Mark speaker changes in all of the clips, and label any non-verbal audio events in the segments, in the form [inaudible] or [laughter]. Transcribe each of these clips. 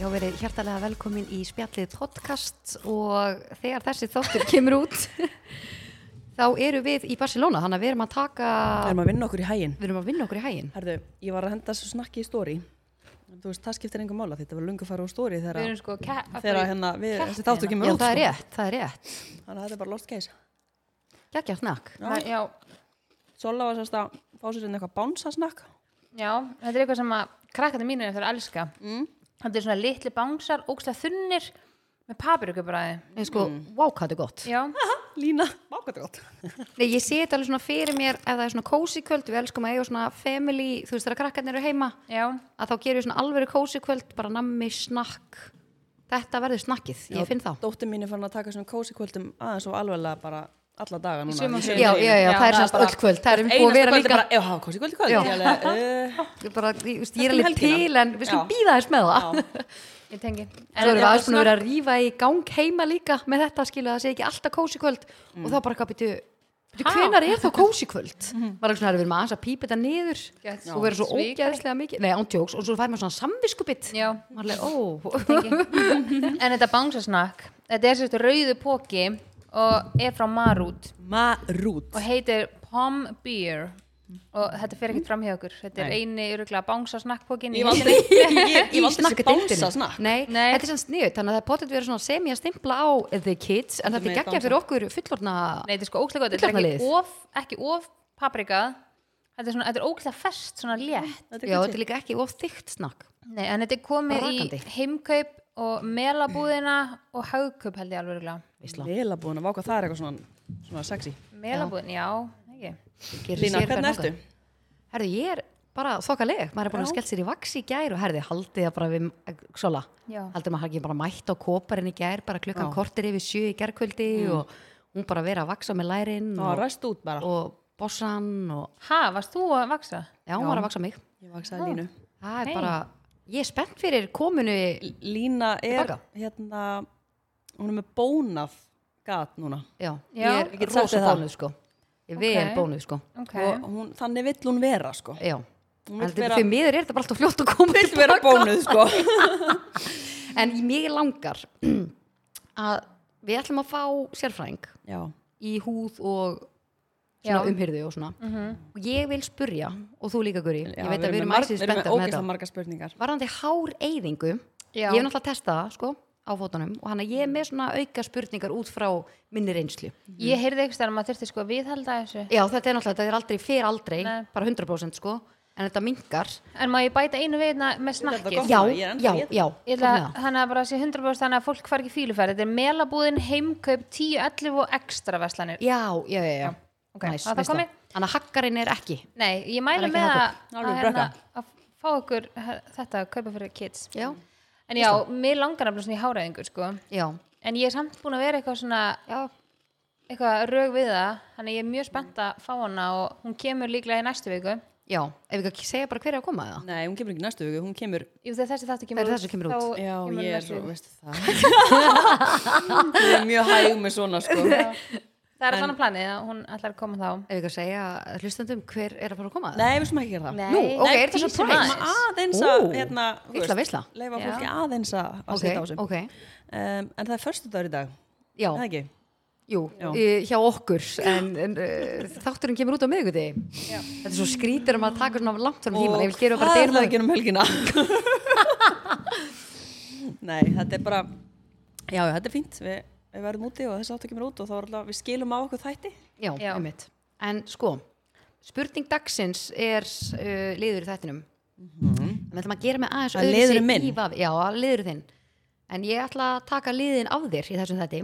Speaker 1: Já, verið hjertalega velkomin í spjallið podcast og þegar þessi þáttur kemur út [laughs] þá eru við í Barcelona, þannig að við erum að taka,
Speaker 2: erum að vinna okkur í hæginn
Speaker 1: við erum að vinna okkur í hægin.
Speaker 2: Herðu, ég var að henda þessu snakki í stóri Þú veist, það skiptir engum mála þetta var lungu fara úr stóri þegar
Speaker 1: Við erum sko ke- að
Speaker 2: þegar
Speaker 1: fara í
Speaker 2: hérna, við,
Speaker 1: keppnina.
Speaker 2: þessi þáttu kemur
Speaker 1: Já,
Speaker 2: út
Speaker 1: það er
Speaker 2: sko.
Speaker 1: rétt, það er rétt.
Speaker 2: Þannig að þetta er bara lost case
Speaker 1: Gægjart nakk.
Speaker 2: Já.
Speaker 3: Já, já,
Speaker 2: Sola var sérst að fá sér inn eitthvað bánsa snakk
Speaker 3: já, þetta er eitthvað sem að krakkandi mínu er eftir að elska. Mm. Þetta er svona litli bánsar, ógsta þunnir með papirukubræði.
Speaker 1: En sko, vá, hvað þetta er gott.
Speaker 3: Já,
Speaker 2: Lína, mákvæmt gott
Speaker 1: Nei, ég sé þetta alveg svona fyrir mér ef það er svona cozy kvöld, við elskum að eiga svona family, þú veist þegar krakkarnir eru heima,
Speaker 3: já,
Speaker 1: að þá gerum við svona alveg cozy kvöld, bara nammi, snakk. Þetta verður snakkið, ég finn það.
Speaker 2: Dóttir mín er farin að taka svona kósi kvöldum aðeins og alveglega bara alla daga núna
Speaker 3: sumum
Speaker 2: Í sumum
Speaker 3: fyrir.
Speaker 1: Já,
Speaker 2: fyrir.
Speaker 1: já, já,
Speaker 3: Já,
Speaker 1: það er
Speaker 3: það er
Speaker 1: semst
Speaker 3: bara-
Speaker 1: öll kvöld, það er búið að
Speaker 2: Einasta
Speaker 1: vera
Speaker 2: kvöld er
Speaker 1: líka
Speaker 2: bara, já, hafa kósi kvöld í kvöld
Speaker 1: Já.
Speaker 2: Ég alveg, eh,
Speaker 1: Ég bara, ég, veist, ég er
Speaker 2: Þetta er
Speaker 1: alveg
Speaker 2: helgina.
Speaker 1: til en við skulum
Speaker 2: Já.
Speaker 1: býða þess með það [laughs]
Speaker 3: ég tengi.
Speaker 1: Svo erum við aðeins búin að vera að rífa í gang heima líka með þetta skilu, það sé ekki alltaf kósi kvöld
Speaker 2: Mm.
Speaker 1: og þá bara eitthvað býtu
Speaker 3: Ha? Mhm.
Speaker 1: hvenar er þá kósi kvöld var eitthvað svona að við erum aðeins að pípa þetta niður
Speaker 3: Gett
Speaker 1: og vera svo
Speaker 3: svikari.
Speaker 1: ógeðslega mikið, nei ándjóks og svo fær maður svona samviskubitt
Speaker 3: Já.
Speaker 1: maður er
Speaker 3: En þetta bánsasnakk, þetta er sérstu rauðu póki og er frá Marút
Speaker 2: Marút
Speaker 3: og heitir Pom Beer og þetta fer ekkert fram hjá okkur. Þetta er
Speaker 2: Nei.
Speaker 3: eini öruglega bánsasnakkpókin
Speaker 2: Ég
Speaker 1: [laughs]
Speaker 2: valdi Ég
Speaker 1: ó
Speaker 2: ég valdi þessi bánsa snakk
Speaker 1: Nei,
Speaker 3: Nei.
Speaker 1: þetta er sann sniðut, þannig að það er potið verið svona semi að stimpla á the kids, en þetta er
Speaker 2: Með
Speaker 1: geggjað fyrir okkur fullorna
Speaker 3: Nei, þetta er sko ógæslega gott, þetta er
Speaker 1: Fullorðna
Speaker 3: ekki
Speaker 1: liðið.
Speaker 3: of, ekki of paprikað, þetta er, svona- þetta er ógæslega fest, svona létt.
Speaker 1: Já, þetta er líka ekki of þykkt snakk
Speaker 3: Nei, en þetta er komið
Speaker 1: Brakandi.
Speaker 3: í heimkaup og melabúðina og haugkaup held ég alveg regla.
Speaker 1: Veisla.
Speaker 2: Vela búin að váka, það er eitthvað svona, svona sexy
Speaker 3: Melabúðin, já, ekki.
Speaker 1: Gerir
Speaker 2: Lína,
Speaker 1: sér þær
Speaker 2: hvernig
Speaker 1: þangað.
Speaker 2: ertu?
Speaker 1: Herðu, ég er bara þokkaleg, maður er búin að skellt sér í vaks í gær og herði, haldið að bara við, svola,
Speaker 3: Já.
Speaker 1: haldið maður ekki bara mætt á kóparinn í gær, bara klukkan
Speaker 2: Já. Mm.
Speaker 1: kortir yfir sjö í gærkvöldi og hún bara verið að vaksa með lærin
Speaker 2: Já,
Speaker 1: og,
Speaker 2: ræst út bara
Speaker 1: og bossan og,
Speaker 3: Ha, varst þú að vaksa?
Speaker 1: já, hún var að vaksa mig.
Speaker 2: Ég vaksaði línu
Speaker 1: Það er
Speaker 3: Hey.
Speaker 1: bara, ég er spennt fyrir komunu,
Speaker 2: Lína er
Speaker 1: Tilbaka.
Speaker 2: hérna hún er með bónað gat núna
Speaker 1: já,
Speaker 3: Já.
Speaker 1: ég
Speaker 2: Ég
Speaker 1: er
Speaker 2: get sagt
Speaker 1: rosa
Speaker 2: þér það.
Speaker 1: bónuð sko, ég er vel
Speaker 3: Ok.
Speaker 1: bónuð sko,
Speaker 3: Ok.
Speaker 2: og hún, þannig vill hún vera sko
Speaker 1: já.
Speaker 2: Hún vill
Speaker 1: Aldi,
Speaker 2: vera-
Speaker 1: Fyrir miður er þetta bara alltaf fljótt að koma
Speaker 2: vill vera bónuð sko
Speaker 1: En mér langar [clears throat] að við ætlum að fá sérfræðing
Speaker 2: Já,
Speaker 1: í húð og
Speaker 3: Já. Mhm.
Speaker 1: svona umhyrðu og svona og ég vil spurja, og þú líka Guri
Speaker 2: Já,
Speaker 1: ég veit að við erum
Speaker 2: marg-
Speaker 1: æsið
Speaker 2: við
Speaker 1: spenntar með
Speaker 2: erum með ógeðslega
Speaker 1: þetta
Speaker 2: margar spurningar
Speaker 1: varðandi hár eyðingu
Speaker 3: Já.
Speaker 1: ég hef náttúrulega testað það sko, á fótunum og hann að ég er með svona auka spurningar út frá minni reynslu
Speaker 3: Ég heyrði ekki stærn að maður þurfti sko að viðhalda þessu.
Speaker 1: já þetta er náttúrulega, þetta er aldrei fyrir aldrei
Speaker 3: Nei.
Speaker 1: bara 100% sko, en þetta mingar
Speaker 3: En má ég bæta einu við hérna með
Speaker 2: þetta
Speaker 3: snakkið?
Speaker 2: gott.
Speaker 1: já,
Speaker 2: ég er ennþá
Speaker 1: já,
Speaker 2: í þetta.
Speaker 1: já,
Speaker 3: Ég ætla að, þannig að bara sé 100% þannig að fólk fari ekki í fíluferð. Þetta er melabúðin, heimkaup, 10, 11 og ekstra verslanir.
Speaker 1: já, já, já, já.
Speaker 3: ok,
Speaker 1: Næs,
Speaker 3: að það
Speaker 1: veist
Speaker 3: komi?
Speaker 1: þannig að hakkarinn er ekki
Speaker 3: Nei, ég
Speaker 1: Það er
Speaker 3: mæla
Speaker 1: ekki
Speaker 3: með að,
Speaker 1: Jakob.
Speaker 3: að,
Speaker 2: Alveg
Speaker 3: hérna,
Speaker 2: brekka.
Speaker 3: að fá okkur he- þetta að kaupa fyrir kids.
Speaker 1: já,
Speaker 3: En já, mér langar nefnilega svona í háræðingur, sko.
Speaker 1: já,
Speaker 3: En ég er samt búin að vera eitthvað svona,
Speaker 1: já,
Speaker 3: eitthvað rög við það, þannig að ég er mjög spennt að fá hana og hún kemur líklega í næstu viku.
Speaker 1: já ef við ekki segja bara hver er að koma eða
Speaker 2: Nei, hún kemur ekki næstu viku, hún kemur
Speaker 3: Jú, þegar þessi þáttu
Speaker 1: Þegar
Speaker 3: kemur
Speaker 1: þessi kemur út.
Speaker 3: þá
Speaker 2: Já, ég er
Speaker 3: kemur næstu
Speaker 2: svo,
Speaker 3: viku.
Speaker 2: veistu það [laughs] Ég er mjög hæg með svona sko
Speaker 3: Það er þannig planið að hún ætlar að koma þá.
Speaker 1: ef við ekki að segja hlustandum hver er að fara að koma eða
Speaker 2: Nei, við sem ekki gera það
Speaker 3: Nei.
Speaker 1: Nú, ok,
Speaker 2: Nei,
Speaker 1: er þetta
Speaker 2: teasum
Speaker 1: surprise?
Speaker 2: aðeins. Aðeins
Speaker 1: Ó,
Speaker 2: að, hérna,
Speaker 1: illa veisla.
Speaker 2: leifa
Speaker 3: Já.
Speaker 2: fólki aðeins að að
Speaker 1: Ok,
Speaker 2: setja á sig
Speaker 1: ok,
Speaker 2: um, En það er förstu dagur í dag,
Speaker 1: já,
Speaker 2: er það ekki?
Speaker 1: jú,
Speaker 2: Já.
Speaker 1: eh, hjá okkur en, en uh, þátturinn kemur út á miðguti Þetta er svo skrítir um að taka svona langt fyrir tíman, ég vil gera bara
Speaker 2: hvað er
Speaker 1: deyrum
Speaker 2: það að gera um helgina? [laughs] Nei, þetta er bara já, já, þetta er fínt við, við verðum úti og þessi áttu kemur út og þá er alltaf, við skilum á okkur þætti
Speaker 1: Já,
Speaker 3: Já.
Speaker 1: einmitt En sko, spurning dagsins er uh, liður í þættinum Við ætlum að gera með aðeins
Speaker 2: Mhm. Að
Speaker 1: öðruvísi
Speaker 2: liðurinn minn?
Speaker 1: í vafi- Já, að liður þinn En ég ætla að taka liðin af þér í þessum þætti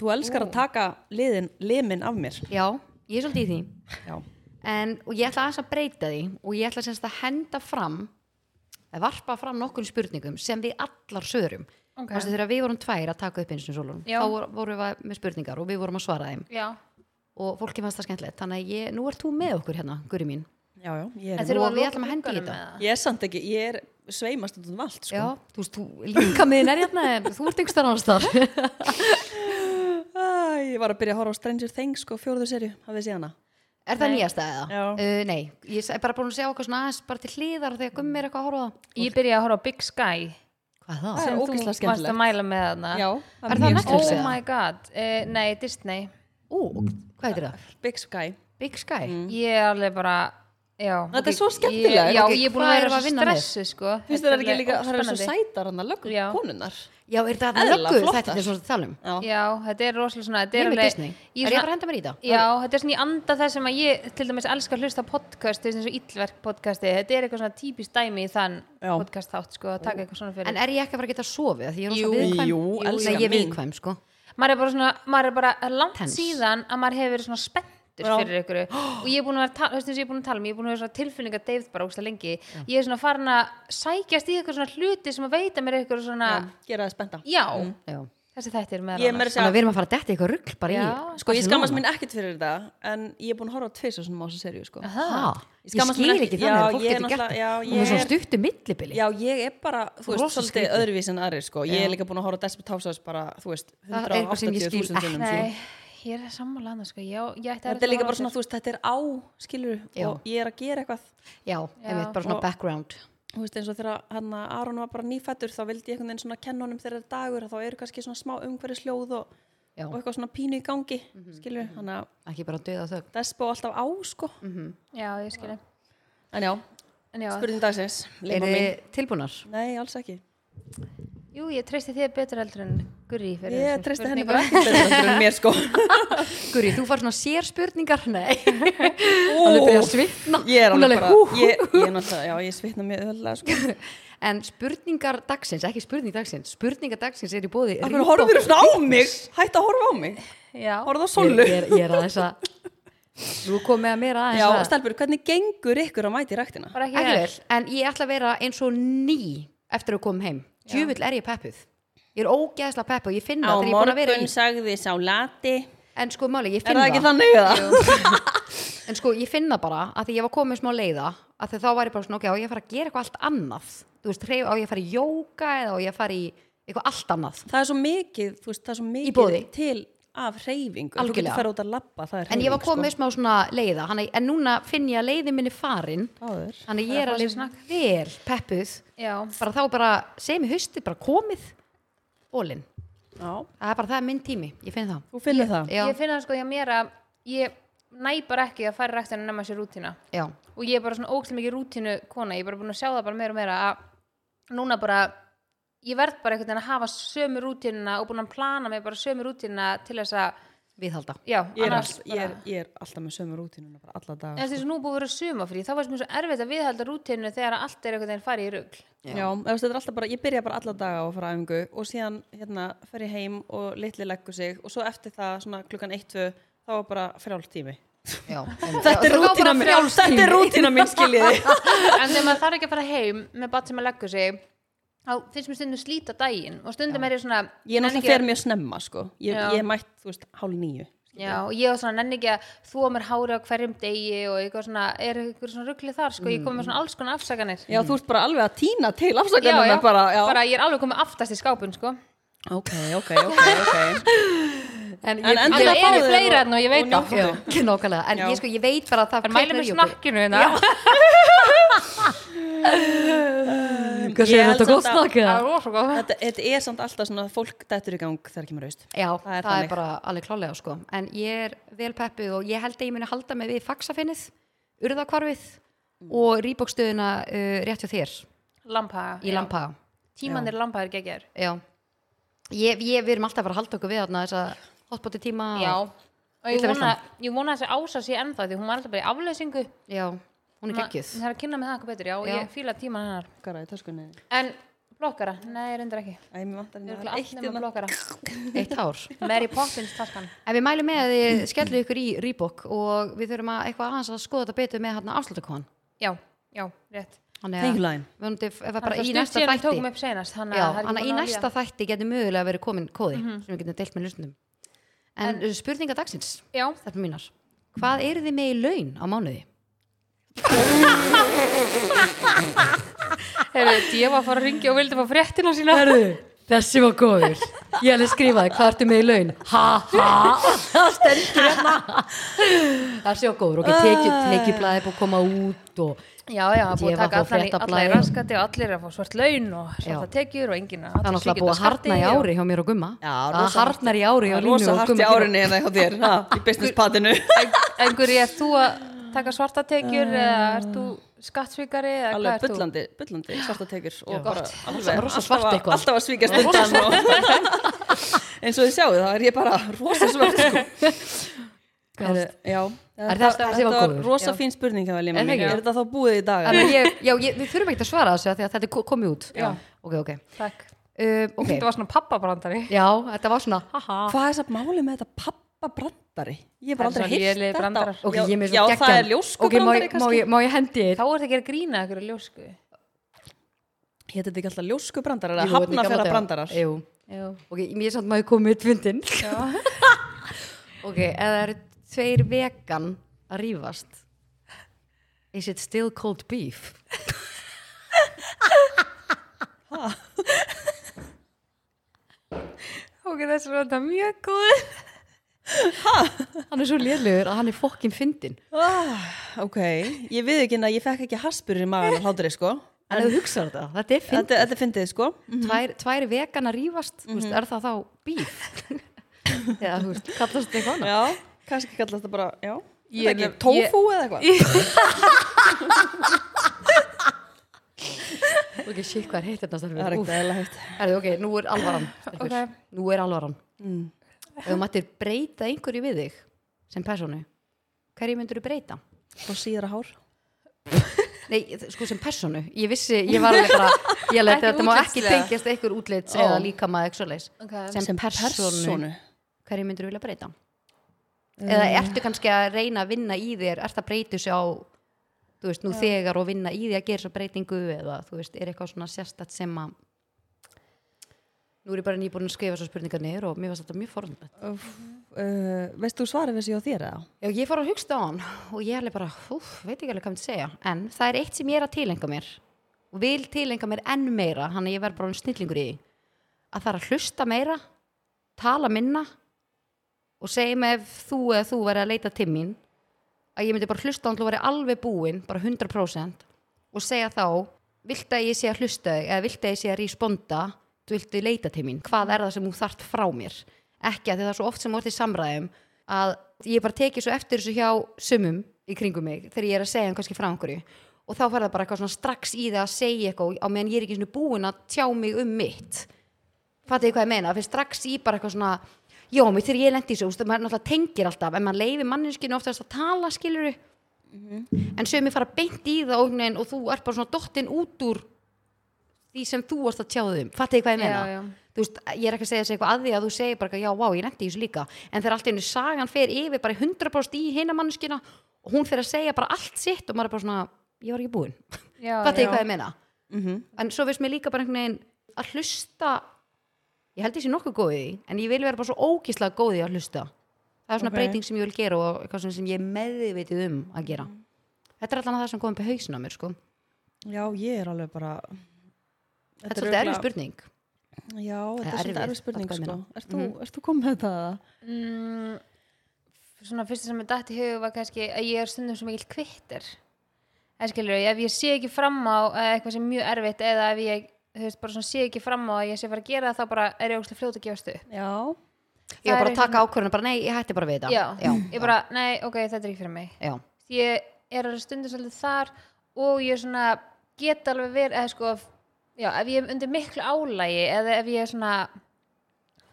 Speaker 2: þú elskar að taka liðin, limin af mér
Speaker 1: Já, ég er svolítið í því
Speaker 2: já,
Speaker 1: en, og ég ætla aðeins að breyta því og ég ætla semst að henda fram að varpa fram nokkur spurningum sem við allar sögurum
Speaker 3: Ok.
Speaker 1: okay. þegar við vorum tvær að taka upp eins og svolun
Speaker 3: Já.
Speaker 1: þá vor- vorum við með spurningar og við vorum að svara þeim
Speaker 3: Já.
Speaker 1: og fólki fannst það skemmtilegt þannig að ég, nú ert þú með okkur hérna, guri mín
Speaker 2: já, já
Speaker 1: En
Speaker 2: ég er,
Speaker 1: þeir-
Speaker 3: Þurfum
Speaker 1: Nú,
Speaker 3: að
Speaker 1: við
Speaker 3: loka
Speaker 1: ætlum að henda í
Speaker 3: glugganum
Speaker 1: þetta.
Speaker 3: eða?
Speaker 2: ég er samt ekki, ég er sveimast út um allt sko.
Speaker 1: Já, þú veist, þú líka miðin er hérna en þú ert yngstar annars þar
Speaker 2: Æ, ég var að byrja að horfa á Stranger Things sko, fjóruðu serju, hafið séð hana
Speaker 1: Er það nýjasta eða?
Speaker 2: Já.
Speaker 1: Uh, nei, ég er bara búin að segja okkar svona aðeins bara til hliðar þegar gummi er eitthvað að horfa á það.
Speaker 3: Ég byrja að horfa á Big Sky.
Speaker 1: Hvað það?
Speaker 2: er
Speaker 3: sem þú
Speaker 2: ógeðslega
Speaker 3: varst að
Speaker 2: skemmtilegt.
Speaker 3: mæla með hana
Speaker 2: Já,
Speaker 1: Er það
Speaker 2: mjög
Speaker 1: Netflix?
Speaker 3: Oh
Speaker 1: eða?
Speaker 3: my god, uh, nei, Disney
Speaker 1: Ú, hvað heitir það?
Speaker 2: skemmtilegt. Big Sky
Speaker 1: Big Sky?
Speaker 3: Ég er alveg bara já,
Speaker 2: Mm. Þetta er
Speaker 3: ok,
Speaker 2: svo skemmtilegt.
Speaker 3: ég- Já,
Speaker 1: Ok,
Speaker 3: ég er búin
Speaker 1: hvað
Speaker 3: að
Speaker 1: erum
Speaker 3: vera
Speaker 1: við að
Speaker 3: svo
Speaker 1: vinna með?
Speaker 3: stressu sko.
Speaker 2: Finnst þér það
Speaker 3: Þetta
Speaker 2: ekki líka, það er svo
Speaker 3: óspennandi.
Speaker 2: sætar hann að lögum
Speaker 3: Já.
Speaker 2: konunnar
Speaker 1: Já, er það
Speaker 2: Eðlilega
Speaker 1: löggu
Speaker 2: flottar.
Speaker 1: þættir þessum talum?
Speaker 2: Já,
Speaker 3: Já, þetta er rosalega svona Þetta er
Speaker 1: Ég um? með
Speaker 3: alveg
Speaker 1: Disney.
Speaker 3: í
Speaker 1: Er ég að
Speaker 3: svona-
Speaker 1: fara að henda mér í það?
Speaker 3: Já, þetta er svona í anda það sem að ég til dæmis elska að hlusta á podcast þú veist, eins og illverk podcasti, þetta er eitthvað svona típist dæmi í þann
Speaker 2: Já.
Speaker 3: podcast þátt sko, að taka eitthvað svona fyrir
Speaker 1: En er ég ekki að fara að geta að sofi? Því ég er
Speaker 2: Jú,
Speaker 1: svo viðkvæm.
Speaker 2: jú, elskan
Speaker 1: Nei, ég er
Speaker 2: mín.
Speaker 1: viðkvæm, sko.
Speaker 3: maður er bara svona, maður er bara það er langt
Speaker 1: Tense.
Speaker 3: síðan að maður hefur verið svona spenntur
Speaker 2: Já.
Speaker 3: fyrir ykkur og ég er búin að vera, ta- þú veist eins og ég er búin að tala um, ég er búin að vera svona tilfinninga deyfð bara ógsta lengi ég er svona farin að sækjast í eitthvað svona hluti sem að veita mér eitthvað svona,
Speaker 2: gera það spennta
Speaker 3: já,
Speaker 1: Já.
Speaker 3: þessi þættir
Speaker 2: Mm. Ég er meira að
Speaker 3: meðal annars
Speaker 1: Þannig að við erum að fara að detti eitthvað rugg bara í.
Speaker 3: Já.
Speaker 2: Sko, ég skammast mín ekkert fyrir það en ég er búin að horfa tvis og svona mása serju sko.
Speaker 1: Ha,
Speaker 2: Ég
Speaker 1: ég
Speaker 2: skammast mín
Speaker 1: skil
Speaker 2: ekki.
Speaker 1: ekki
Speaker 2: Já,
Speaker 1: þannig að fólk
Speaker 2: ég er
Speaker 1: getur gert
Speaker 2: náttúrulega- já,
Speaker 1: það. Hún er
Speaker 2: ég
Speaker 1: svona
Speaker 2: er-
Speaker 1: stuttu millibili.
Speaker 2: Já, ég er bara, þú veist,
Speaker 1: Rosa
Speaker 2: svolítið
Speaker 1: skrítið.
Speaker 2: öðruvís en aðrir sko. Ég er líka búin að horfa á Desperate Housewives bara, þú veist,
Speaker 1: Það er eitthvað sem ég skil
Speaker 2: 180.000 sinnum
Speaker 1: ekki.
Speaker 2: sko.
Speaker 3: nei, ég er sammála annars sko, já, ég ætti
Speaker 2: Þetta er líka bara svona, þú veist, þetta er á, skilur
Speaker 1: Já.
Speaker 2: og ég er að gera eitthvað
Speaker 1: Já, einmitt, bara svona
Speaker 2: Og-
Speaker 1: background.
Speaker 2: þú veist eins og þegar hann að Aron var bara nýfættur þá vildi ég einhvern veginn svona kenna honum þegar það er dagur að þá eru kannski svona smá umhverfisljóð og,
Speaker 1: Já. Mhm.
Speaker 2: og eitthvað svona pínu í gangi mm skilur, hann að
Speaker 1: Ekki bara döða þögn.
Speaker 2: despo alltaf á sko
Speaker 1: Mhm.
Speaker 3: já, ég skilja,
Speaker 2: en já,
Speaker 3: en já
Speaker 2: spurning dagsins
Speaker 1: Er
Speaker 2: Lima mín,
Speaker 1: tilbúnar?
Speaker 2: nei alls ekki
Speaker 3: jú, ég treysti þér betur eldur en Guri fyrir
Speaker 2: ég
Speaker 3: þessum
Speaker 2: treysti henni
Speaker 3: spurningum.
Speaker 2: bara ekki betur heldur en mér sko
Speaker 1: Guri, þú far svona sér spurningar? [laughs] Nei. Alveg byrja að svitna.
Speaker 2: ég er
Speaker 1: Hún
Speaker 2: alveg bara,
Speaker 1: hú.
Speaker 2: ég, ég er náttúrulega já, ég svitna mjög öðlega sko
Speaker 1: En spurningar dagsins, ekki spurning dagsins, spurningar dagsins er í bóði
Speaker 2: af hverju horfir þú svona á mig, hætt að horfa á mig
Speaker 3: [laughs] já,
Speaker 2: horfðu á
Speaker 1: Ég,
Speaker 2: solu
Speaker 1: ég, er- ég er aðeins að, þú komið að mér aðeins
Speaker 2: já,
Speaker 1: að.
Speaker 2: stelpur, hvernig gengur ykkur að mæti ræktina
Speaker 3: bara ekki
Speaker 1: ekki
Speaker 3: vel
Speaker 1: vel, en ég ætla að vera eins og ný eftir að koma heim djúvill er ég peppuð ég er ógeðslega peppuð, og ég finn það hérna, þegar ég er búin að vera í
Speaker 2: sagði sá lati
Speaker 1: en sko máli, ég
Speaker 2: er
Speaker 1: finn
Speaker 2: það
Speaker 1: það,
Speaker 2: ekki þannig eða?
Speaker 1: en sko ég finn það bara að því ég var komið smá leiða að því þá var ég bara svona, ok, á ég að fara að gera eitthvað allt annað þú veist, hreyf, á ég að fara í jóka eða á ég að fara í eitthvað allt annað
Speaker 2: það er svo mikið, þú veist, það er svo mikið
Speaker 1: boði.
Speaker 2: til af hreyfingu, þú getur
Speaker 1: Algjörlega.
Speaker 2: fara út að labba það er
Speaker 1: en ég var komið
Speaker 2: sko.
Speaker 1: smá svona leiða hana, en núna finn ég að leiði minni farin
Speaker 2: Áður.
Speaker 1: þannig ég er
Speaker 3: Það er
Speaker 1: alveg vel peppuð
Speaker 3: já,
Speaker 1: bara þá bara, semi haustið, bara komið ólinn,
Speaker 2: já,
Speaker 1: það er bara það er minn tími ég finn það
Speaker 2: þú finnur það
Speaker 1: Já.
Speaker 3: ég finna það sko hjá mér að ég næ bara ekki að fara ræktinu nema sér rútina
Speaker 1: Já,
Speaker 3: og ég er bara svona ógst mikið rútinu kona ég er bara búin að sjá það bara meira og meira að núna bara ég verð bara einhvern veginn að hafa sömu rútinuna og búin að plana mig bara sömu rútinuna til þess að,
Speaker 1: viðhalda
Speaker 3: já,
Speaker 2: ég er,
Speaker 3: annars
Speaker 2: all,
Speaker 3: bara-
Speaker 2: ég, er, ég er alltaf með sömu rútínuna bara alla
Speaker 3: en
Speaker 2: daga
Speaker 3: þess að nú er búið að vera sumafrí þá var mér svo erfitt að viðhalda rútinu þegar allt er einhvern veginn farið í rugl
Speaker 2: já, já eða þú veist, þetta er alltaf bara, ég byrja bara alla daga á að fara á æfingu og síðan hérna fer ég heim og litli leggur sig og svo eftir það svona klukkan 1-2 þá er bara frjálf tími
Speaker 1: Já,
Speaker 2: þetta er rútína mín, þetta er rútína mín
Speaker 3: [laughs]
Speaker 2: skiljiði
Speaker 3: en þegar maður þarf ekki að fara heim með bat sem að leggur sig þá finnst mér stundum slíta daginn og stundum er ég svona
Speaker 2: ég náttúrulega
Speaker 3: nenni ekki að-
Speaker 2: fer mjög snemma sko ég,
Speaker 3: Já.
Speaker 2: ég er mætt, þú veist, hálf nýju
Speaker 3: Já, og ég var svona nenni ekki að þúa mér hári á hverjum degi og eitthvað svona, er eitthvað svona ruglið þar, sko, ég kom með svona alls konar afsakanir.
Speaker 2: já, þú ert bara alveg að týna til afsakanunar bara, já,
Speaker 3: ég er alveg komið aftast í skápun, sko.
Speaker 2: ok, ok, ok, ok
Speaker 3: [laughs]
Speaker 1: En
Speaker 2: En
Speaker 1: ég
Speaker 2: endilega
Speaker 3: Það eru
Speaker 2: fáðu
Speaker 3: fleiri
Speaker 2: og-
Speaker 3: þarna og ég veit
Speaker 2: og
Speaker 3: það.
Speaker 2: njóttu.
Speaker 1: Ekki [laughs] nákvæmlega, en
Speaker 2: Já.
Speaker 1: ég sko, ég veit bara að það
Speaker 3: Það mæli með snakkinu hérna.
Speaker 1: Hvað
Speaker 2: Ég
Speaker 1: segir
Speaker 2: held
Speaker 1: þetta góð
Speaker 2: samt að-
Speaker 1: snakk? eða?
Speaker 3: [laughs] Það er rosa góð.
Speaker 2: þetta, þetta er samt alltaf svona að fólk dættur í gang þegar kemur haust
Speaker 1: Já, það
Speaker 2: er
Speaker 1: er,
Speaker 2: þannig.
Speaker 1: bara alveg klálega sko En ég er vel peppuð og ég held að ég muni halda mig við faksafinnið, urðakvarfið og rýbókstöðuna uh, rétt hjá þér
Speaker 3: Lampaga.
Speaker 1: í Lampaga
Speaker 3: Tímanir lampaga er geggjær.
Speaker 1: Já, ég, ég, við erum alltaf að fara að halda okkur við þarna þessa hotbóti tíma
Speaker 3: Já. Og ég
Speaker 1: Illa
Speaker 3: vona, ég vona að þessi ása sé ennþá því hún var alltaf bara í afleysingu.
Speaker 1: Já, hún er
Speaker 3: Ma-
Speaker 1: geggjuð
Speaker 3: [laughs] Það er að kynna með það eitthvað betur, já, og
Speaker 1: Já.
Speaker 3: ég fíla tíman hennar.
Speaker 2: blokkara í töskunni
Speaker 3: En blokkara, nei, reyndar ekki.
Speaker 2: Æ, mér vantar
Speaker 3: Ég
Speaker 2: hérna
Speaker 3: er örugglega allt
Speaker 2: eitt
Speaker 3: nema
Speaker 2: hérna.
Speaker 3: blokkara.
Speaker 1: [laughs] Eitt hár
Speaker 3: Mary Poppins taskan.
Speaker 1: En við mælum með að þið skellu ykkur í Reebok og við þurfum að eitthvað aðeins að skoða þetta betur með hérna afslutakon.
Speaker 3: Já, já, rétt.
Speaker 1: Þannig
Speaker 2: Thank
Speaker 1: að
Speaker 2: you, Lion.
Speaker 1: vonandi ef að
Speaker 3: Það
Speaker 1: bara
Speaker 3: er
Speaker 1: í
Speaker 3: stutt
Speaker 1: næsta
Speaker 3: síðan við tókum
Speaker 1: þætti
Speaker 3: upp senast, þannig
Speaker 1: Já,
Speaker 3: að það er
Speaker 1: þannig að
Speaker 3: ekki
Speaker 1: í
Speaker 3: búin að Mhm.
Speaker 1: næsta
Speaker 3: líða.
Speaker 1: þætti getur mögulega verið komin kóði sem við getum deilt með lusnum. En, en spurninga dagsins, [laughs]
Speaker 3: Já,
Speaker 1: þetta mínar. Hvað eru þið með í laun á mánuði?
Speaker 3: Heyrðu, ég var að fara að ringja og vildi fá fréttina sína Herðu
Speaker 1: þessi var góður ég hefði skrifaði, hvað ertu með í laun ha
Speaker 2: [laughs]
Speaker 1: ha, það stendur [laughs] hérna þessi var góður, ok, tekið teki blæði og koma út og
Speaker 3: Já, já, það er búið að
Speaker 1: Ég var
Speaker 3: taka
Speaker 1: að fá
Speaker 3: allan í, alla í
Speaker 1: fréttablaðið.
Speaker 3: raskati og allir er að fá svart laun og svarta tekjur og enginn
Speaker 1: það er náttúrulega búið að harna í
Speaker 3: [laughs]
Speaker 1: ári hjá mér og gumma
Speaker 2: Já, rosa
Speaker 1: það harnar í ári hjá línu og
Speaker 2: rosa
Speaker 1: hérna.
Speaker 2: hart í
Speaker 1: gumma
Speaker 2: árinni en það hjá þér, ha, í
Speaker 1: [laughs]
Speaker 2: business patinu
Speaker 3: Engur, er þú að taka svarta tekjur
Speaker 1: Eh.
Speaker 3: eða ert þú skattsvíkari eða hvað
Speaker 2: alveg
Speaker 3: ert þú?
Speaker 2: bullandi, bullandi svarta tekjur og bara
Speaker 1: gott.
Speaker 2: alveg
Speaker 1: Rosa
Speaker 2: alltaf
Speaker 1: svart
Speaker 2: að-
Speaker 1: eitthvað.
Speaker 2: alltaf að svíkast undan og eins og [laughs] þið sjáu þá er ég bara rosa
Speaker 1: [laughs]
Speaker 2: svart sko. Heyrðu, já,
Speaker 1: Er
Speaker 2: þetta-
Speaker 1: það- þessi var
Speaker 2: þetta var
Speaker 1: góður?
Speaker 2: rosa
Speaker 3: Já.
Speaker 2: fín spurning hjá Elín
Speaker 1: Er það
Speaker 2: mín.
Speaker 1: ekki?
Speaker 2: er þetta þá búið í dag?
Speaker 1: Þannig að ég, já, ég, við þurfum ekkert að svara þessu af því að þetta er ko- komið út
Speaker 3: Já.
Speaker 1: ok, ok,
Speaker 3: Takk.
Speaker 1: um, ok
Speaker 3: Þetta var svona pappabrandari.
Speaker 1: já, þetta var svona ha ha
Speaker 2: hvað er það máli með þetta pappa brandari? ég hef bara
Speaker 3: Það er
Speaker 2: aldrei
Speaker 3: svona
Speaker 2: heyrt
Speaker 3: lélegir
Speaker 2: þetta
Speaker 3: brandarar.
Speaker 1: ok,
Speaker 2: Já,
Speaker 1: ég er með
Speaker 2: já,
Speaker 1: svo
Speaker 2: það er
Speaker 1: geggjan.
Speaker 2: ljósku
Speaker 1: ok, má
Speaker 2: brandari
Speaker 1: ég- má
Speaker 2: kannski
Speaker 1: ég- má ég hendi þér
Speaker 3: Þá er það að gera grína ykkur að ljósku.
Speaker 2: hétt þetta ekki alltaf ljósku brandarar
Speaker 1: Jú,
Speaker 2: eða
Speaker 1: þetta er
Speaker 2: hafna
Speaker 1: gamla
Speaker 2: fyrir
Speaker 1: daga.
Speaker 2: brandarar
Speaker 1: Jú.
Speaker 3: Jú.
Speaker 1: ok, mér er samt maður komið með tvindin [laughs] ok, eða það eru tveir vegan að rífast is it still cold beef?
Speaker 3: Ok, þessi er þetta mjög góð.
Speaker 1: hann er svo lélugur að hann er fokkin fyndin
Speaker 2: Ah, ok, ég við ekki að ég fekk ekki haspur í magan og hlátri sko
Speaker 1: en ef þú hugsar þetta, þetta er fyndin
Speaker 2: þetta, þetta er fyndið sko
Speaker 3: mhm.
Speaker 1: tvær, tvær vegan að rífast mm veist, er það þá beef?
Speaker 3: [laughs]
Speaker 1: eða, þú veist, kallast þetta eitthvað annað
Speaker 2: já, kannski kallast það bara, já
Speaker 3: Ég-
Speaker 2: Þetta ekki,
Speaker 3: ég-
Speaker 2: Tófú eða eitthvað
Speaker 1: ok, shit, hvað er heitt hérna, þetta
Speaker 2: Það er
Speaker 1: starfið? Úf,
Speaker 2: ekkert eða hægt
Speaker 1: herðu, ok, nú er
Speaker 3: [laughs]
Speaker 1: alvaran stelpur.
Speaker 3: Ok. Mm.
Speaker 1: nú er alvaran ef þú mættir breyta einhverju við þig sem personu, hverju myndur þú breyta?
Speaker 2: Frá síðara hár
Speaker 1: Nei, þ- sko sem personu, ég vissi, ég var alveg bara, ég leti
Speaker 3: Ekki
Speaker 1: þetta má ekki
Speaker 3: útlitslega.
Speaker 1: tengjast einhver útlits
Speaker 2: Ó.
Speaker 1: eða líka maður ekki svoleiðis.
Speaker 3: Ok.
Speaker 1: Sem, personu, hverju myndur þú vilja breyta? Eða ertu kannski að reyna að vinna í þér, ertu að breyta þessu á, þú veist, nú þegar og vinna í því að gera svo breytingu eða, þú veist, er eitthvað svona sérstætt sem að, nú er ég bara nýbúin að skrifa svo spurningar niður og mér varst þetta mjög forðan.
Speaker 2: Öff, uh, veist þú svarið við sér á þér eða?
Speaker 1: Já, ég fór að hugsta á hann og ég alveg bara, úf, veit ekki alveg hvað ég myndi segja en það er eitt sem ég er að tilenga mér og vil tilenga mér enn meira hann að ég verð bara um snillingur í því að það er að hlusta meira tala minna og segja mig ef þú eða þú verið að leita til mín að ég myndi bara hlusta hann til að vera alveg búinn, bara 100% og segja þá, vilt að ég sé að hlusta þig eða vilt að ég sé að responda þú viltu leita til mín, hvað er það sem þú þart frá mér ekki að því það er svo oft sem orðið samræðum að ég bara teki svo eftir þessu hjá sumum í kringum mig þegar ég er að segja hann kannski frá einhverju og þá fer það bara eitthvað svona strax í það að segja eitthvað á meðan ég er ekki svona búin að tjá mig um mitt fattu ég hvað ég meina, það fyrir strax í bara eitthvað svona já, mér þegar ég lendi í þessu, þú veist, maður náttúrulega tengir alltaf, en maður leifir manneskinu oftast að tala skiluru,
Speaker 3: Mhm.
Speaker 1: en sögum fara beint í það og, einhvern veginn og þú ert bara svona dottin út úr því sem þú varst að tjáðu um, fattu ég hvað ég meina
Speaker 3: Já, já.
Speaker 1: þú veist, ég er ekki að segja þessi eitthvað að því að þú segir bara, eitthvað, já, vá, ég lendi í þessu líka en þegar allt í einu sagan fer yfir bara í 100% í hinna manneskina og hún fer að segja bara allt sitt og maður er bara svona ég var ekki búin,
Speaker 3: Já,
Speaker 1: fattu ég
Speaker 3: já. Mhm.
Speaker 1: hvað ég meina en svo finnst mér líka bara einhvern veginn að hlusta ég held ég sé nokkuð góð í því, en ég vil vera bara svo ógislega góð í að hlusta það er svona
Speaker 2: Ok.
Speaker 1: breyting sem ég vil gera og eitthvað svona sem ég er meðvitið um að gera þetta er allan að það sem komið på hausin á mér sko. þetta,
Speaker 2: Já, ég er alveg bara
Speaker 1: er svolítið erfið
Speaker 2: örugglega-
Speaker 1: spurning
Speaker 2: Já, þetta
Speaker 1: Eða
Speaker 2: er svolítið
Speaker 1: erfið,
Speaker 2: erfið
Speaker 1: fattu
Speaker 2: spurning
Speaker 1: hvað ég
Speaker 2: sko
Speaker 1: meina.
Speaker 2: Ert þú, ert þú komið með þetta? eða?
Speaker 3: Mm, svona fyrsta sem ég dætt í hug var kannski að ég er stundum sem ekki kvittir eða skilur ef ég sé ekki fram á eh, eitthvað sem er mjög erfitt eða ef ég þú veist, bara svona sé ekki fram á að ég sé að fara að gera það þá bara er ég ógstlega fljót að gefast upp
Speaker 2: Já,
Speaker 1: ég var
Speaker 3: Það
Speaker 1: bara
Speaker 3: er
Speaker 1: að taka ákvörðinu, bara nei, ég hætti bara við þetta
Speaker 3: já,
Speaker 1: já,
Speaker 3: [laughs] ég bara, nei, ok, þetta er ekki fyrir mig
Speaker 1: já.
Speaker 3: ég er alveg stundum svolítið þar og ég svona get alveg verið eða sko, já, ef ég er undir miklu álægi eða ef ég er svona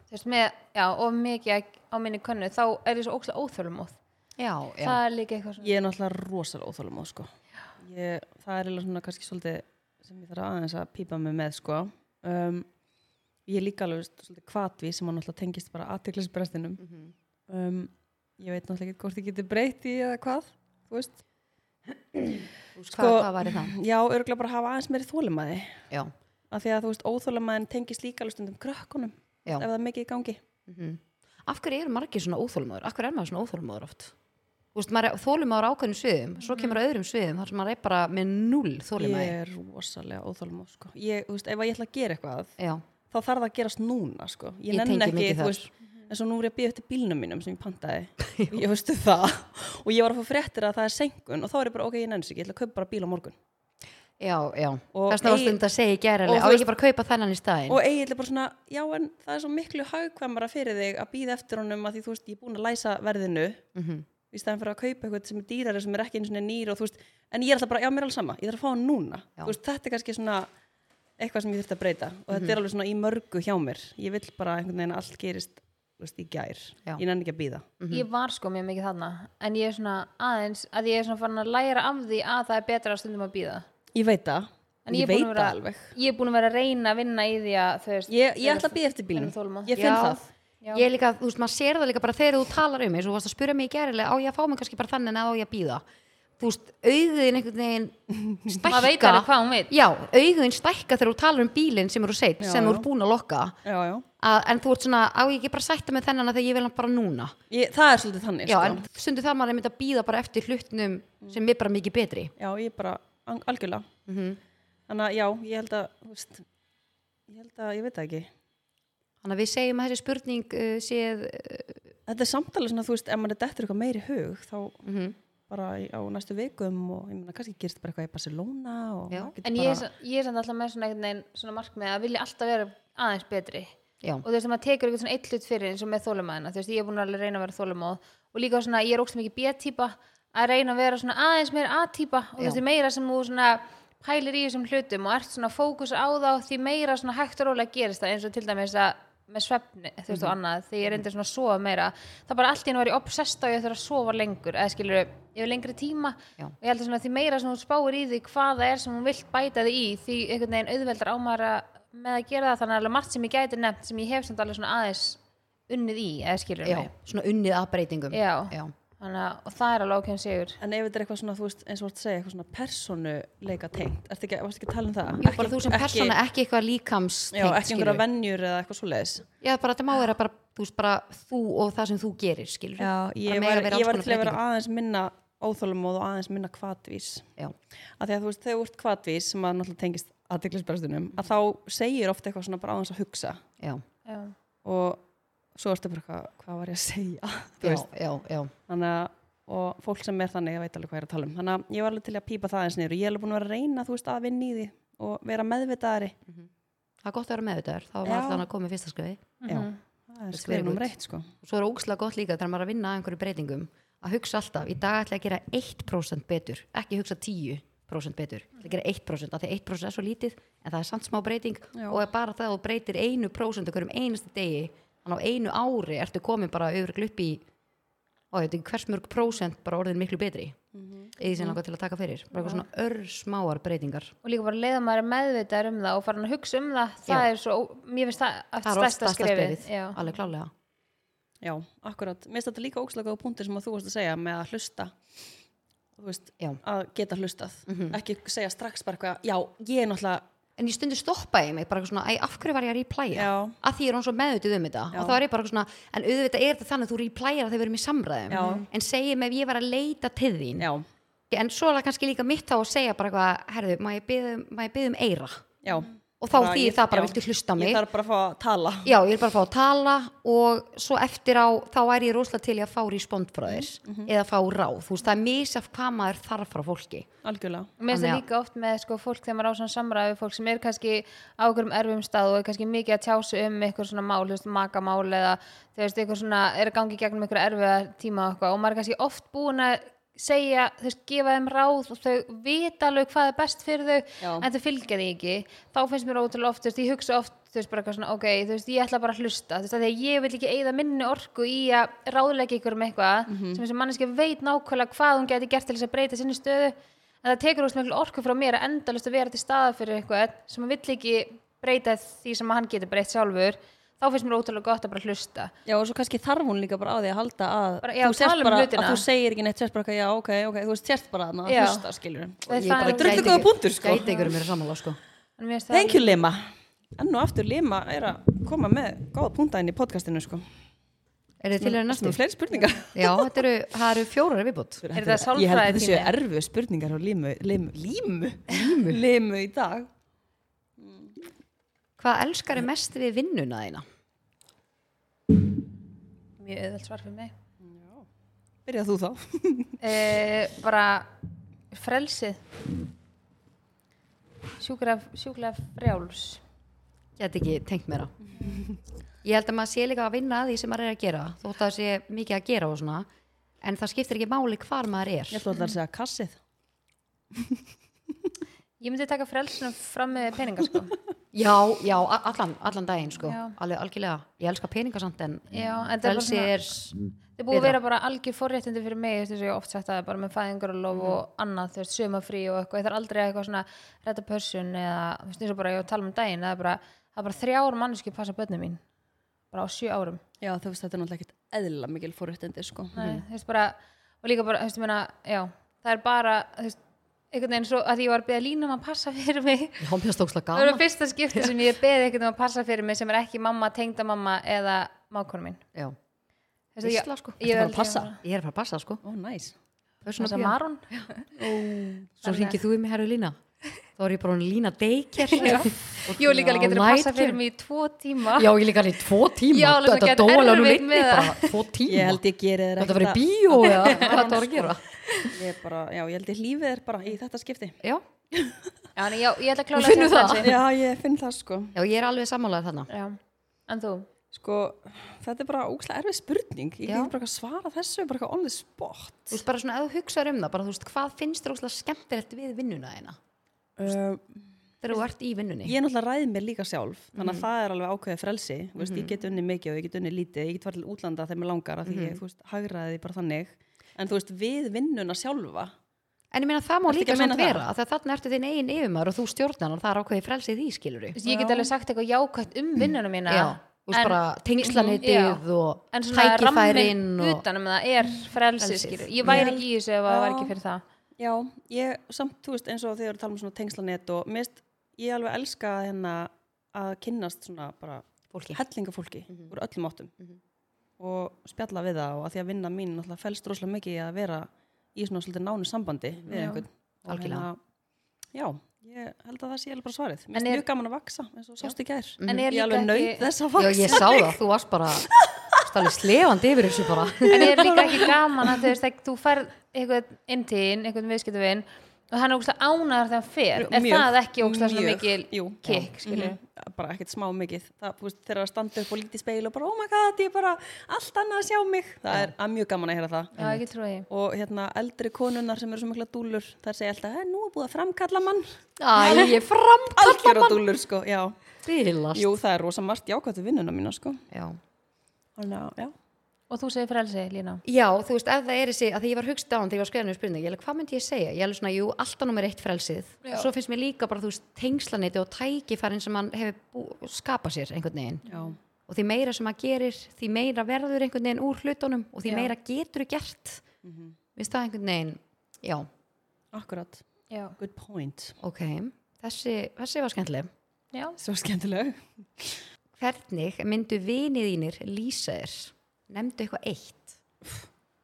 Speaker 3: þú veist, með, já, of mikið á minni könnu, þá er ég svo ógstlega óþölumóð
Speaker 1: Já, já.
Speaker 3: það er líka eitthvað svona
Speaker 2: ég er náttúrulega rosalega óþólum sko. ég, það er eiginlega svona kannski svolítið sem ég þarf aðeins að pípa mig með sko. um, ég er líka alveg svolítið kvatvi sem hann náttúrulega tengist bara aðteklisbrestinum um, ég veit náttúrulega ekki hvort ég geti breytt í eða hvað þú veist
Speaker 1: Sko, hvað, hvað væri það?
Speaker 2: [clears throat] já, örgulega bara hafa aðeins meiri þólumæði
Speaker 1: Já,
Speaker 2: af því að þú veist, óþólumæðin tengist líka alveg stundum krökkunum
Speaker 1: já.
Speaker 2: ef það er mikið í gangi
Speaker 1: Af hverju eru margir svona óþólumóður? Af hverju er maður svona óþólumóður oft? Þú veist, maður er þólumóður á ákveðnum sviðum,
Speaker 3: Mhm.
Speaker 1: svo kemur að öðrum sviðum þar sem maður er bara með null þólumæði.
Speaker 2: ég er rosalega óþólum sko. ég, þú veist, ef að ég ætla að gera eitthvað
Speaker 1: Já,
Speaker 2: þá þarf það að gerast núna sko. ég,
Speaker 1: Ég
Speaker 2: nenni
Speaker 1: tengi
Speaker 2: ekki,
Speaker 1: mikið
Speaker 2: þú
Speaker 1: þar.
Speaker 2: veist en svo nú er ég að býja eftir bílnum mínum sem ég pantaði
Speaker 1: [laughs]
Speaker 2: og ég veistu það og ég var að fá fréttir að það er senkun og þá er ég bara ok, ég nenni sig, ég ætla að kaupa bara bíl á morgun
Speaker 1: já, já,
Speaker 2: Og
Speaker 1: þess að
Speaker 2: eigi-
Speaker 1: ástund að segja í gerðarlega,
Speaker 2: og
Speaker 1: á
Speaker 2: þú
Speaker 1: ekki bara að kaupa þennan í staðin
Speaker 2: og eiginlega bara svona, já en það er svo miklu hagkvæmara fyrir þig að býða eftir honum að því þú veist, ég er búin að læsa verðinu
Speaker 1: Mhm.
Speaker 2: í staðan fyrir að kaupa eitthvað sem er dýrari sem er ekki einu svona nýr og þú veist, en ég er alltaf bara, já mér er alveg sama, ég þarf að fá hann núna
Speaker 1: Já.
Speaker 2: Þú veist, þetta er kannski svona eitthvað sem ég þurfti að breyta og þetta
Speaker 1: Mhm.
Speaker 2: er alveg svona í mörgu hjá mér ég vill bara einhvern veginn að allt gerist þú veist, í gær,
Speaker 1: Já.
Speaker 2: ég nenni ekki að býða
Speaker 3: ég var sko mjög mikið þarna en ég er svona aðeins að ég er svona farin að læra af því að það er betra að stundum að býða
Speaker 2: ég veit það,
Speaker 3: en
Speaker 2: ég,
Speaker 3: ég er
Speaker 2: veit
Speaker 3: búin að
Speaker 2: það
Speaker 3: vera,
Speaker 2: alveg
Speaker 3: ég er búin að vera að reyna að vinna í því að þú veist
Speaker 2: ég, ég
Speaker 3: vera-
Speaker 2: ætla að býða eftir
Speaker 3: vera þolinmóð.
Speaker 2: bílnum ég finn
Speaker 1: Já.
Speaker 2: það
Speaker 3: Já.
Speaker 1: ég er líka, þú veist, maður sér það líka bara þegar þú talar um eins og þú varst að spura mig í gerðarlega á ég að fá mig kannski bara þannig að á ég að býða þú veist, auðin einhvern [laughs] veginn
Speaker 3: maður veit alveg
Speaker 1: stækka
Speaker 3: hvað hún veit
Speaker 1: já, auðin stækka þegar þú talar um bílinn sem eru seitt,
Speaker 2: Já,
Speaker 1: sem þú
Speaker 2: já.
Speaker 1: eru búin að lokka
Speaker 2: já, já.
Speaker 1: að, en þú ert svona, á ég ekki bara að sætta með þennan að þegar ég vil hann bara núna
Speaker 2: Ég, það er svolítið þannig
Speaker 1: já,
Speaker 2: sko.
Speaker 1: en stundu þar maður er að býða bara eftir hlutnum sem er bara mikið betri
Speaker 2: já, ég er bara ang- algjörlega
Speaker 1: Mhm.
Speaker 2: þannig að já, ég held að þú veist, ég held að, ég veit það ekki
Speaker 1: þannig að við segjum að þessi spurning uh, séð uh,
Speaker 2: þetta er samtalið svona, þú veist, ef mann er dettur eitthvað meiri hug, þá
Speaker 1: mhm,
Speaker 2: bara í, á næstu vikum og ég meina, kannski gerist bara eitthvað í Barcelona og
Speaker 1: Já.
Speaker 2: maður getur
Speaker 3: en ég er,
Speaker 2: bara-
Speaker 3: sa- ég er samt alltaf með svona einhvern veginn svona markmið að vilja alltaf vera aðeins betri
Speaker 1: já,
Speaker 3: og þú veist að maður tekur eitthvað svona eitt hlut fyrir eins og með þólumæðina, þú veist, ég er búin að alveg reyna að vera þólumóð og líka svona, ég er ókslega mikið B-típa að reyna að vera svona aðeins meira A-típa og þú
Speaker 1: Já.
Speaker 3: veist, því meira sem þú svona pælir í þessum hlutum og ert svona fókus á þá því meira svona hægt og rólega gerist það eins og til dæmis að með svefni, þú veist, og
Speaker 1: Mhm.
Speaker 3: annað, þegar ég reyndi svona að sofa meira, þá bara allt í hennu var ég obsessed á ég þurf að sofa lengur, eða skilur yfir lengri tíma,
Speaker 1: Já.
Speaker 3: og ég held að svona því meira sem hún spáir í því hvað það er sem hún vilt bæta því í, því einhvern veginn auðveldar ámar með að gera það, þannig að alveg margt sem ég gæti nefnt sem ég hef samt alveg svona aðeins unnið í, eða skilur
Speaker 1: já, svona unnið að breytingum
Speaker 3: Já.
Speaker 1: já,
Speaker 3: þannig að og það er alveg ákveðin sigur
Speaker 2: en ef þetta er eitthvað svona, þú veist, eins og þú ert að segja eitthvað svona persónuleika tengt, ertu ekki, varstu ekki að tala um það
Speaker 1: Jú, bara þú sem persóna ekki eitthvað líkams
Speaker 2: já, ekki einhverja venjur eða eitthvað svoleiðis
Speaker 1: já, bara þetta má vera bara þú, veist, bara þú og það sem þú gerir skilur
Speaker 2: já, ég
Speaker 1: mega
Speaker 2: var,
Speaker 1: vera alls
Speaker 2: ég var
Speaker 1: konar
Speaker 2: til að vera
Speaker 1: breytingar.
Speaker 2: aðeins minna óþólumóð og aðeins minna kvatvís
Speaker 1: já,
Speaker 2: að því að þú veist, þegar þú ert kvatvís sem að náttúrulega tengist aðdeglisbærstunum að þá segir ofta eitthvað svona bara á þess að hugsa
Speaker 1: já,
Speaker 3: já.
Speaker 2: og svo ertu bara eitthvað, hvað var ég að segja [laughs] Þú
Speaker 1: já,
Speaker 2: veist,
Speaker 1: já, já.
Speaker 2: þannig að og fólk sem er þannig að veit alveg hvað ég er að tala um þannig að ég var alveg til að pípa það eins niður og ég er alveg búin að vera að reyna þú veist að vinna í því og vera meðvitaðari
Speaker 1: það er gott að vera meðvitaður þá var
Speaker 2: Já.
Speaker 1: maður alltaf að koma með fyrsta skrifi
Speaker 2: já,
Speaker 3: Mhm.
Speaker 2: það
Speaker 1: That's
Speaker 2: er
Speaker 1: very
Speaker 2: skrifin um
Speaker 1: good.
Speaker 2: reitt sko
Speaker 1: og svo er ógslag gott líka þegar maður er að vinna að einhverju breytingum að hugsa alltaf, í dag ætla ég að gera 1% betur ekki hugsa 10% betur ætla að gera 1% af því 1% er svo lítið en það er samt smá breyting
Speaker 2: Já.
Speaker 1: og er bara það að þú breytir 1% okkur um einasta degi þannig á einu ári ertu komin bara öfrugl upp í og ég veit ekki hvers mörg prósent bara orðin miklu betri mm
Speaker 3: Mhm.
Speaker 1: -hmm. eða sem langar til að taka fyrir bara eitthvað svona örsmáar breytingar
Speaker 3: og líka bara leiða maður er meðvitaður um það og farin að hugsa um það, það
Speaker 1: Já.
Speaker 3: er svo, ó- mér finnst það að
Speaker 1: það er oft
Speaker 3: stærsta
Speaker 1: stærsta
Speaker 3: skrifið,
Speaker 1: skrifið,
Speaker 3: já.
Speaker 1: alveg klálega
Speaker 2: já, akkurat, mér finnst þetta líka ókslega á punkti sem að þú varst að segja með að hlusta þú veist,
Speaker 1: Já.
Speaker 2: að geta hlustað ekki segja strax bara eitthvað já, ég er náttúrulega
Speaker 1: en ég stundu stoppaði mig bara eitthvað svona, æ, af hverju var ég að replæja
Speaker 2: Já.
Speaker 1: að því ég er hún svo meðutið um þetta
Speaker 2: Já.
Speaker 1: og þá er ég bara eitthvað svona, en auðvitað er þetta þannig að þú replæjar að þau verðum í samræðum
Speaker 2: Já.
Speaker 1: en segjum ef ég var að leita til þín
Speaker 2: já,
Speaker 1: en svo er það kannski líka mitt þá að segja bara eitthvað, herðu, má ég biðja um- má ég biðja um eira
Speaker 2: já
Speaker 1: og þá
Speaker 2: Bara,
Speaker 1: þýðir
Speaker 2: ég-
Speaker 1: það bara,
Speaker 2: já.
Speaker 1: viltu hlusta á
Speaker 2: ég
Speaker 1: mig
Speaker 2: þarf bara að fá að tala
Speaker 1: já, ég er bara að fá að tala og svo eftir á, þá væri ég rosalega til í að fá respond frá þér
Speaker 2: Mhm,
Speaker 1: eða fá ráð, þú veist, það er misjaf hvað maður þarf frá fólki
Speaker 2: algjörlega
Speaker 3: Og Mér finnst það
Speaker 1: Þannig að-
Speaker 3: líka oft með sko, fólk þegar maður á svona samræðu fólk sem er kannski á einhverjum erfum stað og er kannski mikið að tjásu um eitthvað svona mál, þú veist, makamál eða þú veist, eitthvað svona er að gangi gegnum einhverja erfiða tíma og eitthvað og maður er kannski oft búin að segja, þú veist, gefa þeim ráð og þau vita alveg hvað er best fyrir þau
Speaker 2: Já.
Speaker 3: en þau fylgja því ekki, þá finnst mér ótrúlega oft, þú veist, ég hugsa oft þú veist, bara eitthvað svona, ok, þú veist, ég ætla bara að hlusta þú veist, að því að ég vil ekki eigða minni orku í að ráðleika ykkur um eitthvað
Speaker 2: Mhm.
Speaker 3: sem þessi manneski veit nákvæmlega hvað hún geti gert til þess að breyta sinni stöðu en það tekur úr miklu orku frá mér að endalust að vera til staða fyrir eitthvað sem hann vill ekki breyta því sem hann getur breytt sjálfur þá finnst mér ótrúlega gott að bara hlusta
Speaker 2: Já, og svo kannski þarf hún líka bara á því að halda að
Speaker 3: Bara, já,
Speaker 2: þú sért
Speaker 3: tala um
Speaker 2: bara,
Speaker 3: hlutina.
Speaker 2: að þú segir ekki neitt, sérst bara eitthvað, já, ok, ok, þú veist, sérst bara þarna að
Speaker 3: Já.
Speaker 2: hlusta, skilur
Speaker 3: Það er
Speaker 1: Ég bara
Speaker 3: það
Speaker 1: gæti
Speaker 2: Drullu góða
Speaker 1: ekki-
Speaker 2: punktur, sko.
Speaker 1: gæti ykkur um mér sammála sko.
Speaker 3: En mér finnst það
Speaker 2: Thank you, Lima Enn og aftur Lima er að koma með góða punta inn í podcastinu, sko
Speaker 1: er þið til í næstu?
Speaker 2: Svona fleiri spurningar
Speaker 1: Já, þetta eru, það eru fjórar viðbútt.
Speaker 3: Er
Speaker 2: Þetta
Speaker 3: það
Speaker 2: Ég held að þetta séu
Speaker 3: sálfræðitími?
Speaker 2: erfu spurningar á Limu Limu Limu, limu. í dag
Speaker 1: Hvað elskar er mest við vinnuna þína?
Speaker 3: mjög auðvöld svar fyrir mig
Speaker 2: Byrjað þú þá?
Speaker 3: e, bara frelsið sjúklega, sjúklega frjáls
Speaker 1: Get ekki tengt mér á. [laughs] Ég held að maður sé líka að vinna að því sem maður er að gera, þótt að það sé mikið að gera og svona, en það skiptir ekki máli hvar maður er.
Speaker 2: Ég ætla alltaf að segja kassið.
Speaker 3: ég myndi taka frelsinu fram með peninga
Speaker 1: [laughs]
Speaker 3: sko
Speaker 1: Já, já, a- allan, allan daginn sko,
Speaker 3: Já.
Speaker 1: alveg algjörlega. Ég elska peninga samt en
Speaker 3: Já, en það er bara
Speaker 1: felsi er,
Speaker 3: svona-
Speaker 2: Mm.
Speaker 3: Það er búið að
Speaker 1: Betra.
Speaker 3: vera bara algjör forréttindi fyrir mig þú veist þess að ég oft sagt að það er bara með
Speaker 1: Mm.
Speaker 3: fæðingarlof og annað, þú veist, sömafrí og eitthvað ég þarf aldrei eitthvað svona retta pössun eða, þú veist, eins og bara ég var að tala um daginn það er bara, það er bara þrjár manneskju passa börnum mín bara á sjö árum
Speaker 2: Já, þú veist, þetta er náttúrulega ekkert eðla mikil forréttindi, sko.
Speaker 3: Nei,
Speaker 1: Mhm.
Speaker 3: þú veist bara, og líka bara, þú veist, ég meina, já það er bara, þú veist, einhvern veginn svo að ég var að beða línum að passa fyrir mig
Speaker 1: ég hómið að stóksla
Speaker 3: það
Speaker 1: gaman.
Speaker 3: var fyrsta skipti sem ég beði einhvern veginn að passa fyrir mig sem er ekki mamma, tengdamamma eða mákonum mín
Speaker 1: Já,
Speaker 3: Þú veist, ég-
Speaker 1: Veisla, sko.
Speaker 2: Ertu
Speaker 3: ég
Speaker 2: bara að
Speaker 3: verð-
Speaker 2: passa?
Speaker 1: ég er að fara að passa sko.
Speaker 2: Ó, næs.
Speaker 1: Pössun á
Speaker 3: Passa
Speaker 1: bíó.
Speaker 3: Maron [laughs]
Speaker 1: Svo ringið þú í mig, herru Lína. Þá er ég bara hún Lína Daycare. [laughs]
Speaker 3: Jú, líka alveg getur að
Speaker 1: Night
Speaker 3: passa fyrir
Speaker 1: care.
Speaker 3: mig í tvo tíma
Speaker 1: Já, ég líka alveg í tvo tíma.
Speaker 3: Já, alveg svona
Speaker 1: þetta
Speaker 3: get
Speaker 1: dó alveg hún
Speaker 3: erfitt
Speaker 1: litni
Speaker 3: með það.
Speaker 1: bara tvo tíma.
Speaker 2: Ég held ég geri þér
Speaker 1: Þetta
Speaker 2: ekkert
Speaker 1: var í
Speaker 2: að-
Speaker 1: bíó eða [laughs] hvað þetta var að gera.
Speaker 2: Ég er bara, já, ég held ég lífið er bara í þetta skipti.
Speaker 1: Já,
Speaker 3: Já, en já, ég ætla að klála
Speaker 1: Finnur það?
Speaker 2: Já, ég finn það, sko.
Speaker 1: já ég er alveg sammálaðið þarna.
Speaker 3: Já, en þú?
Speaker 2: Sko, þetta er bara ógslag erfið spurning. Ég
Speaker 1: Já.
Speaker 2: get bara eitthvað svarað þessu, bara eitthvað on the spot.
Speaker 1: Þú veist bara svona, ef þú hugsaður um það, bara þú veist, hvað finnst þér óslega skemmtilegt við vinnuna þeina?
Speaker 2: Um,
Speaker 1: Þegar þú ert í vinnunni.
Speaker 2: ég náttúrulega ræði mér líka sjálf
Speaker 1: Mhm.
Speaker 2: þannig að það er alveg ákveðið frelsi mm veist, ég get unni mikið og ég get unni lítið ég get farið til útlanda þegar mér langar af því
Speaker 1: Mhm.
Speaker 2: ég þú veist, hagraði því bara þannig en þú veist, við vinnuna sjálfa
Speaker 1: En ég meina, það má
Speaker 2: Ertu ekki
Speaker 1: líka
Speaker 2: að
Speaker 1: svona
Speaker 2: meina það?
Speaker 1: vera, af því að þarna ertu þinn eigin yfirmaður og þú stjórnar og það er ákveðið frelsið því, skilur
Speaker 3: Þú veist, Ég get alveg sagt eitthvað jákvætt um vinnuna mína
Speaker 1: Já, þú veist
Speaker 3: en-
Speaker 1: bara
Speaker 3: Mhm,
Speaker 1: tengslanitið
Speaker 3: já.
Speaker 1: og
Speaker 3: En svona
Speaker 1: tækifærin
Speaker 3: rammin
Speaker 1: og...
Speaker 3: utanum það er frelsið,
Speaker 1: Frelsið.
Speaker 3: skilur Ég væri ekki í þessu ef það var
Speaker 2: Já.
Speaker 3: ekki fyrir það
Speaker 2: já, ég, samt, þú veist, eins og þegar við tala um svona tengslanet og mist, ég alveg elska hérna að kynnast svona bara
Speaker 1: Fólki.
Speaker 2: hellinga fólki
Speaker 3: Mhm.
Speaker 2: úr öllum áttum og spjalla við það og að því að vinna mín náttúrulega felst rosalega mikið í að vera í svona svolítið nánu sambandi við
Speaker 3: Já.
Speaker 2: einhvern Og
Speaker 1: Algjörlega.
Speaker 2: hérna, já, ég held að það sé eiginlega bara svarið mér
Speaker 3: En
Speaker 2: finnst
Speaker 3: er- Mhm.
Speaker 2: mjög gaman að vaksa eins og sást í gær
Speaker 3: En er
Speaker 2: ég
Speaker 3: líka
Speaker 2: alveg
Speaker 3: ekki-
Speaker 2: nöyð þess að
Speaker 1: Já,
Speaker 2: vaksa
Speaker 1: ég sá það, þú varst bara stálega slefandi yfir þessu bara.
Speaker 3: En ég er líka ekki gaman að þú veist að þú færð eitthvað inn til þín, eitthvað viðskiptavinn og hann er ógstlega ánæður þegar hann fer Er
Speaker 2: Mjög,
Speaker 3: það ekki ógstlega svona
Speaker 2: mjög,
Speaker 3: mikil
Speaker 2: jú.
Speaker 3: kikk, skilur
Speaker 2: Mhm. bara ekkert smá mikið það, þú veist, þegar það standa upp og lítið speil og bara oh my god, ég er bara allt annað að sjá mig það er að mjög gaman að heyra það
Speaker 3: Já, ekki trúið ég
Speaker 2: og hérna eldri konunar sem eru svo mikla dúlur þær segja alltaf, "Eh, nú er búið að framkalla mann
Speaker 1: Æ, ég framkallar
Speaker 2: algjöra dúlur sko, já
Speaker 1: stilast.
Speaker 2: Jú, það er rosa margt jákvæmt við vinnuna mína sko
Speaker 1: Já.
Speaker 2: Þannig að, já
Speaker 3: Og þú segir frelsi, Lína
Speaker 1: Já, þú veist, ef það er þessi, að því ég var hugst á hann þegar ég var skriðinu spurning, ég er alveg, hvað myndi ég segja? Ég er alveg svona, jú, alltaf nummer eitt frelsið.
Speaker 3: Já.
Speaker 1: Svo finnst mér líka bara, þú veist, tengslaniti og tækifærin sem hann hefur bú- skapað sér einhvern veginn.
Speaker 2: Já,
Speaker 1: Og því meira sem hann gerir, því meira verður einhvern veginn úr hlutunum og því
Speaker 3: Já. Mhm.
Speaker 1: meira getur gert. Mm Vist það einhvern veginn, já,
Speaker 2: akkurat
Speaker 3: Já,
Speaker 2: Good point
Speaker 1: ok, þessi, þessi var skemmtileg.
Speaker 3: já
Speaker 2: Svo skemmtileg
Speaker 1: Hvernig myndu vinið þínir lýsa þér? Nefndu eitthvað eitt.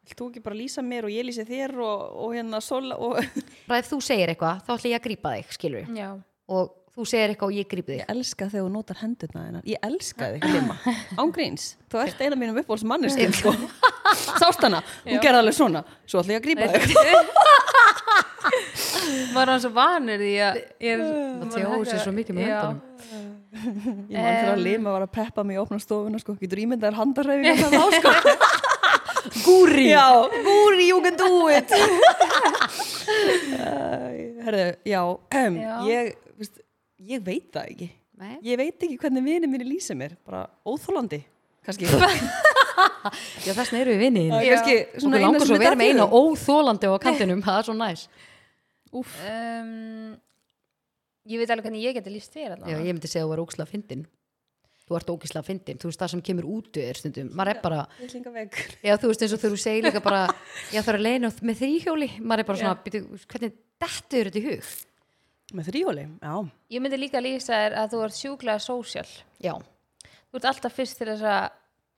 Speaker 2: Vilt þú ekki bara lýsa mér og ég lýsi þér og, og hérna sola og
Speaker 1: Bara ef þú segir eitthvað, þá ætla ég að grípa þig, skilur við.
Speaker 3: Já,
Speaker 1: Og þú segir eitthvað og ég grípi þig.
Speaker 2: Ég elska þegar þú notar hendurna þennan Ég elska þig glima Ángríns, þú ert eina mínum uppbóls manneskin sko Sást hana, hún gerði alveg svona Svo ætla ég að grípa þig
Speaker 3: maður er hann svo vanur því að ég er
Speaker 1: Það tjáir sér svo mikið með
Speaker 3: Já.
Speaker 1: höndunum.
Speaker 2: Ég mann þegar að lima var að peppa mig í opna stofuna sko Getur ímyndaðar handarreifing að það sko
Speaker 1: Gúri!
Speaker 2: Já, Guri, you can do [laughs] it Herðu, já, um,
Speaker 3: Já.
Speaker 2: Ég, veist, ég veit það ekki
Speaker 1: Nei.
Speaker 2: Ég veit ekki hvernig vinið minni lýsa mér Bara óþólandi Kannski
Speaker 1: Já, þessna eru við vinnið þínir.
Speaker 2: Það er kannski svona
Speaker 1: Svona
Speaker 2: eina
Speaker 1: langar
Speaker 2: sem
Speaker 1: svo
Speaker 2: er
Speaker 1: að vera með eina
Speaker 2: datt í
Speaker 1: óþólandi á [laughs] kantinum, það er svo næs.
Speaker 2: Úf,
Speaker 3: um, ég veit alveg hvernig ég geti líst þér
Speaker 1: Já,
Speaker 3: allavega.
Speaker 1: ég myndi segja að þú er ógislega fyndin. Þú ert ógislega fyndin. Þú veist það sem kemur út við þér stundum. Maður er bara,
Speaker 2: villinga veg
Speaker 1: já, þú veist eins og þegar þú segir líka bara, já, það er leiðin og með þrýhjóli. Maður er bara svona,
Speaker 3: Já.
Speaker 1: býtu, hvernig dettur þér þetta í hug?
Speaker 2: Með þrjóli, já
Speaker 3: ég myndi líka lýsa þér að þú ert sjúklega sósjál
Speaker 1: Já,
Speaker 3: þú ert alltaf fyrst til þess að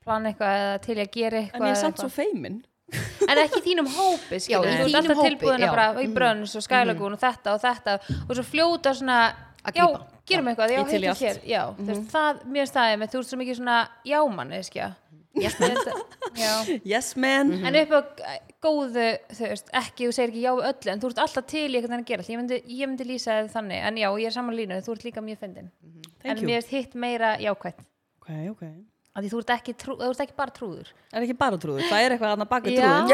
Speaker 3: plana eitthvað eða til í að gera eitthvað
Speaker 2: En ég er
Speaker 3: eða
Speaker 2: samt svo
Speaker 3: eitthvað.
Speaker 2: feimin
Speaker 3: en ekki í þínum hópi skilur
Speaker 1: Já, Mm. í
Speaker 3: við. þú ert
Speaker 1: þínum
Speaker 3: alltaf
Speaker 1: hópi,
Speaker 3: tilbúin
Speaker 1: já.
Speaker 3: að bara í brönns og skælagún og þetta og þetta og svo fljóta svona
Speaker 1: að
Speaker 3: já,
Speaker 1: grípa
Speaker 3: gerum eitthvað, já,
Speaker 2: Ég til í
Speaker 3: heitum
Speaker 2: allt.
Speaker 3: hér já, mm veist,
Speaker 1: Mhm.
Speaker 3: það, mér staðið með, þú ert svo mikið svona jámann, eskja yes,
Speaker 1: [laughs]
Speaker 3: já.
Speaker 2: Yes man
Speaker 3: en upp á g- góðu þú veist, ekki, þú segir ekki já við öllu en þú ert alltaf til í eitthvað að gera allt. ég myndi, ég myndi lýsa þið þannig, en já, ég er saman línu þú ert líka mjög fyndin,
Speaker 1: Mhm.
Speaker 3: en
Speaker 2: Thank
Speaker 3: mér
Speaker 2: you
Speaker 3: erst hitt meira jákvætt
Speaker 2: Ok, ok
Speaker 3: af því þú ert ekki, trú, þú ert ekki bara trúður
Speaker 2: Er ekki bara trúður, það er eitthvað annað baka
Speaker 3: já,
Speaker 2: trúður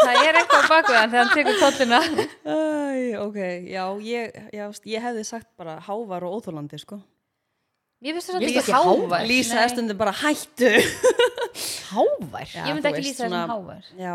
Speaker 3: það er eitthvað á baku þann þegar hann tekur kollina
Speaker 1: [laughs]
Speaker 2: Æ, ok, já, ég, já, veist, ég hefði sagt bara hávar og óþólandi, sko.
Speaker 3: ég
Speaker 1: Ég
Speaker 3: finnst þess að
Speaker 1: finnst
Speaker 3: ekki
Speaker 1: ekki
Speaker 3: hávær
Speaker 1: hávær.
Speaker 2: Lýsa
Speaker 3: Nei,
Speaker 2: er stundum bara hættu.
Speaker 1: Hávær?
Speaker 3: ég myndi
Speaker 2: þú
Speaker 3: ekki
Speaker 2: veist,
Speaker 3: lýsa þess
Speaker 2: svona-
Speaker 3: að hávær
Speaker 2: Já,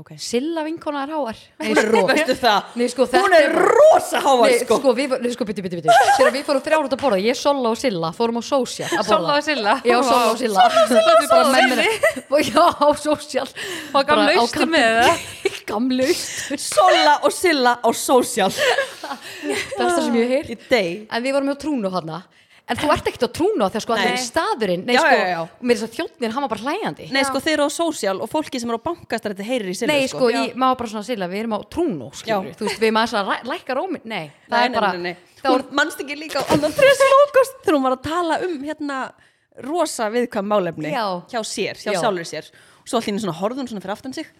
Speaker 2: ok.
Speaker 1: Silla vinkona er hávær Hún er ró
Speaker 2: Veistu það?
Speaker 1: Nei, sko,
Speaker 2: Hún
Speaker 1: þetta
Speaker 2: er rosa hávar,
Speaker 1: Nei,
Speaker 2: sko.
Speaker 1: sko, við, nei, sko, byttu, byttu, byttu Þegar við fórum þrjár út að borða, ég, Sola og Silla fórum á Social að borða
Speaker 3: Solla og Silla
Speaker 1: Já, Sola og Silla Bara með mér Já, á Social
Speaker 3: Og gamla
Speaker 1: Bara á
Speaker 3: austur
Speaker 1: kantinum.
Speaker 3: með
Speaker 1: [laughs] Gamla austur
Speaker 2: Sola og Silla á social.
Speaker 1: Það er það sem ég heyr
Speaker 2: Í deg.
Speaker 1: En við vorum hjá Trúnu hana En þú ert ekkert á Trúnu þegar sko, þetta er staðurinn Nei,
Speaker 2: Já,
Speaker 1: sko,
Speaker 2: já, já.
Speaker 1: og mér er svo þjóttnir, hann var bara hlæjandi
Speaker 2: Nei, sko, þeir eru á social og fólki sem eru á bankastrætti heyrir í Silla,
Speaker 1: Nei, sko,
Speaker 2: Já.
Speaker 1: ég, maður bara svona Silla, við erum á Trúnu, skilur
Speaker 2: Já.
Speaker 1: Þú veist, við maður svona lækkar rómin Nei, það
Speaker 2: Nei,
Speaker 1: er
Speaker 2: nei,
Speaker 1: bara
Speaker 2: nei, nei, nei.
Speaker 1: þá er-
Speaker 2: Hún mannst ekki líka á annan þrjus lókast þegar hún var að tala um hérna rosa viðkvæm málefni
Speaker 1: Já.
Speaker 2: hjá sér,
Speaker 1: Já.
Speaker 2: hjá sjálfur sér og svo allir svona horfði hún svona fyrir aftan sig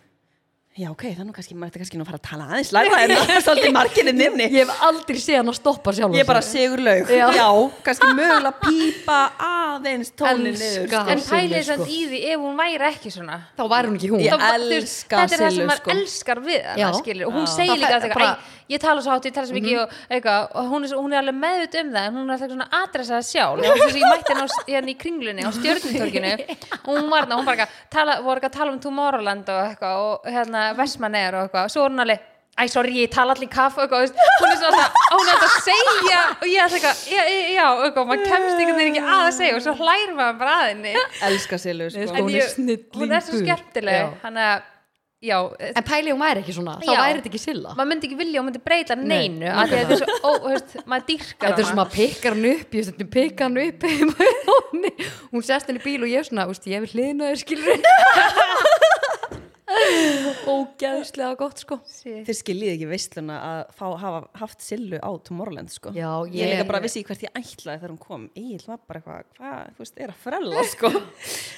Speaker 2: Já, ok, það er nú kannski, maður ætti kannski nú að fara að tala aðeins læra en það
Speaker 1: [laughs]
Speaker 2: er svolítið marginni nefni
Speaker 1: Ég hef aldrei séð hann að stoppa sjálf
Speaker 2: Ég er bara sigur laug, já.
Speaker 1: Já.
Speaker 2: kannski mögulega pípa aðeins tónin niður
Speaker 1: Elska.
Speaker 2: sko.
Speaker 3: en pælið
Speaker 1: Sillu,
Speaker 3: samt í því ef hún væri ekki svona
Speaker 1: Þá væri hún ekki hún
Speaker 2: Ég
Speaker 3: Þá- þú veist,
Speaker 2: elska
Speaker 3: þetta er það
Speaker 2: Sillu,
Speaker 3: sem maður
Speaker 2: sko.
Speaker 3: elskar við
Speaker 1: Já.
Speaker 3: hana skilur og hún
Speaker 2: Já.
Speaker 3: segir
Speaker 1: Það
Speaker 3: líka
Speaker 1: fer-
Speaker 3: alltaf
Speaker 1: bara-
Speaker 3: bara... ég tala svo hátt, ég tala svo mikið og, eitthvað, og hún, er, svo- hún er alveg meðut um það en hún er alltaf svona adressa það sjálf og þess að ég mætti henni á s- hérna í kringlunni á stjörnutorkinu og hún var það, hún bara eitthvað, tala, voru eitthvað að tala um Tomorrowland og eitthvað og hérna Vestmanneir og eitthvað, svo er hún alveg Æ, sorry, ég tala allir kaff og eitthvað, þú veist, hún er svona alltaf, hún er alltaf að segja og ég er eitthvað, já, já, já, og eitthvað, maður kemst einhvern veginn ekki að að segja og svo hlær maður bara að henni
Speaker 2: Elska Silu, sko.
Speaker 1: sko.
Speaker 3: En
Speaker 1: Hún er
Speaker 3: ég-
Speaker 1: snillingur.
Speaker 3: hún er svo
Speaker 1: Já.
Speaker 3: skemmtileg hann að, já eh,
Speaker 1: En pæli hún væri ekki svona, þá
Speaker 3: Já.
Speaker 1: væri þetta ekki Silla
Speaker 3: maður myndi ekki vilja, maður myndi breyta
Speaker 1: Nei,
Speaker 3: neinu af því að þetta er svo, ó, hefst, maður dýrkar
Speaker 1: Þetta er svona að pikkar hann upp, ég stundum pikkar hann upp heima hjá henni. Hún sest henni í bíl og ég er svona, úst, ég vil hliðna þér skilur [laughs] Ógeðslega gott sko
Speaker 3: svona
Speaker 2: Þeir skiljið ekki veisluna að fá, hafa haft Sillu á Tomorrowland sko.
Speaker 1: Já,
Speaker 2: ég,
Speaker 1: ég-
Speaker 2: líka bara vissi ekki hvert ég ætlaði þegar hún kom Egil var bara eitthvað, hvað, þú veist, er að frella sko.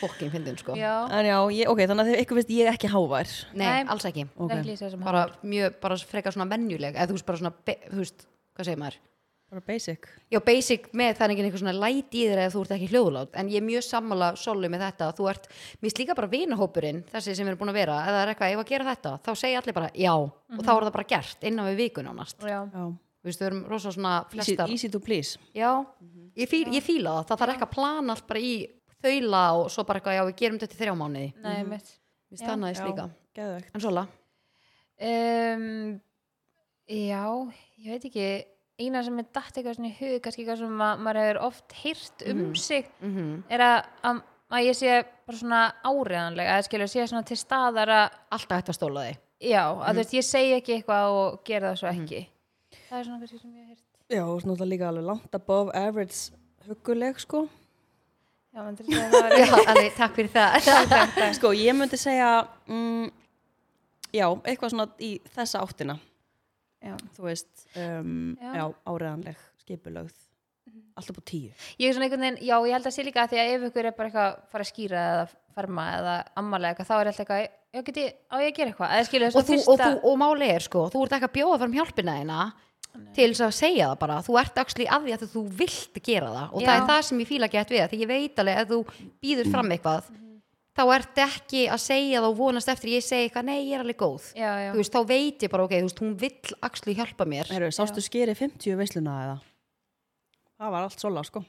Speaker 1: Fokkin fyndin sko
Speaker 3: já,
Speaker 2: en já, ég, ok, þannig að þegar ykkur veist ég er ekki hávær
Speaker 1: Nei,
Speaker 3: Nei.
Speaker 1: alls ekki
Speaker 2: Ok.
Speaker 3: okay. ekki lýsa þessum
Speaker 1: Bara mjög, bara frekar svona venjuleg Eða þú veist bara svona, be- þú veist, hvað segir maður
Speaker 2: bara basic
Speaker 1: Já, basic með það er ekki einhver svona læt í þér eða þú ert ekki hljóðlátt, en ég er mjög sammála solu með þetta, þú ert, mér finnst líka bara vinahópurinn, þessi sem við erum búin að vera, eða er eitthvað, ég var að gera þetta, þá segja allir bara já og þá er það bara gert innan við vikun ánast.
Speaker 3: já,
Speaker 2: já.
Speaker 1: Þú veist, við erum rosa svona
Speaker 2: Easy,
Speaker 1: flestar.
Speaker 2: easy to please
Speaker 1: Já, ég, fíl, ég fíla það, það þarf ekki að plana allt bara í þaula og svo bara eitthvað, já, við gerum þetta í þrjá mánuði.
Speaker 3: nei, mitt
Speaker 1: Mér stannaðist
Speaker 2: Já,
Speaker 1: líka.
Speaker 2: geðvegt.
Speaker 1: En sola,
Speaker 3: um, já, ég veit ekki eina sem er datt eitthvað svona í hug kannski eitthvað sem ma maður hefur oft heyrt um
Speaker 1: Mhm.
Speaker 3: sig er að, að, að ég sé bara svona áriðanlega að skilja, sé svona til staðar að
Speaker 1: alltaf hægt að stóla þig.
Speaker 3: já, að
Speaker 1: Mhm.
Speaker 3: þú veist, ég segi ekki eitthvað og gera það svo ekki það er svona kannski sem ég hef heyrt
Speaker 2: já, og svona náttúrulega líka alveg langt above average hugguleg [laughs] sko
Speaker 3: Já, maður til þess að [laughs] það var
Speaker 1: Já, alveg, [laughs] takk fyrir það.
Speaker 2: sko, ég myndi segja mm, já, eitthvað svona í þessa áttina
Speaker 3: Já.
Speaker 2: þú veist, um,
Speaker 3: Já.
Speaker 2: já. Mhm. áreðanleg skipulögð, alltaf búið tíu
Speaker 3: Ég er svona einhvern veginn, já, ég held að sé líka að því að ef ykkur er bara eitthvað að fara að skýra eða farma eða ammala eitthvað, þá er alltaf eitthvað, já, get ég, á ég að gera eitthvað, eða skilja þess
Speaker 1: og,
Speaker 3: að
Speaker 1: þú,
Speaker 3: fyrsta...
Speaker 1: og, þú, og máli er sko, þú ert ekki að bjóða fram hjálpina þína til þess að segja það bara, þú ert axli að því að þú vilt gera það og það
Speaker 3: Já.
Speaker 1: er það sem ég fíla gett við það, því ég veit alveg að þú býður fram eitthvað þá ert ekki að segja það og vonast eftir ég segi eitthvað, nei ég er alveg góð
Speaker 3: Já, já.
Speaker 1: þú veist, þá veit ég bara, ok, þú veist, hún vill axli hjálpa mér
Speaker 2: Heru, sástu skeri 50 veisluna eða? Það var allt Sola sko.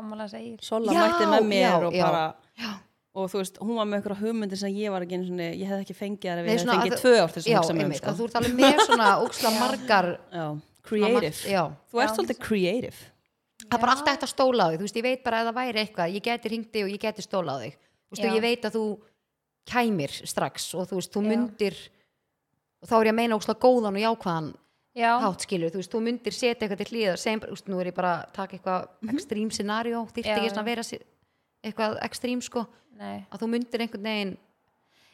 Speaker 3: Ammala segir.
Speaker 2: Sola
Speaker 1: Já,
Speaker 2: mætti með mér
Speaker 1: já,
Speaker 2: og
Speaker 1: já.
Speaker 2: bara... Og þú veist, hún var með einhverja hugmyndir sem ég var ekki einu sinni, ég hef ekki fengið þar ef
Speaker 1: Nei,
Speaker 2: ég hef
Speaker 1: svona
Speaker 2: fengið
Speaker 1: að-
Speaker 2: tvö ár til þess
Speaker 1: já,
Speaker 2: að hugsa með um
Speaker 1: einmitt,
Speaker 2: sko.
Speaker 1: að þú ert alveg með svona
Speaker 3: [laughs]
Speaker 1: óksla margar
Speaker 2: Já,
Speaker 1: svona margt-
Speaker 2: creative.
Speaker 1: já.
Speaker 2: Þú ert svolítið creative.
Speaker 1: það er bara alltaf eftir að stóla á þig þú veist, ég veit bara að það væri eitthvað, ég geti ringt þig og ég geti stóla á þig þú veist,
Speaker 3: Já.
Speaker 1: og ég veit að þú kæmir strax og þú veist, þú myndir og þá er ég að meina ókslega góðan og jákvæðan
Speaker 3: Já,
Speaker 1: hátt skilur, þú veist, þú myndir setja eitthvað til hlýða sem, þú veist, nú er ég bara að taka eitthvað ekstrím scenario, þýrst
Speaker 3: Mhm. Já,
Speaker 1: ekki
Speaker 3: já.
Speaker 1: svona að vera si- eitthvað ekstrím sko,
Speaker 3: nei.
Speaker 1: að þú myndir einhvern veginn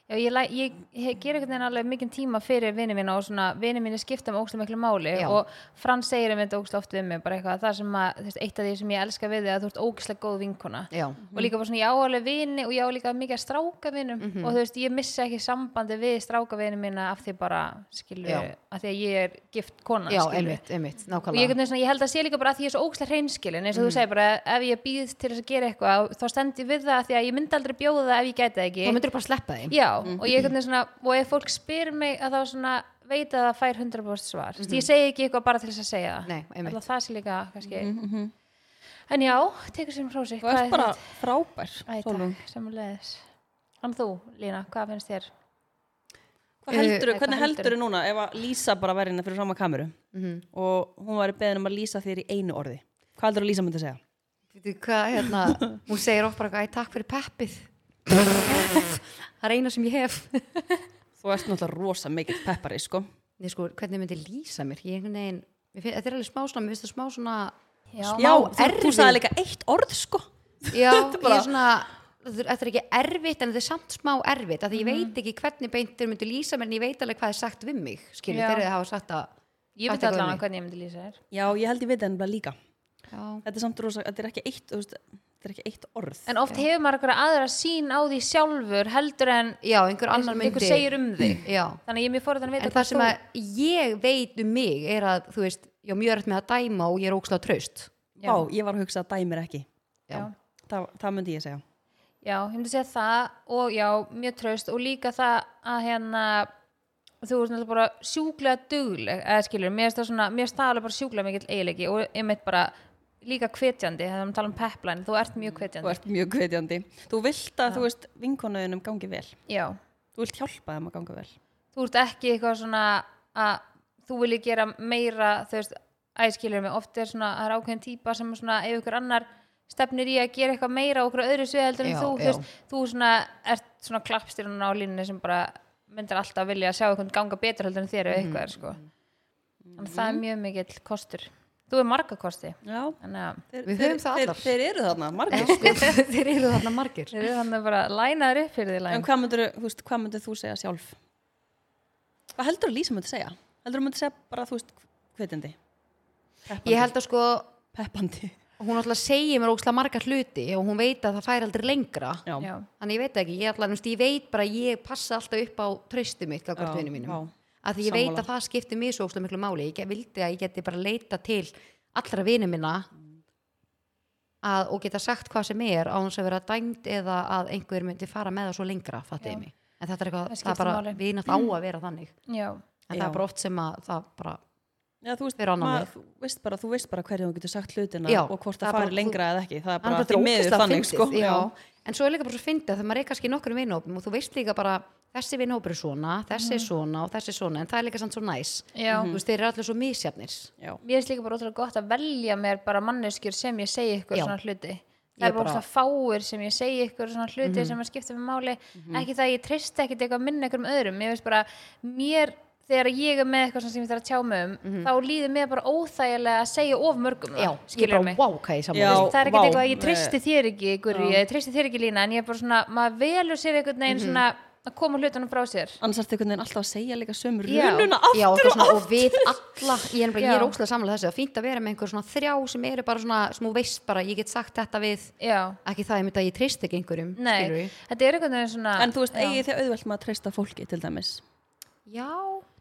Speaker 3: Já, ég, læ- ég, ég ger einhvern veginn alveg mikinn tíma fyrir vinið mína og svona vinið mína skipta með ógstlega miklu máli
Speaker 1: Já.
Speaker 3: og Frans segir um þetta ógstlega oft við mig bara eitthvað það sem að, þú veist, eitt af því sem ég elska við þig að þú ert ógstlega góð vinkona
Speaker 1: Já,
Speaker 3: og líka bara svona ég á alveg vini og ég á líka mikið að stráka vinum
Speaker 1: Mhm.
Speaker 3: og þú veist ég missi ekki sambandi við stráka vinum mína af því bara skilur
Speaker 1: Já.
Speaker 3: af því að ég er gift kona
Speaker 1: já,
Speaker 3: skilurðu.
Speaker 1: einmitt, einmitt,
Speaker 3: og ég,
Speaker 1: nákvæmlega
Speaker 3: einhvern veginn svona, ég held að sé líka bara að því ég er svo ókslega hreinskilin eins og
Speaker 1: Mhm.
Speaker 3: þú segir bara ef ég býð til þess að gera eitthvað þá stend ég við það af því að ég myndi aldrei bjóða það ef ég gæti það ekki
Speaker 1: Þá myndir Mhm. bara sleppa þeim
Speaker 3: Já, og ég einhvern veginn svona, og ef fólk spyr mig að þá svona veit að það fær 100% svar. Mm Ég segi ekki eitthvað bara til þess að segja það.
Speaker 1: Mhm. Nei, einmitt. Mhm,
Speaker 3: Alltaf það sé líka, kannski. En já, tekur sér um hrósi.
Speaker 2: Þú ert bara frábær,
Speaker 3: Æ,
Speaker 2: Sólrún.
Speaker 3: takk, samanleðis. En þú, Lína, hvað finnst þér?
Speaker 2: Hvað heldurðu,
Speaker 3: Hvað
Speaker 2: hvernig
Speaker 3: heldurðu?
Speaker 2: heldurðu núna ef að Lísa bara væri hérna fyrir sama kameru
Speaker 1: Mhm.
Speaker 2: og hún væri beðin um að lýsa þér í einu orði? Hvað heldurðu að Lísa myndi segja?
Speaker 1: Veitu hvað, hérna, hún segir oft bara eitthvað, "Æ, takk fyrir
Speaker 3: [laughs]
Speaker 1: peppið Það er eina sem ég hef
Speaker 2: Þú ert náttúrulega rosa mikill peppari, sko.
Speaker 1: Nei, sko, hvernig myndi lýsa mér? Ég einhvern veginn, mér finn, þetta er alveg smá svona, mér finnst það smá svona
Speaker 3: [laughs] Já.
Speaker 1: smá
Speaker 2: Já, þú, þú
Speaker 1: erfið.
Speaker 2: sagði líka eitt orð, sko.
Speaker 1: Já,
Speaker 2: bara-
Speaker 1: ég er svona, þetta er ekki erfitt en þetta er samt smá erfitt, af því
Speaker 3: Mhm.
Speaker 1: ég veit ekki hvernig beintir myndi lýsa mér en ég veit alveg hvað er sagt við mig, skilur,
Speaker 3: Já.
Speaker 1: þegar þið hafa sagt að
Speaker 3: Ég veit
Speaker 1: Þetta er
Speaker 3: allavega
Speaker 1: góð
Speaker 3: hvernig ég myndi lýsa þér.
Speaker 2: Já, ég held ég veit það ennbla líka.
Speaker 1: Já,
Speaker 2: Þetta er samt rosa, þetta er ekki eitt, þú veist, þetta er ekki eitt orð.
Speaker 3: En oft hefur maður eitthvað aðra sín á því sjálfur heldur en
Speaker 1: já einhver annar myndi
Speaker 3: einhver segir um þig.
Speaker 1: [clears throat] Já,
Speaker 3: Þannig að ég er mjög forðan að vita
Speaker 1: en það
Speaker 3: hvað
Speaker 1: sem
Speaker 3: þú-
Speaker 1: að ég veit um mig er að, þú veist, ég á mjög rætt með að dæma og ég er ókslega traust
Speaker 2: Já, ég var að hugsa að dæmir ekki.
Speaker 1: Já.
Speaker 3: Já.
Speaker 2: Það, það myndi ég segja.
Speaker 3: Já, ég myndi segja það og já, mjög traust og líka það að hérna þú ert náttúrulega bara sjúklega dugleg eða skilur, mér finnst það svona, mér finnst það alveg bara sjúklega mikill eiginleiki og einmitt bara líka hvetjandi, þegar við tala um pepline þú ert
Speaker 1: Mm,
Speaker 3: mjög
Speaker 2: Þú
Speaker 3: hvetjandi
Speaker 2: ert mjög hvetjandi. Þú vilt að, þú veist, vinkonuðinum gangi vel.
Speaker 3: Já,
Speaker 2: Þú vilt hjálpa þeim að ganga vel.
Speaker 3: þú ert ekki eitthvað svona að þú vilji gera meira þú veist, æskilur mig, oft er svona það er ákveðin típa sem er svona ef ykkur annar stefnir í að gera eitthvað meira og okkur öðru svið heldur en
Speaker 1: Já,
Speaker 3: þú, þú
Speaker 1: já.
Speaker 3: veist, þú svona ert svona klappstyrun á línunni sem bara myndir alltaf vilja að sjá eitthvað ganga betur heldur en þér eða eitthvað er sko
Speaker 1: Mhm.
Speaker 3: þannig að það er mjög mikill kostur þú er marga kosti
Speaker 2: Já,
Speaker 3: þannig
Speaker 1: [laughs]
Speaker 3: að
Speaker 2: þeir,
Speaker 1: Við
Speaker 2: þeir-
Speaker 1: höfum það
Speaker 2: þeir,
Speaker 1: allar.
Speaker 2: þeir eru þarna, margir.
Speaker 1: Þeir eru þarna margir
Speaker 3: þeir eru þannig bara lænaður upp fyrir því
Speaker 2: En
Speaker 3: læn
Speaker 2: hvað myndir, þú veist, hvað myndir þú segja sjálf? Hvað heldur að Lísa myndi segja? Heldur að myndi segja bara, þú veist, hvetjandi? Peppandi?
Speaker 1: Ég held að sko,
Speaker 2: Peppandi.
Speaker 1: hún alltaf segir mér ókslega margar hluti og hún veit að það fær aldrei lengra
Speaker 2: Já.
Speaker 3: Já.
Speaker 1: Þannig ég veit það ekki, ég, allan, veist, ég veit bara að ég passa alltaf upp á traustu mitt
Speaker 2: Já,
Speaker 1: kakvart vinnu
Speaker 2: vá.
Speaker 1: mínum. Að því ég veit
Speaker 2: Sammála.
Speaker 1: að það skiptir mig svo óslega miklu máli. Ég ge- vildi að ég geti bara leita til allra vinnu minna að, og geta sagt hvað sem er á hans að vera dæmd eða að einhver myndi fara með það svo lengra, fattiði mig. En þetta er eitthvað,
Speaker 3: Það
Speaker 1: það er bara,
Speaker 3: skiptir máli.
Speaker 1: við erum alltaf á að vera þannig.
Speaker 3: Já.
Speaker 1: En
Speaker 2: Já.
Speaker 1: það er bara oft sem að það bara,
Speaker 2: Já, þú veist,
Speaker 1: Hver á annan
Speaker 2: ma-
Speaker 1: veg.
Speaker 2: þú veist bara, þú veist bara hverju þú getur sagt hlutina
Speaker 1: Já,
Speaker 2: og hvort
Speaker 1: það er
Speaker 2: það
Speaker 1: bara-
Speaker 2: fari lengra eða ekki. Það
Speaker 1: hann
Speaker 2: er bara,
Speaker 1: bara
Speaker 2: því miður
Speaker 1: drókislega
Speaker 2: þannig, sko.
Speaker 1: fyndið já. en svo er líka bara svo fyndið að þegar maður er kannski í nokkrum vinhópum og þú veist líka bara þessi vinhópur er svona, þessi
Speaker 2: Mhm.
Speaker 1: er svona og þessi er svona en það er líka samt svo næs
Speaker 3: Já.
Speaker 1: þú veist þeir eru allir svo misjafnir
Speaker 2: Já.
Speaker 3: mér finnst líka bara ótrúlega gott að velja mér bara manneskjur sem ég segi ykkur
Speaker 1: Já.
Speaker 3: svona hluti
Speaker 1: Ég
Speaker 3: það er bara
Speaker 1: bara- Mhm.
Speaker 3: ótrúlega fáir sem ég segi ykkur svona hluti sem að skipta með máli ekki það að ég treysti ekkit eitthvað minna ykkur um öðrum ég veist bara, mér þegar ég er með eitthvað svona sem ég þarf að tjá mig um þá líður mér bara óþægilega að segja of mörgum um það,
Speaker 1: Mhm. já, ég
Speaker 3: skilurðu
Speaker 1: bara wow, hvað ég
Speaker 2: Já.
Speaker 1: saman
Speaker 3: það er ekkert
Speaker 2: vá,
Speaker 3: eitthvað að
Speaker 2: nei.
Speaker 3: ég treysti þér ekki ykkur, ég treysti þér ekki lína en ég er bara svona, maður velur sér einhvern
Speaker 1: Mhm.
Speaker 3: veginn svona að koma hlutunum frá sér
Speaker 2: Annars ertu einhvern veginn alltaf að segja líka sömu
Speaker 3: Já.
Speaker 2: rununa
Speaker 1: Já, og,
Speaker 2: aftur
Speaker 1: eitthvað
Speaker 2: og
Speaker 1: svona, og við alla, ég er, bara, ég er
Speaker 3: Já.
Speaker 1: óslega samlega þessu það er fínt að vera með einhver svona þrjá sem eru bara svona sem þú veist bara, ég get sagt þetta við
Speaker 3: já,
Speaker 1: ekki það, ég myndi að ég treyst ekki einhverjum
Speaker 3: nei,
Speaker 1: skilurðu?
Speaker 3: þetta er einhvern veginn svona
Speaker 2: En þú veist,
Speaker 3: já.
Speaker 2: eigið þið auðvelt með að treysta fólki til dæmis.
Speaker 1: Já,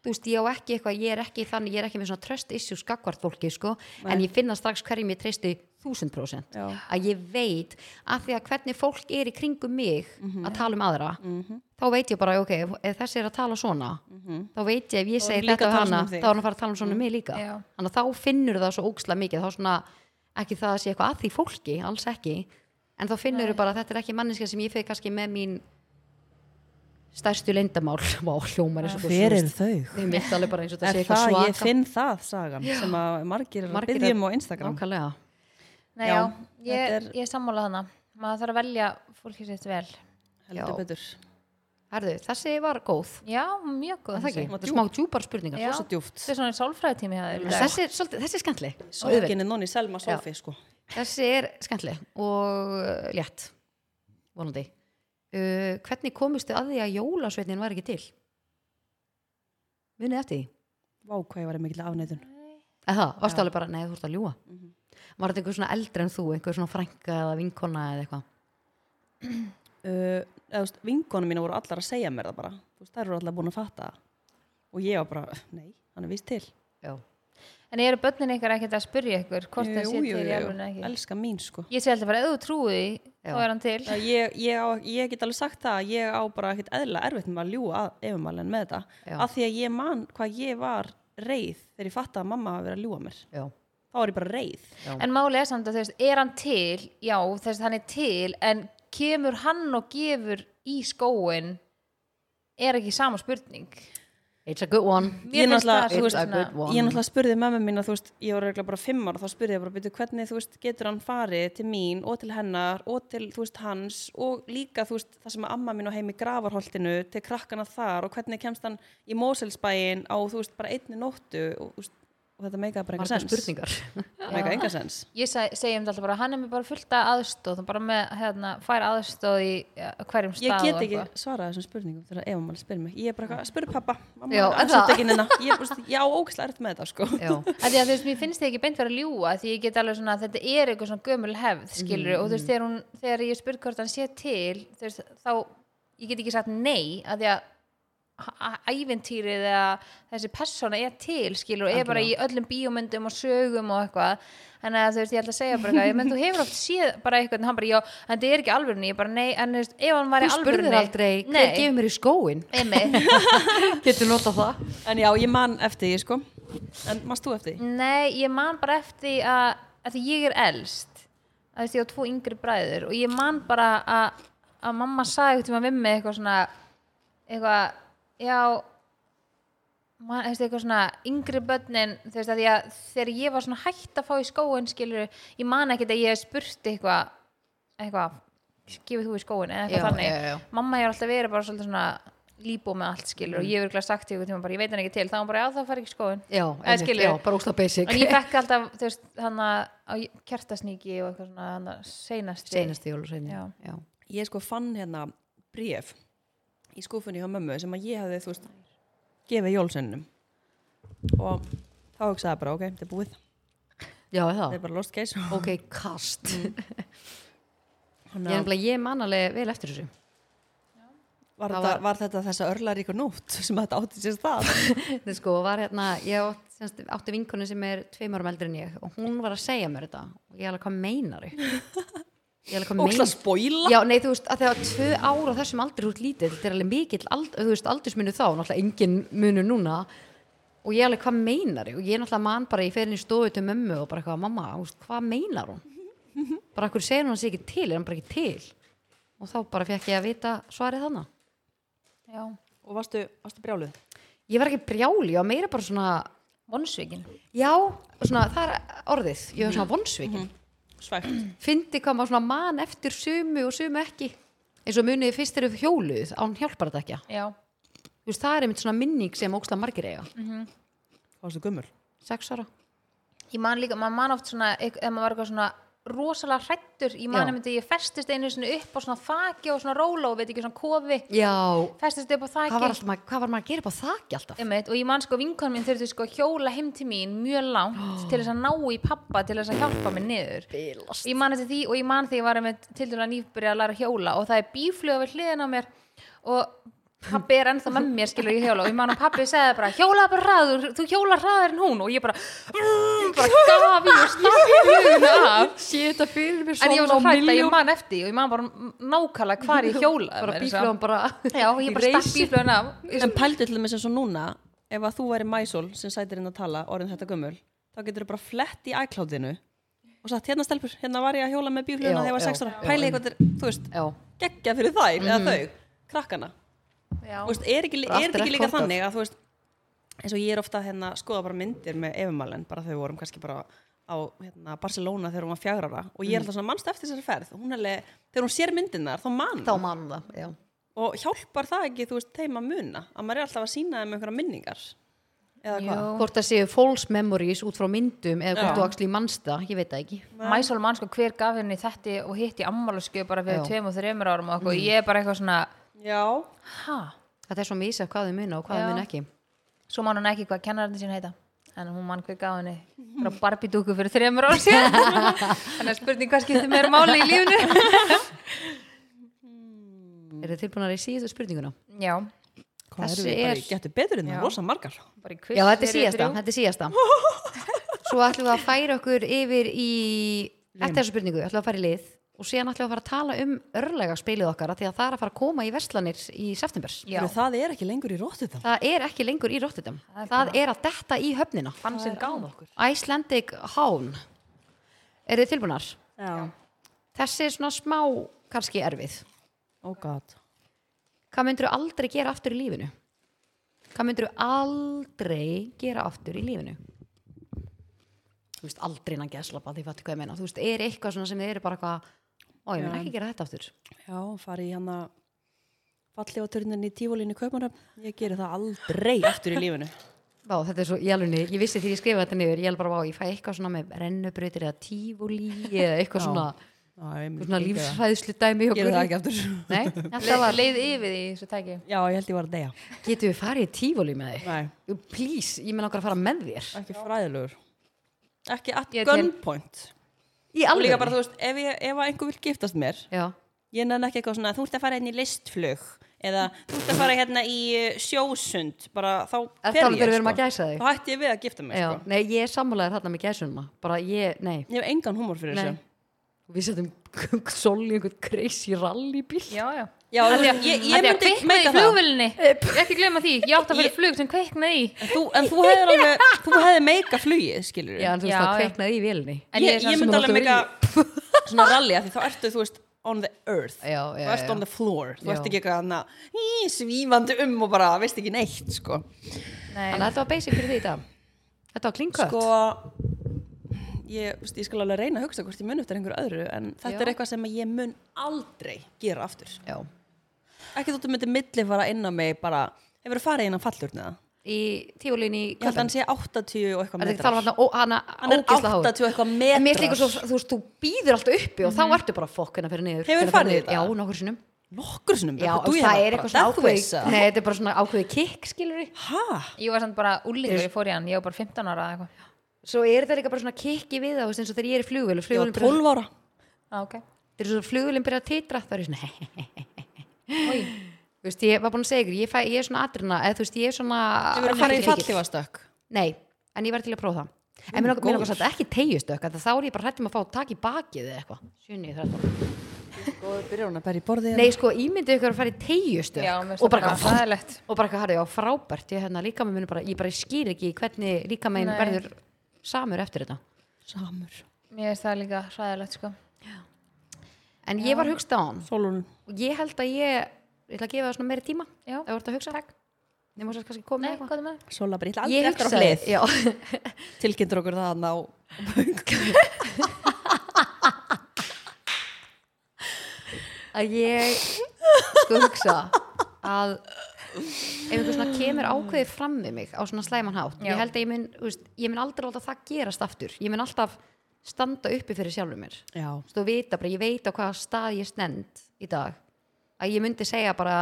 Speaker 1: þú veist, ég á ekki eitthvað, ég er ekki þannig, ég er ekki með svona trust issues gagvart fólki, sko, en ég finna strax hverjum ég treysti 1000%
Speaker 2: Já.
Speaker 1: að ég veit að því að hvernig fólk er í kringum mig
Speaker 2: Mhm.
Speaker 1: að tala um aðra, þá veit ég bara, ok, ef þessi er að tala svona, þá veit ég ef ég
Speaker 2: Mhm. Þá
Speaker 1: segi
Speaker 2: er
Speaker 1: þetta
Speaker 2: líka að
Speaker 1: við
Speaker 2: tala
Speaker 1: hana,
Speaker 2: svona um þig. Mhm.
Speaker 1: þá er hann að fara að tala um svona um mig líka.
Speaker 3: Já.
Speaker 1: Þannig að þá finnur það svo ókslega mikið, þá svona, ekki það að sé eitthvað að því fólki, alls ekki, en þá finnur þau bara að þetta er ekki manniska sem ég fyrir kannski með mín stærstu leyndamál, [laughs] Vá, hljómar eins og þú
Speaker 2: Hver eru þau?
Speaker 1: Þeim mitt alveg bara eins og það sé
Speaker 2: Er
Speaker 1: eitthvað
Speaker 2: það,
Speaker 1: svaka
Speaker 2: ég finn það sagan sem að margir er að
Speaker 1: Margir
Speaker 2: byggjum
Speaker 1: að-
Speaker 2: á Instagram.
Speaker 1: Nákvæmlega
Speaker 3: Nei,
Speaker 2: Já,
Speaker 3: já, ég,
Speaker 2: þetta er-
Speaker 3: ég er sammála hana maður þarf að velja fólkið sitt vel
Speaker 2: Heldur
Speaker 1: Já.
Speaker 2: betur.
Speaker 1: Herðu, þessi var góð
Speaker 3: já, mjög góð
Speaker 1: Það er
Speaker 3: þessi.
Speaker 1: ekki,
Speaker 2: Var
Speaker 1: þetta er
Speaker 2: djúp.
Speaker 1: smá djúpar spurningar
Speaker 3: Já.
Speaker 1: En
Speaker 2: Svo djúft.
Speaker 3: þetta er svona sálfræðtími hjá þér í dag.
Speaker 1: Þessi, er svolítið, þessi er skemmtleg
Speaker 2: Sorginni nonni Selma Sofi, sko.
Speaker 1: Þessi er skemmtleg og uh, létt eh, Vonandi uh, hvernig komustu að því að jólasveitin var ekki til munið eftir því
Speaker 2: Vá, hvað ég var í mikill afneitun.
Speaker 1: eða það, varstu alveg bara, nei þú ert að ljúa
Speaker 2: Mhm.
Speaker 1: var þetta einhver svona eldri en þú, einhver svona frænka eða vinkona eða eitthvað
Speaker 2: Uh, eða, þú veist, vinkonum mína voru allar að segja mér það bara. Þú veist, þær eru allar búin að fatta það. Og ég var bara, nei, hann er vist til.
Speaker 1: já,
Speaker 3: En eru börnin ykkar ekkert að spyrja ykkur hvort það sé til í alveg ekki?
Speaker 2: elska mín, sko.
Speaker 3: Ég segi alltaf bara, ef þú trúi því,
Speaker 1: Já.
Speaker 3: þá er hann til.
Speaker 2: Það Ég, ég, á, ég get alveg sagt það að ég á bara ekkert eðla erfitt með að ljúa efumælinn með þetta.
Speaker 1: Já.
Speaker 2: Af því að ég man hvað ég var reið þegar ég fattaði að mamma hafi verið að ljúa mér.
Speaker 1: já,
Speaker 2: Þá var ég bara reið.
Speaker 3: En máli er samt að þú veist, er hann til? Já, þess að hann er til, en kemur hann og gefur í skóin er ekki sama spurning.
Speaker 1: it's a good one
Speaker 3: Mér
Speaker 2: Ég
Speaker 3: finnst
Speaker 2: náttúrulega-
Speaker 3: það, þú
Speaker 1: it's
Speaker 3: veist,
Speaker 1: a
Speaker 3: svona-
Speaker 1: good one
Speaker 2: Ég náttúrulega spurði mömmu mín að þú veist, ég var eiginlega bara fimm ára, þá spurði ég bara, byrju, hvernig, þú veist, getur hann farið til mín og til hennar og til, þú veist, hans og líka, þú veist, það sem að amma mín á heim í gravarholtinu til krakkana þar og hvernig kemst hann í Moselsbæin á, þú veist, bara einni nóttu og, þú veist, og þetta meikaði bara enga
Speaker 1: margar
Speaker 2: sens.
Speaker 1: spurningar [laughs]
Speaker 2: Þetta meikaði enga sens.
Speaker 3: Ég seg, segi um þetta alltaf bara, hann er mér bara fullt af aðstóð, hann bara með, hérna, fær aðstóð í ja, hverjum stað.
Speaker 2: Ég get
Speaker 3: og
Speaker 2: ekki
Speaker 3: eitthvað.
Speaker 2: svarað þessum spurningum þegar Eva maður spyrir mig. Ég er bara eitthvað, spyrir pappa, mamma,
Speaker 1: Já,
Speaker 2: er
Speaker 1: er það?
Speaker 2: samt ekki neina. Ég, þú veist, ég á ógæslega erft með þetta, sko.
Speaker 1: já,
Speaker 3: að því að þú veist, mér finnst þið ekki beint vera að ljúa því ég get alveg svona að þetta er eitthvað svona gömul hefð skilur og þú
Speaker 1: Mhm,
Speaker 3: veist, þegar, hún, þegar ég spyr hvort hann sé til þú veist, þá, ég get ekki sagt nei að því að h- ævintýrið eða þessi persóna er til skilur og er bara í öllum bíómyndum og sögum og eitthvað en að, þú veist, ég ætla að segja bara eitthvað ég menn þú hefur oft séð bara eitthvað en hann bara, já, en þetta er ekki alvörni ég bara, nei, en þú veist, ef hann var
Speaker 1: þú
Speaker 3: í alvörni
Speaker 1: spurðir aldrei hver gefur mér í
Speaker 3: [laughs]
Speaker 1: skóin
Speaker 3: Nei,
Speaker 1: getur notað það
Speaker 2: En já, ég man eftir því, sko. En manst þú eftir því?
Speaker 3: Nei, ég man bara eftir því að, að því ég er elst að því ég á tvo yngri bræður og ég man bara að, að mamma sagði eitthvað við mig eitthvað svona eitthvað, já man, eitthvað, eitthvað svona yngri börnin þú veist að því að þegar ég var svona hætt að fá í skóin skilur ég man ekkert að ég hef spurt eitthvað eitthvað, gefið þú í skóin eða eitthvað
Speaker 1: Já,
Speaker 3: þannig
Speaker 1: já, já.
Speaker 3: mamma hefur alltaf verið bara svolítið svona líbó með allt skilur og ég hefur glæð sagt í eitthvað tíma bara ég veit hann ekki til þá var hún bara já þá fari ekki í skóin
Speaker 1: já, einmitt,
Speaker 3: skilur.
Speaker 1: já, bara ósla basic
Speaker 3: En ég fekk alltaf, þú veist, hann að kjartasníki og eitthvað svona hann að seinasti.
Speaker 1: [laughs] seinasti jólusveini
Speaker 3: Já.
Speaker 1: já.
Speaker 2: ég sko fann hérna bref í skúfunni hjá mömmu sem að ég hefði, þú veist, gefið jólsönnum og þá hugsaði ég bara, ok, þetta er búið
Speaker 1: já, er
Speaker 2: það
Speaker 1: það
Speaker 2: er bara lost case
Speaker 1: ok, kast
Speaker 3: Mm,
Speaker 1: ég,
Speaker 2: Þannig að
Speaker 1: nefnilega- ég man alveg vel eftir
Speaker 3: [laughs]
Speaker 1: þessu
Speaker 2: var,
Speaker 1: það
Speaker 2: þetta,
Speaker 1: var-
Speaker 2: var þetta þessa örlaríku nótt sem þetta átti sér stað
Speaker 1: Þetta sko var hérna, ég átt, semst, átti vinkonu sem er tveim árum eldri en ég og hún var að segja mér þetta og ég alveg hvað meinar ég alveg hvað
Speaker 2: og það
Speaker 1: meinar
Speaker 2: spóila
Speaker 1: Já, nei, þú veist, að þegar tvö ár á þessum aldri út lítið, þetta er alveg mikill ald, þú veist, aldursmunu þá, náttúrulega engin munu núna og ég alveg hvað meinar ég og ég náttúrulega man bara, ég fer inn í stofu til mömmu og bara eitthvað, mamma, þú veist, hvað meinar hún bara hverju segir hún að sé ekki til er hann bara ekki til og þá bara fekk ég að vita svarið þannig
Speaker 3: Já,
Speaker 2: og varstu, varstu brjáluð
Speaker 1: ég var ekki brjáli, ég var meira bara svona
Speaker 3: vonsvíkin.
Speaker 1: Já, svona, það er orðið Ég var svona vonsvikin mm
Speaker 2: svægt
Speaker 1: Fyndi hvað maður svona man eftir sumu og sumu ekki eins og munið fyrst eru hjóluð án hjálpar þetta ekki
Speaker 3: Já.
Speaker 1: Þú veist, það er einmitt svona minning sem óksla margir eiga
Speaker 2: varstu gummul
Speaker 1: Sex ára
Speaker 3: Ég man líka, maður man oft svona, ef maður var eitthvað svona rosalega hrættur, ég man
Speaker 1: Já.
Speaker 3: einmitt að ég festist einu svona upp á svona þaki og svona róla og veit ekki svona kofi,
Speaker 1: Já,
Speaker 3: festist upp á þaki.
Speaker 1: hvað var, alltaf, maður- hvað var maður að gera upp á þakki alltaf?
Speaker 3: Einmitt, og ég man sko vinkonum minn þurfti sko að hjóla heim til mín mjög langt [gasps] til þess að ná í pappa til þess að hjálpa mér niður
Speaker 1: Bilast
Speaker 3: ég man eftir því og ég man þegar ég var með til dæla nýfbyrja að læra að hjóla og það er bíflug við hliðin á mér og pabbi er ennþá með mér skilur ég hjóla og ég man að pabbi segði bara hjóla bara hraður, þú hjóla hraður en hún og ég bara, mm, bara gafi og snabbi hliðin af
Speaker 1: Sér þetta fyrir mér
Speaker 3: en ég var svo
Speaker 1: á
Speaker 3: hrætt að
Speaker 1: milljón-
Speaker 3: ég man eftir því og ég man bara nákvæmlega hvar ég hjóla
Speaker 1: Bara bíflöðum bara
Speaker 3: já, ég bara stakk bíflugin af
Speaker 2: en pældu til þess að svo núna ef að þú væri mæsól sem sætir inn að tala orðin þetta gummul þá getur þú bara flett í iCloudinu og sagt hérna stelpur, hérna var ég að hjóla með
Speaker 1: Já,
Speaker 2: bífluguna þegar ég var
Speaker 1: já,
Speaker 2: 6 ára
Speaker 1: já,
Speaker 2: pæli
Speaker 1: einmitt.
Speaker 2: eitthvað, til- þú veist,
Speaker 1: Já, Mhm.
Speaker 2: geggja fyrir þær eða þau, krakkana
Speaker 3: Já.
Speaker 2: Þú veist, er ekki, er
Speaker 1: Bara
Speaker 2: þetta
Speaker 1: aftur
Speaker 2: ekki líka
Speaker 1: record of.
Speaker 2: þannig að þú veist eins og ég er ofta hérna að skoða bara myndir með efumalen, bara þegar við vorum kannski bara á hérna, Barcelona þegar hún var fjagrara og
Speaker 1: Mhm.
Speaker 2: ég er alltaf svona mannstu eftir þessari ferð og hún alveg, þegar hún sér myndirnar þá mann
Speaker 1: þá mann það já.
Speaker 2: og hjálpar það ekki þú veist þeim að muna að maður er alltaf að sína þeim einhverja minningar eða
Speaker 3: Jú.
Speaker 2: hvað?
Speaker 1: hvort það séu false memories út frá myndum eða hvort
Speaker 2: Já.
Speaker 1: þú axli mannsta, ég veit það ekki
Speaker 3: mæsól mann sko hver gaf henni þetta og hitt í ammálusku bara fyrir
Speaker 1: Já. Mm.
Speaker 3: tveim og þreymur árum og okkur, ég er bara eitthvað svona
Speaker 2: Já,
Speaker 3: ha,
Speaker 1: þetta er svo mísa hvað þau muna og hvað
Speaker 3: Já.
Speaker 1: þau muna ekki
Speaker 3: svo man hún ekki hvað kennararnir sín heita en hún mann hver gaf henni frá barbidúku fyrir þreymur árum [laughs] síðan þannig að spurning hvað skiptir meira máli í lífinu [laughs]
Speaker 1: eru þið tilbúinari í síðustu spurninguna?
Speaker 3: já,
Speaker 2: hvað
Speaker 1: Þessi
Speaker 2: erum við bara
Speaker 1: er-
Speaker 2: í getur betur en
Speaker 3: Já.
Speaker 2: það, rosa margar
Speaker 3: bara í
Speaker 1: Já,
Speaker 3: kviss
Speaker 1: þetta er síðasta, þetta er síðasta Svo ætlum við að færa okkur yfir í eftir þessu spurningu, ætlum við að fara í lið og síðan ætlum við að fara að tala um örlega spilið okkar af því að það er að fara að koma í verslanir í septembers
Speaker 3: já,
Speaker 2: Heyrðu, Það er ekki lengur í rótið þá
Speaker 1: Það er ekki lengur í Rotterdam
Speaker 3: Það er
Speaker 1: Það, er að detta í höfnina
Speaker 3: fann sem gáð okkur
Speaker 1: Icelandic Hán Er þið tilbúnar?
Speaker 2: Já,
Speaker 1: Þessi er svona smá kannski erfið
Speaker 2: oh god
Speaker 1: Hvað myndirðu aldrei gera aftur í lífinu? Hvað myndirðu aldrei gera aftur í lífinu? Þú veist, aldrei innan geðslapa, því fattu hvað ég meina. Þú veist, er eitthvað svona sem þið eru bara eitthvað, ó, ég mun ekki gera þetta aftur.
Speaker 2: Já, farið í hann að falli á törnin í tífólinni Kaupmanöfn Ég geri það aldrei aftur í lífinu
Speaker 1: Vá, þetta er svo, ég alveg niður, ég vissi því ég skrifaði þetta niður, ég alveg bara, vá, ég fæ eitthvað svona með rennubrautir eða tífúlí eða eitthvað svona,
Speaker 2: Já, ég myndi
Speaker 1: svona
Speaker 2: ekki gera það.
Speaker 1: lífsfæðslu dæmi og
Speaker 2: Geri það ekki aftur
Speaker 1: Nei, þetta
Speaker 3: Le
Speaker 1: var,
Speaker 3: leið yfir því svo tæki
Speaker 2: Já, ég held ég var að deyja
Speaker 1: getum við farið í tífúlí með þig?
Speaker 2: Nei,
Speaker 1: Please, ég menn okkar að fara með þér.
Speaker 2: ekki fræðilegur Ekki at
Speaker 3: Ég er til.
Speaker 2: gunpoint
Speaker 1: Í
Speaker 2: Og líka
Speaker 1: alveg.
Speaker 2: bara, þú veist, ef, ég, ef að einhver vil giftast mér
Speaker 1: Já,
Speaker 2: Ég nenni ekki eitthvað svona, þú ert að fara inn í listflug eða þú ert að fara hérna í eh, sjósund bara þá
Speaker 1: Er það
Speaker 2: fer ég, sko.
Speaker 1: þegar við erum að gæsa þig?
Speaker 2: Þá hætti ég við að gifta mig
Speaker 1: Já,
Speaker 2: sko.
Speaker 1: nei, ég er sammálaðir þarna með gæsunuma bara ég, nei,
Speaker 2: Ég hef engan húmor fyrir
Speaker 1: nei.
Speaker 2: þessu
Speaker 1: við setjum [laughs] sól í einhvern crazy rallybíl
Speaker 3: já, já
Speaker 2: Já, þú veist, ég, ég
Speaker 3: Því að
Speaker 2: myndi
Speaker 3: kviknaði í
Speaker 2: meika það
Speaker 3: flugvölinni, ekki glemma því, ég átti að fyrir flug sem kviknaði í
Speaker 2: En þú, en þú
Speaker 1: [laughs]
Speaker 2: hefði alveg, þú hefði meika flugið, skilur
Speaker 1: já, en þú veist
Speaker 3: Já,
Speaker 1: það
Speaker 3: já.
Speaker 1: kveiknaði í vélni
Speaker 3: En
Speaker 2: Ég,
Speaker 3: ég er samt
Speaker 2: ég
Speaker 3: sem
Speaker 2: myndi
Speaker 1: þú
Speaker 2: alveg meika svona rally af því þá ertu, þú veist, on the earth
Speaker 1: Já, já,
Speaker 2: Þú ert
Speaker 1: já.
Speaker 2: on the floor, þú
Speaker 1: Já.
Speaker 2: ert ekki eitthvað hana, í, svífandi um og bara veist ekki neitt, sko
Speaker 1: þannig að
Speaker 3: Nei,
Speaker 1: þetta var basic fyrir því í dag þetta var klinkött
Speaker 2: Sko, ég, þú veist, ég skal alveg reyna að hugsa hvort ég mun eftir einhverju öðru en þetta
Speaker 1: Já.
Speaker 2: er eitthvað sem ég mun aldrei gera aftur
Speaker 1: já.
Speaker 2: Ekki þóttu myndi milli fara inn á mig bara, hefur þú farið inn á fallurni það?
Speaker 1: í tíulín í
Speaker 2: Ég held að
Speaker 1: kvöldan
Speaker 2: hann sé 80 og eitthvað
Speaker 1: er þetta ekki tala um hana, ó, hana
Speaker 2: Hann er
Speaker 1: ógeðslega háur?
Speaker 2: 80 og eitthvað
Speaker 1: en mér
Speaker 2: metrar.
Speaker 1: slíkur svo, þú veist, þú býður alltaf uppi og þá ertu bara fokk hennar fyrir niður
Speaker 2: Hefurðu
Speaker 1: Hvenær fer
Speaker 2: farið í
Speaker 1: niður?
Speaker 2: þetta?
Speaker 1: já, nokkur sinnum
Speaker 2: Nokkur sinnum
Speaker 1: já, þú
Speaker 2: bara, þú,
Speaker 1: veist, það er eitthvað svona
Speaker 2: ég var bara deathwiss,
Speaker 1: ákveði
Speaker 2: eða?
Speaker 1: nei, þetta er bara svona ákveði kikk, skilur
Speaker 2: Hæ?
Speaker 3: ég var samt bara úlingur, ég fór í hann, ég var bara 15 ára eða eitthvað.
Speaker 1: svo er þetta líka bara svona kikki við það þú veist, eins og þegar ég er í flugvél og
Speaker 2: Ég var
Speaker 1: flugvélin byrjar-
Speaker 2: 12 ára
Speaker 3: Ah, ok.
Speaker 1: þegar svo flugvélin byrjar að titra það er ég svona hei
Speaker 3: Oj.
Speaker 1: [laughs] Þú veist, ég var búin að segja ykkur, ég, fæ, ég er svona atrina, eða þú veist, ég Ah, er svona...
Speaker 2: Hefur þú
Speaker 1: alveg
Speaker 2: farið í
Speaker 1: fylgir.
Speaker 2: fallífastökk?
Speaker 1: Nei, en ég var til að prófa það. En
Speaker 3: Oh
Speaker 1: mér langar- mér langar
Speaker 2: góður.
Speaker 1: satt ekki teigjustökk, en þá er ég bara hrættum að fá takk í bakið eða eitthvað. Sjunni, þrættum.
Speaker 2: Góður byrjar hún að bæri í borðið
Speaker 1: Nei, sko, ímyndið ykkur að fara í teigjustökk
Speaker 3: Já, mér
Speaker 1: og
Speaker 3: finnst
Speaker 1: bara
Speaker 3: það
Speaker 1: eitthvað...
Speaker 3: ræðilegt.
Speaker 1: Og bara eitthvað, harði, já, frábært, ég hérna líka með bara, ég bara skýr ekki hvernig líka meginn
Speaker 3: Nei.
Speaker 1: verður samur eftir þetta.
Speaker 2: Samur
Speaker 3: Mér finnst það líka ræðilegt, sko.
Speaker 1: En ég var hugst á hann,
Speaker 2: Sólun
Speaker 1: og ég held að ég, ég ætla að gefa það svona meiri tíma,
Speaker 3: Já.
Speaker 1: ef þú ert að hugsa. Takk. Ég múst að kannski koma
Speaker 3: Nei,
Speaker 1: með
Speaker 3: hvað er með?
Speaker 2: Sóla bara, ég ætla
Speaker 1: Ég
Speaker 2: aldrei eftir á
Speaker 1: hugsaði,
Speaker 2: hlið
Speaker 1: já, [laughs]
Speaker 2: Tilkynntur okkur það að ná
Speaker 1: að ég sko hugsa að ef einhver svona kemur ákveðið fram við mig á svona slæman hátt
Speaker 3: Já.
Speaker 1: ég held að ég mun, þú veist, ég mun aldrei láta það gerast aftur ég mun alltaf standa uppi fyrir sjálfur mér
Speaker 2: Já
Speaker 1: Þú veist, og vita bara, ég veit á hvaða stað ég stend í dag að ég myndi segja bara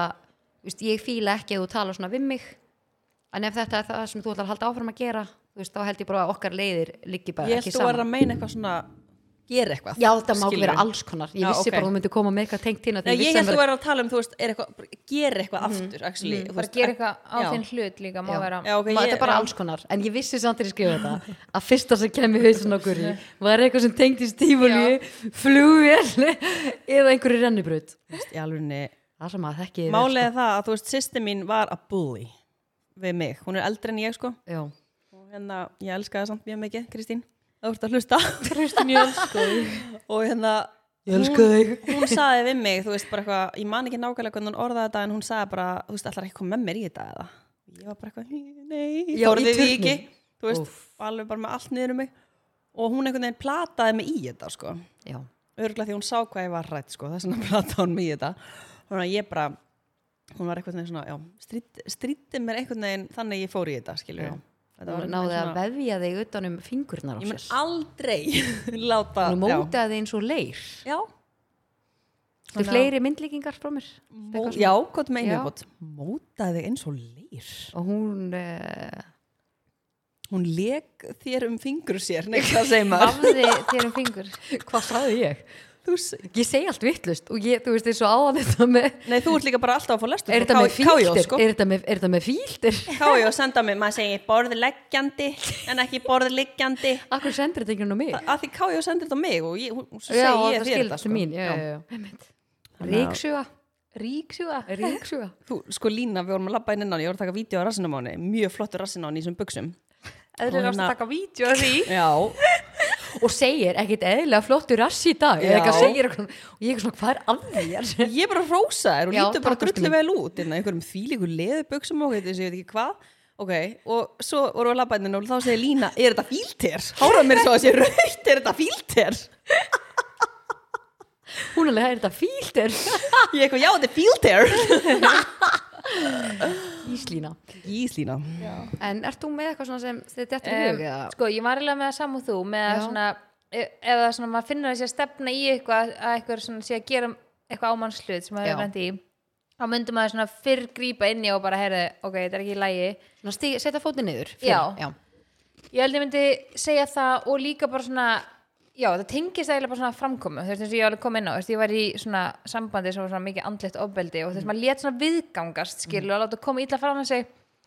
Speaker 1: þú veist, ég fíla ekki að þú tala svona við mig en ef þetta er það sem þú ætlar að halda áfram að gera þú veist, þá held ég bara að okkar leiðir liggi bara
Speaker 2: Ég held
Speaker 1: ekki
Speaker 2: þú verður
Speaker 1: saman
Speaker 2: að meina eitthvað svona Gera eitthvað
Speaker 1: já, þetta má
Speaker 2: skilurðu.
Speaker 1: vera alls konar ég
Speaker 2: Já,
Speaker 1: vissi
Speaker 2: ok.
Speaker 1: bara að þú myndi koma með eitthvað tengt inn
Speaker 2: Nei, ég held þú verður að tala um, þú veist, er eitthvað Gera
Speaker 1: Mhm.
Speaker 2: eitthvað aftur, actually Þú
Speaker 3: Bara
Speaker 2: veist,
Speaker 3: gera eitthvað á
Speaker 2: já.
Speaker 3: þinn hlut líka, má
Speaker 1: Já.
Speaker 3: vera.
Speaker 2: Já, ok,
Speaker 1: okay, þetta
Speaker 2: ég-
Speaker 1: er bara
Speaker 2: já.
Speaker 1: alls konar en ég vissi samt þegar ég skrifa þetta að fyrsta sem kemur hausin okkur í var eitthvað sem tengdi stífulíu flugvél eða einhverju rennibraut
Speaker 2: Þú veist, Í alveg
Speaker 1: það sem að þekki sko.
Speaker 2: Málið er það að, þú veist, sýsti mín var að bully Við mig, hún er eldri en ég, sko
Speaker 1: já,
Speaker 2: og hérna, ég elska það samt mjög mikið, Kristín það vart að hlusta
Speaker 3: Kristín, ég elska þig.
Speaker 2: [laughs] og hérna,
Speaker 1: ég elsku þig
Speaker 2: hún saði við mig þú veist bara eitthvað, ég man ekki nákvæmlega hvernig hún orðaði þetta en hún saði bara, þú veist, allar ekki kom með mér í þetta eða, ég var bara eitthvað, nei
Speaker 1: Já,
Speaker 2: þorði
Speaker 1: í
Speaker 2: því
Speaker 1: turninn.
Speaker 2: ekki, þú veist
Speaker 1: Úff.
Speaker 2: alveg bara með allt niður um mig og hún einhvern veginn plataði mig í þetta, sko
Speaker 1: já,
Speaker 2: örgulega því hún sá hvað ég var rætt, sko þess vegna [laughs] plataði hún mig í þetta þannig að ég bara, hún var eitthvað svona, já strýtti mér einhvern veginn þannig að ég fór í þetta, skilur Þetta
Speaker 1: Þú
Speaker 2: var einhvern
Speaker 1: náði að
Speaker 2: veginn
Speaker 1: vefja þig utan um fingurnar á
Speaker 2: Ég mun
Speaker 1: sér.
Speaker 2: aldrei [laughs] láta
Speaker 1: Þú mótaði þig eins og leir.
Speaker 2: Já, já,
Speaker 1: Þú
Speaker 3: Svona-
Speaker 1: fleiri myndlíkingar frá mér.
Speaker 2: mó,
Speaker 1: Eitthvað svona.
Speaker 2: já hvað meina
Speaker 1: Já.
Speaker 2: ég bótt? Mótaði þig eins og leir
Speaker 1: Og hún,
Speaker 2: [laughs]
Speaker 1: uh,
Speaker 2: Hún leik þér um fingur sér Nei, hvað [laughs] segir maður?
Speaker 3: Vafði þér um fingur
Speaker 1: hvað sagði ég?
Speaker 2: Þú se-
Speaker 1: Ég segi allt vittlust og ég, þú veist, eins og á að þetta með,
Speaker 2: Nei, þú ert líka bara alltaf að fá lestur
Speaker 1: er þetta með
Speaker 2: Kájó,
Speaker 1: fíldir?
Speaker 2: sko
Speaker 1: Er þetta með, er þetta með fíldir?
Speaker 2: [laughs] Kájó senda mig, maður segir borðleggjandi en ekki borðliggjandi
Speaker 1: Akkur sendir þetta ekki nú mig?
Speaker 2: að því Kájó sendir þetta á mig og ég, hún, hún
Speaker 1: Já,
Speaker 2: segir ég
Speaker 1: það
Speaker 2: þér
Speaker 1: skilur
Speaker 2: þetta
Speaker 1: til
Speaker 2: sko.
Speaker 1: mín, já, já, já. einmitt. Ríksuga,
Speaker 3: Ríksjúa
Speaker 1: ríksuga.
Speaker 2: Þú, sko Lína, við vorum að labba inn innan, ég voru að taka vídeo á rassinum á henni, mjög flottur rassin á henni í þessum buksum.
Speaker 3: Eðlir
Speaker 2: Og
Speaker 3: ást
Speaker 2: hérna-
Speaker 3: að taka vídeo af því
Speaker 2: Já.
Speaker 1: [laughs] Og segir ekkit eðlilega flottur rass í dag.
Speaker 2: Já.
Speaker 1: Eða eitthvað segir eitthvað, og ég er svona, hvað er að
Speaker 2: [laughs]
Speaker 1: þér?
Speaker 2: Ég bara rósa þér og
Speaker 1: Já,
Speaker 2: lítur bara
Speaker 1: takk, ástin
Speaker 2: drullu vel út, innan einhverjum þýlíku leðubuksum og eitthvað, ég veit ekki hvað. Ok, og svo vorum við að labba inn innan og þá segir Lína, er þetta fílter? Hárað mér svo að sé raukt, er þetta fílter?
Speaker 1: Hún alveg, er þetta fíldir?
Speaker 2: Ég eitthvað, já, þetta er fílter.
Speaker 1: Íslína.
Speaker 2: Ís Lína.
Speaker 1: En ert þú með eitthvað svona sem þið dettur í hug? eða?
Speaker 3: um, Sko, ég var eiginlega með það saman þú með að
Speaker 1: Já.
Speaker 3: svona e- ef það svona, maður finnur að sé að stefna í eitthvað að eitthvað svona sé að gera eitthvað ámannslut sem maður
Speaker 1: Já.
Speaker 3: er brennt í þá myndum maður svona fyrr grípa inn í og bara heyrðu, ok, þetta er ekki í lagi
Speaker 1: Svona stíg, setja fótið niður.
Speaker 3: Já.
Speaker 1: já.
Speaker 3: Ég held ég myndi segja það og líka bara svona Já, það tengist eiginlega bara svona framkomu þú veist eins og ég alveg kom inn á, þú veist, ég var í svona sambandi sem var svona mikið andlegt ofbeldi og þú veist, maður lét svona viðgangast skilur og láta koma illa fram að sig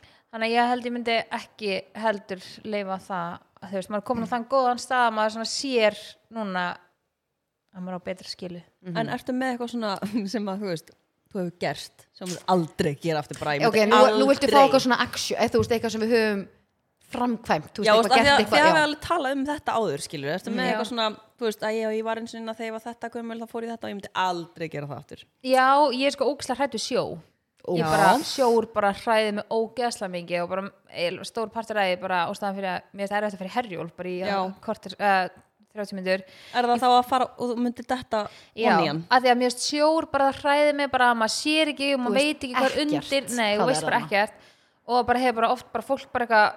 Speaker 3: þannig að ég held ég myndi ekki heldur leifa það, þú veist, maður er komin á þann góðan stað að maður svona sér núna að maður á betra skilu
Speaker 1: Mhm.
Speaker 2: En ertu með eitthvað svona sem að, þú veist, þú hefur gert, sem þú aldrei gera aftur bara. ég
Speaker 1: Ok,
Speaker 2: myndi
Speaker 1: nú, nú viltu fá
Speaker 2: aldrei-
Speaker 1: eitthvað svona action, eða þú veist, eitthvað sem við höfum framkvæmt, þú
Speaker 2: Já,
Speaker 1: veist, eitthvað gert
Speaker 2: þegar við
Speaker 1: eitthvað,
Speaker 2: hefum
Speaker 1: já.
Speaker 2: alveg talað um þetta áður, skilur, eftir með
Speaker 3: Já.
Speaker 2: eitthvað svona, þú veist, að ég, ég var eins og inn að þegar ég var þetta gömul, þá fór ég þetta og ég myndi aldrei gera það aftur.
Speaker 3: Já, ég er sko ógislega hrættu sjó ég
Speaker 1: Já.
Speaker 3: bara sjór bara hræði mig ógeðslega mikið og bara eiginlega stór partur að ég bara ástæðan fyrir að mér þetta er eftir að fyrir herjól bara í
Speaker 2: Já.
Speaker 3: uh, kortir, uh, 30 myndur
Speaker 2: Er það þá að fara og þú myndir þetta
Speaker 3: Já,
Speaker 2: onni hann?
Speaker 3: að því að mér finnst sjór bara hræði mig bara að maður sér ekki og maður
Speaker 1: veist
Speaker 3: veit ekki hvað er
Speaker 1: ekkert
Speaker 3: undir nei,
Speaker 1: hvað
Speaker 3: þú
Speaker 1: er
Speaker 3: veist bara
Speaker 1: þarna.
Speaker 3: ekkert og bara hefur bara oft bara fólk bara eitthvað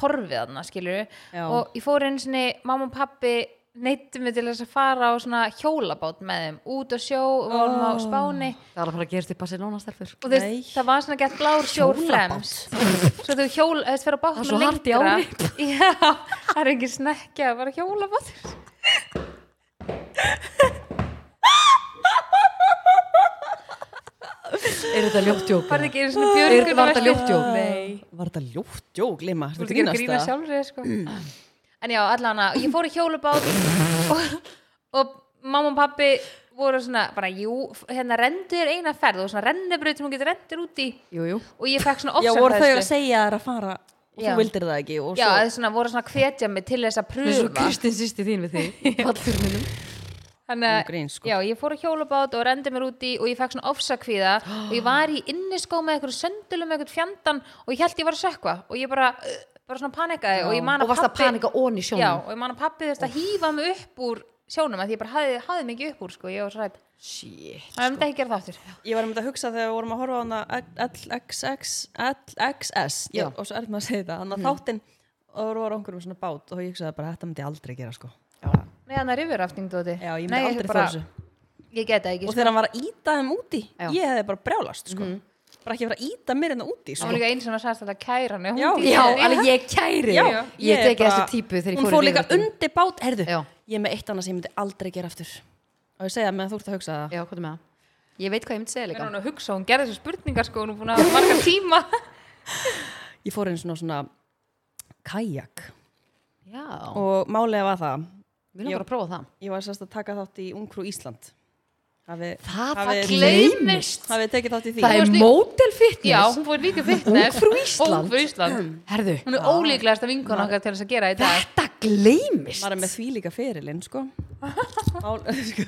Speaker 3: horfið þarna skilur
Speaker 2: Já.
Speaker 3: og ég fór einu sinni, mamma og pappi neittum mig til þess að fara á svona hjólabát með þeim út á sjó og vorum á Spáni
Speaker 1: Það er að fara að gerast í Barcelona stelfur.
Speaker 3: og þú
Speaker 2: Nei.
Speaker 3: veist, það var svona gett blár sjór flems svo þú hjól, þú veist, fyrir að bátt
Speaker 1: Það er svo hart í
Speaker 3: [laughs] já, það er engin snekkja, bara hjóla bátt
Speaker 1: Er þetta ljóttjók?
Speaker 3: farið ekki einu
Speaker 2: Ah.
Speaker 3: svona
Speaker 1: Er-
Speaker 3: björgun
Speaker 1: var þetta ljótt jók?
Speaker 3: nei,
Speaker 2: Var þetta ljótt, jó, glima,
Speaker 3: þú
Speaker 2: þetta
Speaker 3: ert ekki að
Speaker 2: grínast
Speaker 3: grína
Speaker 2: það? Mm.
Speaker 3: sjálfrið sko. en já, allan að ég fór í hjólubát og, og mamma og pappi voru svona, bara jú, hérna rendur eina ferð og svona rennubraut sem hún getur rendur út í
Speaker 1: Jú, jú.
Speaker 3: og ég fekk svona
Speaker 2: Já, voru þau að
Speaker 3: ofsahræðslu
Speaker 2: segja þær að fara og
Speaker 3: Já.
Speaker 2: þú vildir það ekki og
Speaker 3: já,
Speaker 2: svo,
Speaker 3: þau svona, voru svona að hvetja mig til þess að
Speaker 1: Það er svo
Speaker 3: pröfa
Speaker 1: Kristinn sýsti þín við því, fallturninum.
Speaker 3: Þannig
Speaker 2: Án gríns, sko.
Speaker 3: já, ég fór á hjólubát og rendi mér úti og ég fekk svona ofsakvíða og ég var í inniskó með eitthvað söndulum með eitthvað fjandan og ég held ég var að sökva og ég bara, uh, bara svona panikaði og ég man
Speaker 1: Og
Speaker 3: að
Speaker 1: varst að panika ón í sjónum.
Speaker 3: já, og ég man að pappi þurfti að hýfa mig upp úr sjónum að því ég bara hafði, hafði mig ekki upp úr sko, ég var svo rætt
Speaker 1: Shit.
Speaker 3: þannig að ég myndi ekki gera það aftur
Speaker 2: ég var um þetta að hugsa þegar við vorum að horfa á hana LXX, LXS,
Speaker 1: Já.
Speaker 2: ég, og svo erum að segja þetta, þannig að þáttinn, og það voru á einhverjum svona bát og ég hugsaði bara, þetta myndi ég aldrei gera, sko.
Speaker 3: Nei, hann er yfirrafting, Dóti
Speaker 2: Já, ég myndi aldrei fara þessu.
Speaker 3: Ég geta ekki,
Speaker 2: og
Speaker 3: sko.
Speaker 2: þegar hann var að íta þeim úti
Speaker 1: Já.
Speaker 2: ég hefði bara brjálast sko. bara ekki að fara að íta mér en það úti
Speaker 3: Það var
Speaker 2: sko.
Speaker 3: líka eins og hann sagðist þetta kæra hann
Speaker 2: Já,
Speaker 1: Já, alveg ég kæri.
Speaker 2: Já,
Speaker 1: Ég
Speaker 2: er
Speaker 1: teki
Speaker 2: bara-
Speaker 1: þessu típu þegar ég
Speaker 2: hún
Speaker 1: fór í
Speaker 2: fór líka
Speaker 1: lífvörðin.
Speaker 2: undir bát herðu,
Speaker 1: Já.
Speaker 2: ég er með eitt annað sem ég myndi aldrei gera aftur og ég segja það meðan þú ert að hugsa það
Speaker 1: Já, hvað er með það? Ég veit hvað ég myndi segja
Speaker 3: Hún
Speaker 1: líka.
Speaker 3: er að hugsa, hún gerði þessu spurningar sko, hún er búin að hafa marga tíma
Speaker 2: ég fór einu svona, svona kajak
Speaker 1: Já,
Speaker 2: og málega var það
Speaker 1: við erum bara að prófa það.
Speaker 2: ég var sérst að taka þátt í Ungfrú Ísland hafi,
Speaker 1: Það- það
Speaker 2: hafi,
Speaker 1: gleymist.
Speaker 2: hafi tekið þátt í því
Speaker 1: Það er
Speaker 3: varst í-
Speaker 1: model fitness.
Speaker 3: Já, hún fór líka fitness
Speaker 1: Ungfrú Ísland.
Speaker 3: Ungfrú Ísland
Speaker 1: Herðu,
Speaker 3: Hún er ólíklegasta vinkona okkar til þess að gera í dag
Speaker 1: þetta gleymist.
Speaker 2: maður er með því líka fyrirlinn sko. Mál, [laughs] sko.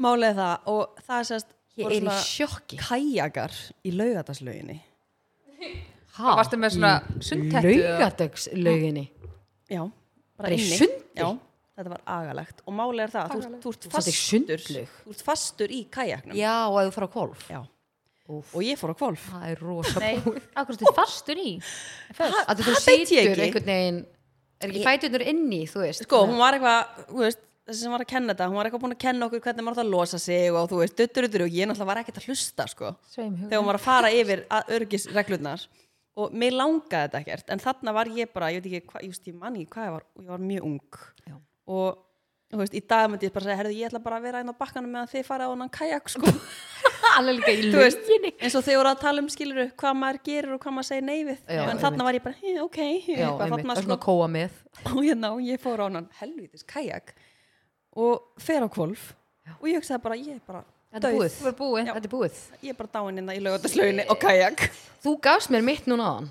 Speaker 2: málega það og það er sérst
Speaker 1: Ég
Speaker 2: voru
Speaker 1: er í
Speaker 2: svona-
Speaker 1: sjokki.
Speaker 2: kæjakar í laugadaslauginni
Speaker 1: Ha?
Speaker 3: Varstu með svona sundhettu eða?
Speaker 1: Laugadagslauginni.
Speaker 2: já,
Speaker 1: Bara í
Speaker 2: inni.
Speaker 1: sundi?
Speaker 2: já, þetta var agalegt og málega er það, að þú, ert- þú ert
Speaker 1: Þú fórst í
Speaker 2: fastur
Speaker 1: sundlaug.
Speaker 2: þú ert fastur í kajaknum
Speaker 1: Já, og að þú fara á golf.
Speaker 2: Já.
Speaker 1: Úff.
Speaker 2: og ég fór á kvolf
Speaker 1: það er rosa
Speaker 3: Nei, akkur stu fastur í Föst.
Speaker 1: að þú
Speaker 2: það veit ég
Speaker 1: situr
Speaker 2: ekki.
Speaker 1: einhvern veginn er ekki fætunur inni, þú veist
Speaker 2: sko, hún var eitthvað, þú veist þessi sem var að kenna þetta, hún var eitthvað búin að kenna okkur hvernig maður átt að losa sig og þú veist, duttur yttur og ég náttúrulega var ekkert að hlusta, sko
Speaker 3: Sveim hug
Speaker 2: þegar hún var að fara yfir örgisreglurnar og mér langaði þetta ekkert en þarna var ég bara, ég veit ekki, hva, just, ég manni hvað ég var, og ég var mjög ung
Speaker 1: Já.
Speaker 2: og þú veist, í dag myndi ég bara segja herðu, ég ætla bara að vera einn á bakkanum meðan þið farið á hennan kajak, sko
Speaker 1: [laughs] alveg líka í
Speaker 2: þú veist,
Speaker 1: lauginni
Speaker 2: eins og þið voru að tala um skiluru hvað maður gerir og hvað maður segir nei við
Speaker 1: Já,
Speaker 2: en þarna var ég bara, "Eh, ok
Speaker 1: já,
Speaker 2: eitthvað,
Speaker 1: einmitt,
Speaker 2: þarna sko-
Speaker 1: það er
Speaker 2: svona
Speaker 1: svona kóa með
Speaker 2: [laughs] og hérna og ég fór á hann helvitis kajak og fer á kvolf og ég hugsaði bara, ég er bara
Speaker 1: þetta er
Speaker 2: dauð.
Speaker 1: búið,
Speaker 3: var búið.
Speaker 1: þetta er búið
Speaker 2: ég er bara dáin hérna í laugardaslauginni og kajak
Speaker 1: þú gafst mér mitt núna aðan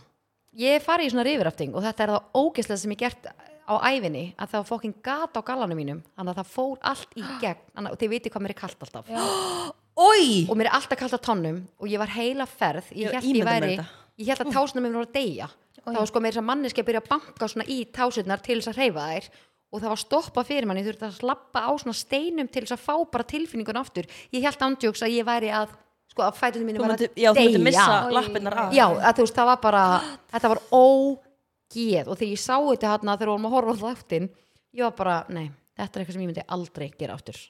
Speaker 1: ég fari í svona rifirafting og þetta er það ógeðslega sem ég gert á æfinni að það var fokkin gata á gallanum mínum þannig að það fór allt í gegn þannig að þið viti hvað mér er kalt alltaf
Speaker 2: Oi!
Speaker 1: og mér er alltaf kalt á tannum og ég var heila ferð
Speaker 2: Já,
Speaker 1: ég held ég
Speaker 2: ímynda mér
Speaker 1: væri
Speaker 2: þetta.
Speaker 1: ég held að tásunum mér voru að deyja þá var sko meira þess að manneski að byrja að banka svona í tásunar til þess að reyfa þær og það var stoppa fyrir manni, ég þurfti að slappa á svona steinum til þess að fá bara tilfinningun aftur ég held ándjóks að ég væri að sko að fætunum mínu
Speaker 2: Þú
Speaker 1: var að
Speaker 2: myndi, já, þú myndi missa
Speaker 1: deyja
Speaker 3: Oj.
Speaker 2: lappirnar af
Speaker 1: já, að, þú veist, það var bara þetta var ógeð og þegar ég sá þetta hann þegar við vorum að horfa alltaf aftin ég var bara, nei, þetta er eitthvað sem ég myndi aldrei gera aftur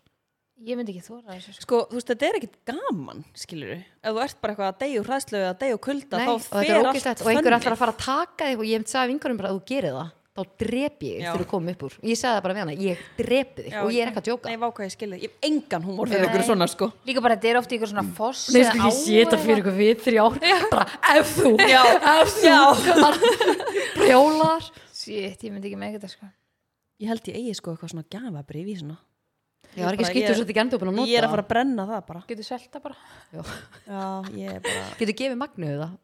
Speaker 3: Ég myndi ekki þóra þessu sko.
Speaker 2: Sko, þú veist, þetta er ekkit gaman, skilur Ef þú ert bara eitthvað að deyja úr hræðslu eða deyja úr kulda
Speaker 1: Nei,
Speaker 2: þá
Speaker 1: og þetta
Speaker 2: fer
Speaker 1: er
Speaker 2: allt
Speaker 1: ógæslegt og einhver
Speaker 2: þannig.
Speaker 1: ætlar að fara að taka þig og ég sagði vingurum bara að þú gerir það þá drep ég þig
Speaker 2: Já.
Speaker 1: þegar þú komum upp úr ég sagði það bara við hana, ég drep þig
Speaker 2: Já,
Speaker 1: og ég er ekki að djóka
Speaker 2: Nei, vákvað ég skilði, ég hef engan húmór fyrir
Speaker 3: Nei.
Speaker 2: ykkur svona, sko
Speaker 3: Líka bara þetta er ofta ykkur svona foss
Speaker 1: Nei,
Speaker 3: eða
Speaker 1: sko, ég
Speaker 3: á
Speaker 1: sé þetta
Speaker 3: eða-
Speaker 1: fyrir ykkur við þrjár bara ef þú,
Speaker 2: [laughs] Já.
Speaker 1: ef þú brjólar
Speaker 3: Shit, ég myndi ekki með þetta sko
Speaker 2: Ég held ég eigi sko eitthvað svona gafabrif í svona
Speaker 1: ég var
Speaker 2: Ég
Speaker 1: ekki
Speaker 2: bara-
Speaker 1: skýttur
Speaker 2: ég-
Speaker 1: svo þetta gændu búin að nota
Speaker 2: Ég er að fara að brenna það bara
Speaker 3: Getur selta bara
Speaker 2: Já, ég er bara
Speaker 1: getur gefið magnuðu það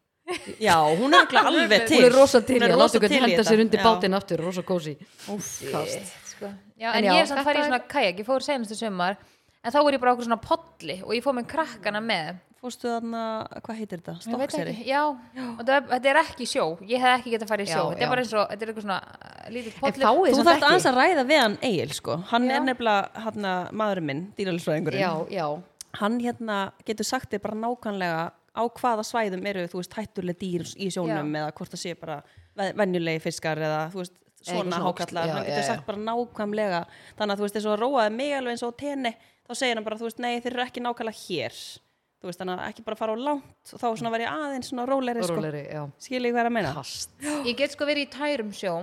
Speaker 2: Já, hún er örugglega alveg til
Speaker 1: hún er rosa til í
Speaker 2: Hún er
Speaker 1: að
Speaker 2: rosa
Speaker 1: láta
Speaker 2: til í
Speaker 1: hvernig henda
Speaker 2: þetta.
Speaker 1: sér undir
Speaker 2: Já.
Speaker 1: bátinn aftur, rosa kósi
Speaker 3: Shit, sko. Já,
Speaker 1: En
Speaker 3: en,
Speaker 1: já,
Speaker 3: ég er samt
Speaker 1: þetta
Speaker 3: farið í
Speaker 1: er-
Speaker 3: svona kajak Ég fór senastu sumar En þá voru ég bara okkur svona podli Og ég fór með krakkana með
Speaker 2: Fórstu þarna, hvað heitir þetta?
Speaker 3: Ég veit
Speaker 2: Stokkseri
Speaker 3: ekki, Já, og það, er- þetta er ekki sjó Ég hef ekki getað farið í
Speaker 1: Já,
Speaker 3: sjó Þetta
Speaker 1: já.
Speaker 3: er bara eins og, þetta er eitthvað svona uh, Lítið
Speaker 1: en
Speaker 3: podli
Speaker 1: fáið
Speaker 2: Þú
Speaker 1: samt
Speaker 2: þarft
Speaker 1: ekki
Speaker 2: aðeins að ræða við hann Egil sko Hann
Speaker 3: Já.
Speaker 2: er nefnilega, hann maðurinn minn, dýralisfræðingurinn
Speaker 1: já, já,
Speaker 2: hann hérna getur sagt þig bara nákvæmlega á hvaða svæðum eru þú veist hættuleg dýr í sjónum eða hvort það sé bara ve- venjulegi fiskar eða þú veist
Speaker 1: Eitthvað
Speaker 2: svona
Speaker 1: svona
Speaker 2: hákallar,
Speaker 1: ógeðslega,
Speaker 2: hann
Speaker 1: já,
Speaker 2: getur
Speaker 1: já,
Speaker 2: sagt bara nákvæmlega þannig að þú veist eins og róaði mig alveg eins og á tenni þá segir hann bara þú veist nei þeir eru ekki nákvæmlega hér þú veist þannig að ekki bara fara á langt og þá
Speaker 1: Mm.
Speaker 2: svona verið aðeins svona rólegri sko.
Speaker 1: róleri, já
Speaker 2: skiljið hvað er að meina
Speaker 1: Kast.
Speaker 3: Ég get sko verið í tærum sjó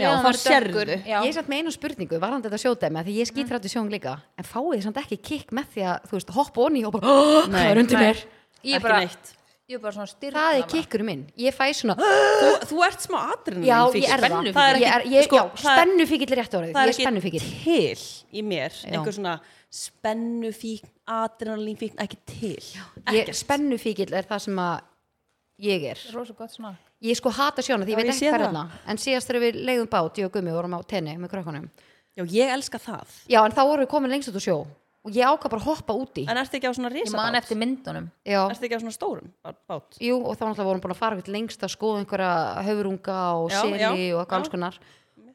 Speaker 2: Já,
Speaker 3: leiðan
Speaker 2: þá
Speaker 3: var dökkur,
Speaker 2: sérðu.
Speaker 3: já.
Speaker 1: Ég er samt með einu spurningu, var hann þetta sjódæmi af því ég
Speaker 2: Mm.
Speaker 1: skýt rætti sjón líka, en fáið þið samt ekki kikk með því að, þú veist, hoppa onni og bara, [gasps] "Ah, það er undir
Speaker 3: Nei.
Speaker 1: mér
Speaker 3: Ég er
Speaker 2: ekki
Speaker 3: bara,
Speaker 2: neitt
Speaker 3: ég er bara svona styrna
Speaker 1: það er kikkurinn minn, ég fæ svona "Ah,
Speaker 2: þú, þú ert smá adrenalin
Speaker 1: já, ég er það,
Speaker 2: það er
Speaker 1: ég er,
Speaker 2: ekki,
Speaker 1: ég,
Speaker 2: sko,
Speaker 1: já,
Speaker 2: það er-
Speaker 1: spennufíkill er rétt orðið,
Speaker 2: Sko,
Speaker 1: ég
Speaker 2: það er
Speaker 1: er
Speaker 2: ekki
Speaker 1: spennufíkill
Speaker 2: til í mér einhver svona spennufíkn, adrenalínfíkn ekki til
Speaker 1: Ég- spennufíkill er það sem að ég er,
Speaker 3: Rósa gott smak
Speaker 1: ég sko hata sjóna því ég
Speaker 2: Já,
Speaker 1: veit
Speaker 2: ég sé
Speaker 1: ekki
Speaker 2: það.
Speaker 1: hverðna, en síðast þegar við leiðum bát, ég og Gummi vorum á tenni með krökkunum,
Speaker 2: já, ég elska það
Speaker 1: já, en þá vorum við komin lengst út úr sjó og ég ákvað bara að hoppa úti
Speaker 2: en ertu ekki á svona
Speaker 3: Ég man
Speaker 2: risabát?
Speaker 3: eftir myndunum
Speaker 1: já,
Speaker 2: ertu ekki á svona stórum bát? bát?
Speaker 1: Jú, og þá náttúrulega vorum búin að fara eitthvað lengst að skoða einhverja höfurunga og
Speaker 2: Já,
Speaker 1: seli
Speaker 2: já,
Speaker 1: og eitthvað
Speaker 2: já.
Speaker 1: alls konar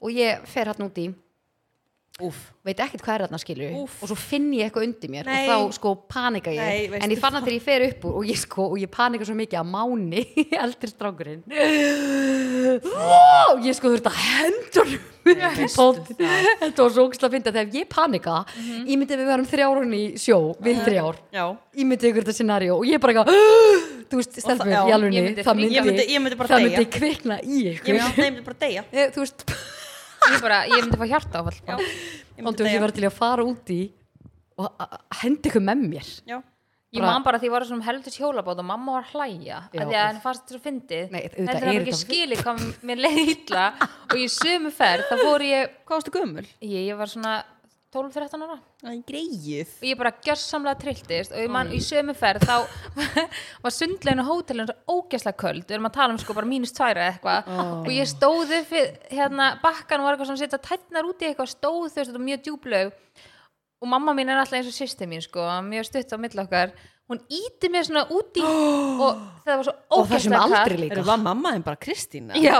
Speaker 1: og ég fer hann úti,
Speaker 2: Úf.
Speaker 1: veit ekkert hvað er hann skilur
Speaker 2: Úff.
Speaker 1: og svo finn ég eitthvað undir mér
Speaker 2: Nei.
Speaker 1: og þá sko panika ég
Speaker 2: Nei, veistu
Speaker 1: en ég fann það þegar ég fer upp úr og ég sko og ég panika svo mikið að máni [laughs] eldri strákurinn og ég sko þurfti að hendur upp í bótt [laughs] þetta var svo ógstlega að finna þegar ég panika
Speaker 2: Mhm.
Speaker 1: ég myndi að við varum þrjárun í sjó við þrjár
Speaker 2: já
Speaker 1: ég myndi ykkur þetta scenario og ég bara eitthvað [gasps] þú veist, stelpur,
Speaker 2: já,
Speaker 1: í alveg
Speaker 3: ég myndi
Speaker 1: það myndi,
Speaker 3: fríka.
Speaker 2: Ég myndi- ég myndi bara
Speaker 1: það
Speaker 2: deyja.
Speaker 1: myndi kvikna í
Speaker 2: ég
Speaker 1: ykkur
Speaker 2: myndi nefnir bara deyja
Speaker 1: Eh, þú veist,
Speaker 3: Ég, bara, ég myndi fá hjarta áfall
Speaker 2: já, ég myndi
Speaker 1: ándur ég
Speaker 2: deyja
Speaker 1: var til í að fara út í og a- a- henda ykkur með mér
Speaker 2: já,
Speaker 3: Ég man bara því ég var á svona heldur hjólabót og mamma var að hlæja
Speaker 1: Já,
Speaker 3: að því að
Speaker 1: úff.
Speaker 3: henni fannst þetta svo fyndið
Speaker 1: Nei, auðvitað
Speaker 3: en það
Speaker 1: er
Speaker 3: ekki
Speaker 1: þetta-
Speaker 3: skilið hvað mér leið illa og ég sömu ferð þá fór ég,
Speaker 2: hvað varstu gömul?
Speaker 3: ég, ég var svona 12-13 ára
Speaker 2: það er greið
Speaker 3: og ég bara gjörsamlega trilltist og ég man, í sömu ferð þá [laughs] var sundlegin og hótelin svo ógæslega köld við erum að tala um sko bara mínus tværa eða eitthvað og ég stóð upp við, hérna, bakkan og var eitthvað svona að setja tætnar út í eitthvað stóð þú veist, þetta var mjög djúblaug og mamma mín er alltaf eins og sýsti mín sko, mjög stutt á milli okkar hún íti mér svona út
Speaker 1: [gasps]
Speaker 3: í og það var svo
Speaker 1: og það sem
Speaker 3: ógæslega
Speaker 1: aldrei
Speaker 2: eru
Speaker 1: líka
Speaker 2: það mamma en bara Kristína
Speaker 3: Já,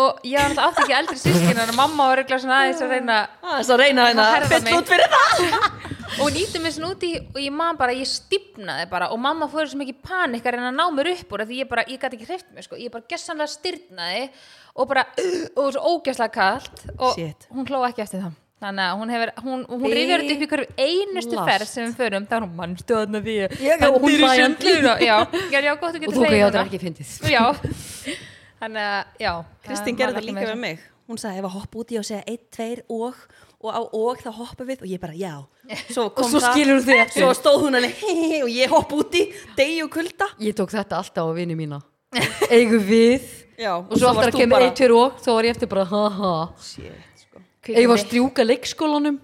Speaker 3: og ég var alltaf átti ekki eldri sískinn en mamma var eitthvað svona aðeins að reyna
Speaker 2: það er svo að reyna
Speaker 3: Herða
Speaker 2: hérna
Speaker 3: mig.
Speaker 2: fyll út fyrir það
Speaker 3: og nýtti mér svona úti og ég man bara, ég stífnaði bara og mamma fóður svo mikið panik að reyna að ná mér upp úr af því ég bara, ég gæti ekki hreift mér sko, ég bara gessanlega styrnaði og bara, [clears throat] uh, og svo ógesla kallt og
Speaker 2: Shit.
Speaker 3: hún hló ekki eftir það þannig að hún hefur, hún, hún rifjar þetta upp í hverju einustu
Speaker 1: Bilast.
Speaker 3: ferð sem við förum þá er hún mannstu þarna því
Speaker 1: Ég- og hún
Speaker 3: Hendur í
Speaker 1: hlæjandi.
Speaker 3: sundlaugina. [laughs] já, já, já, gott þú
Speaker 1: og
Speaker 3: getur
Speaker 1: þú hvað ég
Speaker 3: hlegið
Speaker 1: átti
Speaker 3: núna.
Speaker 1: ekki fyndið
Speaker 3: já [laughs] þannig að, já
Speaker 2: Kristín gerði
Speaker 3: það var
Speaker 2: þetta
Speaker 3: ekki
Speaker 2: líka
Speaker 3: meira.
Speaker 2: með mig hún sagði ef að hoppa út í og segja 1, 2 og og á og þá hoppum við og ég bara
Speaker 1: [laughs]
Speaker 2: já svo kom
Speaker 1: svo
Speaker 2: það
Speaker 1: skilurðu þig eftir.
Speaker 2: svo stóð hún alveg hehehe og ég hoppa út í degi og kulda
Speaker 1: ég tók þetta alltaf á vini mína eigum við
Speaker 2: já,
Speaker 1: og svo aftur að kemur eitt fyrir og þá var ég eftir bara ha ha
Speaker 2: Shit, sko.
Speaker 1: ég var að strjúka leikskólanum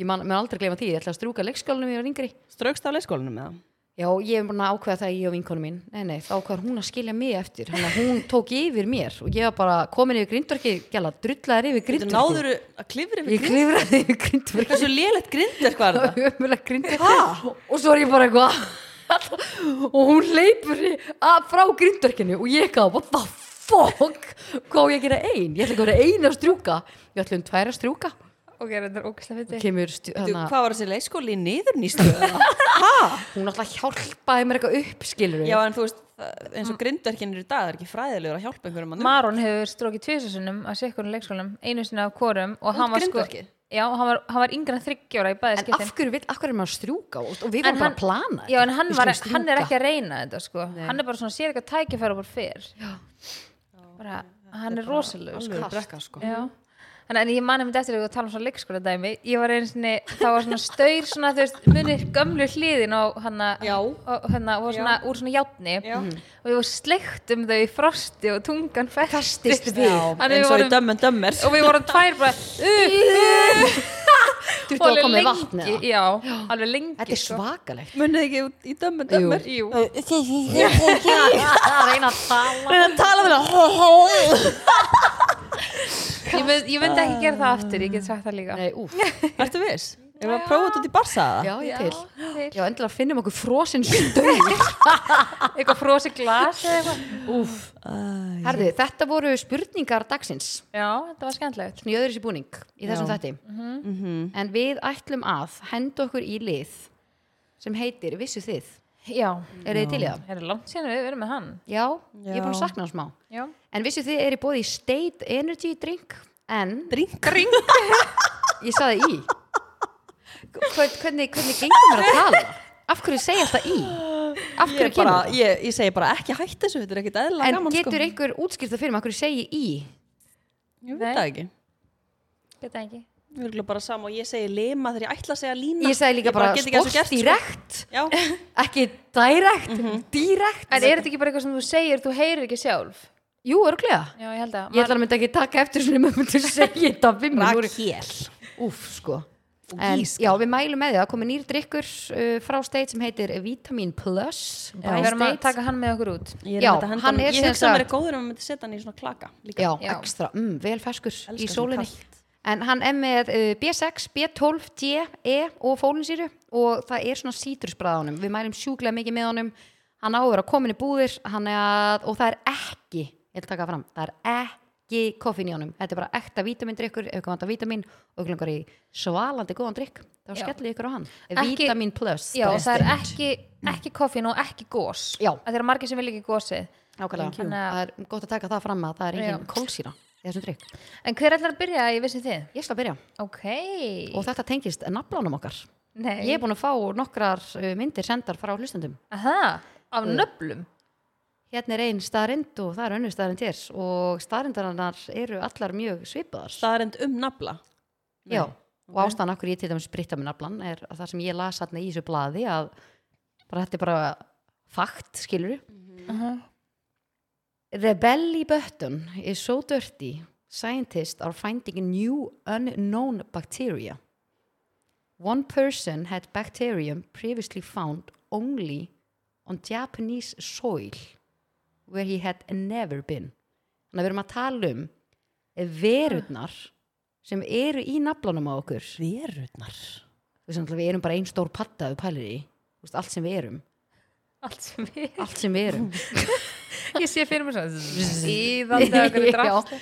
Speaker 1: ég man, man aldrei gleyma því, ég ætla að strjúka leikskólanum þegar ég var yngri
Speaker 2: straukst á leikskólanum með það
Speaker 1: já, ég hef búin að ákveða það ég og vinkonu mín nei, nei, þá ákveðar hún að skilja mig eftir hann að hún tók yfir mér og ég var bara komin yfir grindverki, gæla, drullaðir yfir grindverki
Speaker 2: náður að klifra
Speaker 1: sko. ég
Speaker 2: yfir grind
Speaker 1: klifraði yfir grindverki
Speaker 2: hversu lélegt grind er hvað er það
Speaker 1: ömulega grindverki og svo er ég bara eitthvað og hún leipur í- að- frá grindverkinu og ég gaf what the fuck hvað á ég að gera ein ég ætla ekki að vera ein að strjúka ég ætla um tvær að strjúka
Speaker 3: ok, þetta er ógesla fyndi
Speaker 1: kemur stjú, [laughs]
Speaker 2: Þú,
Speaker 1: hana,
Speaker 2: hvað var þessi leikskóli í niðurnýstu [laughs] já
Speaker 1: hún alltaf hjálpaði mér eitthvað upp skilur við
Speaker 2: en þú veist það- eins og grindverkin eru í dag það er ekki fræðilegur að hjálpa einhverjum að
Speaker 3: Maron hefur strókið tvisasunum að sekkurinn leikskólanum, einu sinna af kórum og hann var sko,
Speaker 2: grindverkið?
Speaker 3: já, og hann var, hann var yngra þryggjóra í bæði
Speaker 1: en af
Speaker 3: skiptin
Speaker 1: hverju, við, af hverju er maður að strjúka og, og við
Speaker 3: En
Speaker 1: varum bara
Speaker 3: hann-
Speaker 1: að plana
Speaker 3: já, en hann,
Speaker 1: Við
Speaker 3: var,
Speaker 1: skulum
Speaker 3: hann er
Speaker 1: strjúka.
Speaker 3: ekki að reyna þetta sko, hann er bara svona sér eitthvað tækifæra bara fyrr bara, hann er rosalegu sko.
Speaker 2: alveg brekka sko
Speaker 3: Já. Þannig en ég mani mitt eftir að tala um svona leikskóla dæmi ég var einu sinni, það var svona staur svona, þú veist, munir gömlu hliðin og hann
Speaker 2: Já.
Speaker 3: og hérna, og svona, úr svona játni
Speaker 2: Já.
Speaker 3: og ég var sleikt um þau í frosti og tungan festist
Speaker 1: Festist við.
Speaker 3: Þannig við
Speaker 2: eins og í
Speaker 3: vorum-
Speaker 2: dömmen dömmer
Speaker 3: og við vorum tvær bara uh, uh,
Speaker 1: Þurfti að koma í vatnið eða?
Speaker 3: já, alveg lengi
Speaker 1: þetta er
Speaker 3: sko. [laughs]
Speaker 1: svakalegt
Speaker 2: munið ekki út í dömmen
Speaker 1: Jú.
Speaker 2: dömmer
Speaker 3: Jú.
Speaker 1: að reyna að tala
Speaker 2: reyna að tala við um það
Speaker 3: ég, mynd, ég myndi ekki gera það aftur, ég get sagt það líka
Speaker 1: nei,
Speaker 3: [laughs]
Speaker 1: úf,
Speaker 2: Ertu viss? Ég var að prófa þetta út í barsa
Speaker 1: já,
Speaker 2: það
Speaker 1: ég til
Speaker 3: til.
Speaker 1: já, endilega finnum okkur frosin stöð
Speaker 3: eitthvað frosi glas eða eitthvað
Speaker 1: úf, [laughs] herðu,
Speaker 2: Mm.
Speaker 1: þetta voru spurningar dagsins
Speaker 3: já, þetta var skemmtilegt
Speaker 1: svona í öðru sér búning í þessum
Speaker 2: Já. Mhm.
Speaker 1: þætti en við ætlum að henda okkur í lið sem heitir Vissu þið,
Speaker 3: já,
Speaker 1: er þið til í það?
Speaker 3: það er langt síðan við erum með hann
Speaker 1: Já, ég er búin að
Speaker 2: Já.
Speaker 1: sakna hann smá
Speaker 3: já,
Speaker 1: En vissu þið er í bóði State Energy Drink en
Speaker 2: Drink
Speaker 1: drink. ég saði í Hvern, hvernig, hvernig gengur mér að tala? Af hverju segja alltaf í? Af hverju
Speaker 2: Ég, bara,
Speaker 1: kemur það?
Speaker 2: ég, ég segi bara ekki hætt þessu, þetta er ekkit eðla
Speaker 1: En
Speaker 2: gaman
Speaker 1: getur
Speaker 2: sko.
Speaker 1: einhver útskýrt það fyrir mig af hverju segi í?
Speaker 2: Ég veit það ekki
Speaker 3: geta ekki
Speaker 2: Við erum bara sama og ég segi lima þegar ég ætla að segja lína
Speaker 1: Ég sagði líka bara
Speaker 2: get ekki að þessu
Speaker 1: sport
Speaker 2: gert,
Speaker 1: direkt
Speaker 2: sko. Já,
Speaker 1: ekki direkt, mm direkt
Speaker 3: Mhm. en er þetta ekki bara eitthvað sem þú segir, þú heyrir ekki sjálf
Speaker 1: Jú, örglega
Speaker 3: já, ég held að
Speaker 1: Ég ætla að mynda ekki taka eftir svona með myndu segja
Speaker 3: [laughs]
Speaker 1: þetta við mig Nú er-
Speaker 2: Rakel
Speaker 1: Úf, sko. [laughs] En, já, við mælum með því að komi nýr drikkur uh, frá State sem heitir Vitamin Plus by
Speaker 3: við erum að
Speaker 1: State.
Speaker 3: taka hann með okkur út
Speaker 2: Ég, er
Speaker 1: Já,
Speaker 2: einmitt að henda
Speaker 1: hann
Speaker 2: honum-
Speaker 1: er
Speaker 2: ég
Speaker 1: sem
Speaker 2: hugsa að
Speaker 1: sagt-
Speaker 2: vera góður um að myndi setja hann í svona klaka líka.
Speaker 1: Já,
Speaker 3: Já.
Speaker 1: ekstra, mm, vel ferskur í
Speaker 2: svona
Speaker 1: sólinni.
Speaker 2: kalt.
Speaker 1: En hann er með uh, B6, B12, D, E og fólinsýru og það er svona sítrusbræð á honum. Við mælum sjúklega mikið með honum. Hann á að vera komin í búðir hann er að, og það er ekki, ég ætla að taka það fram, það er ekki koffin í honum. Þetta er bara ekta vítamindrykkur, ef ykkur vantar vítamin og ykkur langar í svalandi góðan drykk, þá
Speaker 3: Já.
Speaker 1: skellir ykkur á hann.
Speaker 3: Ekki-
Speaker 1: Vitamin Plus.
Speaker 3: já,
Speaker 1: by
Speaker 3: og það er
Speaker 1: State.
Speaker 3: ekki, ekki koffin og ekki gós
Speaker 1: Já.
Speaker 3: að það eru margir sem vil ekki gósið
Speaker 1: Nákvæmlega,
Speaker 3: you.
Speaker 1: það er gott að taka það fram að það er engin
Speaker 3: Já.
Speaker 1: kólsýra í þessum drikk.
Speaker 3: en hver ætlar að byrja, ég vissi þið
Speaker 1: Ég skal byrja
Speaker 3: ok,
Speaker 1: og þetta tengist nafnlánum okkar.
Speaker 3: Nei.
Speaker 1: Ég er búin að fá nokkrar uh, myndir sendar frá hlustendum.
Speaker 3: Aha,
Speaker 1: Eh.
Speaker 3: af nöflum
Speaker 1: Hérna er einn staðrind og það er önnur staðrind hér og staðrindarinnar eru allar mjög svipaðar.
Speaker 2: Það er end um nafla.
Speaker 1: Já, og ástæðan okkur ég til dæmis spritta með naflan er að það sem ég las hérna í þessu blaði að bara þetta er bara fakt, skilur The belly button is so dirty, scientists are finding new unknown bacteria. One person had bacterium previously found only on Japanese soil where he had never been. Þannig að við erum að tala um verurnar sem eru í naflanum á okkur.
Speaker 2: Verurnar.
Speaker 1: Við, sem, náttúrulega við erum bara ein stór patta við pælir í, Þú veist, allt sem við erum.
Speaker 3: allt sem við
Speaker 1: Allt sem við erum. [laughs]
Speaker 3: [laughs] ég sé fyrir mér svona íðandi okkur
Speaker 1: Já.
Speaker 3: drast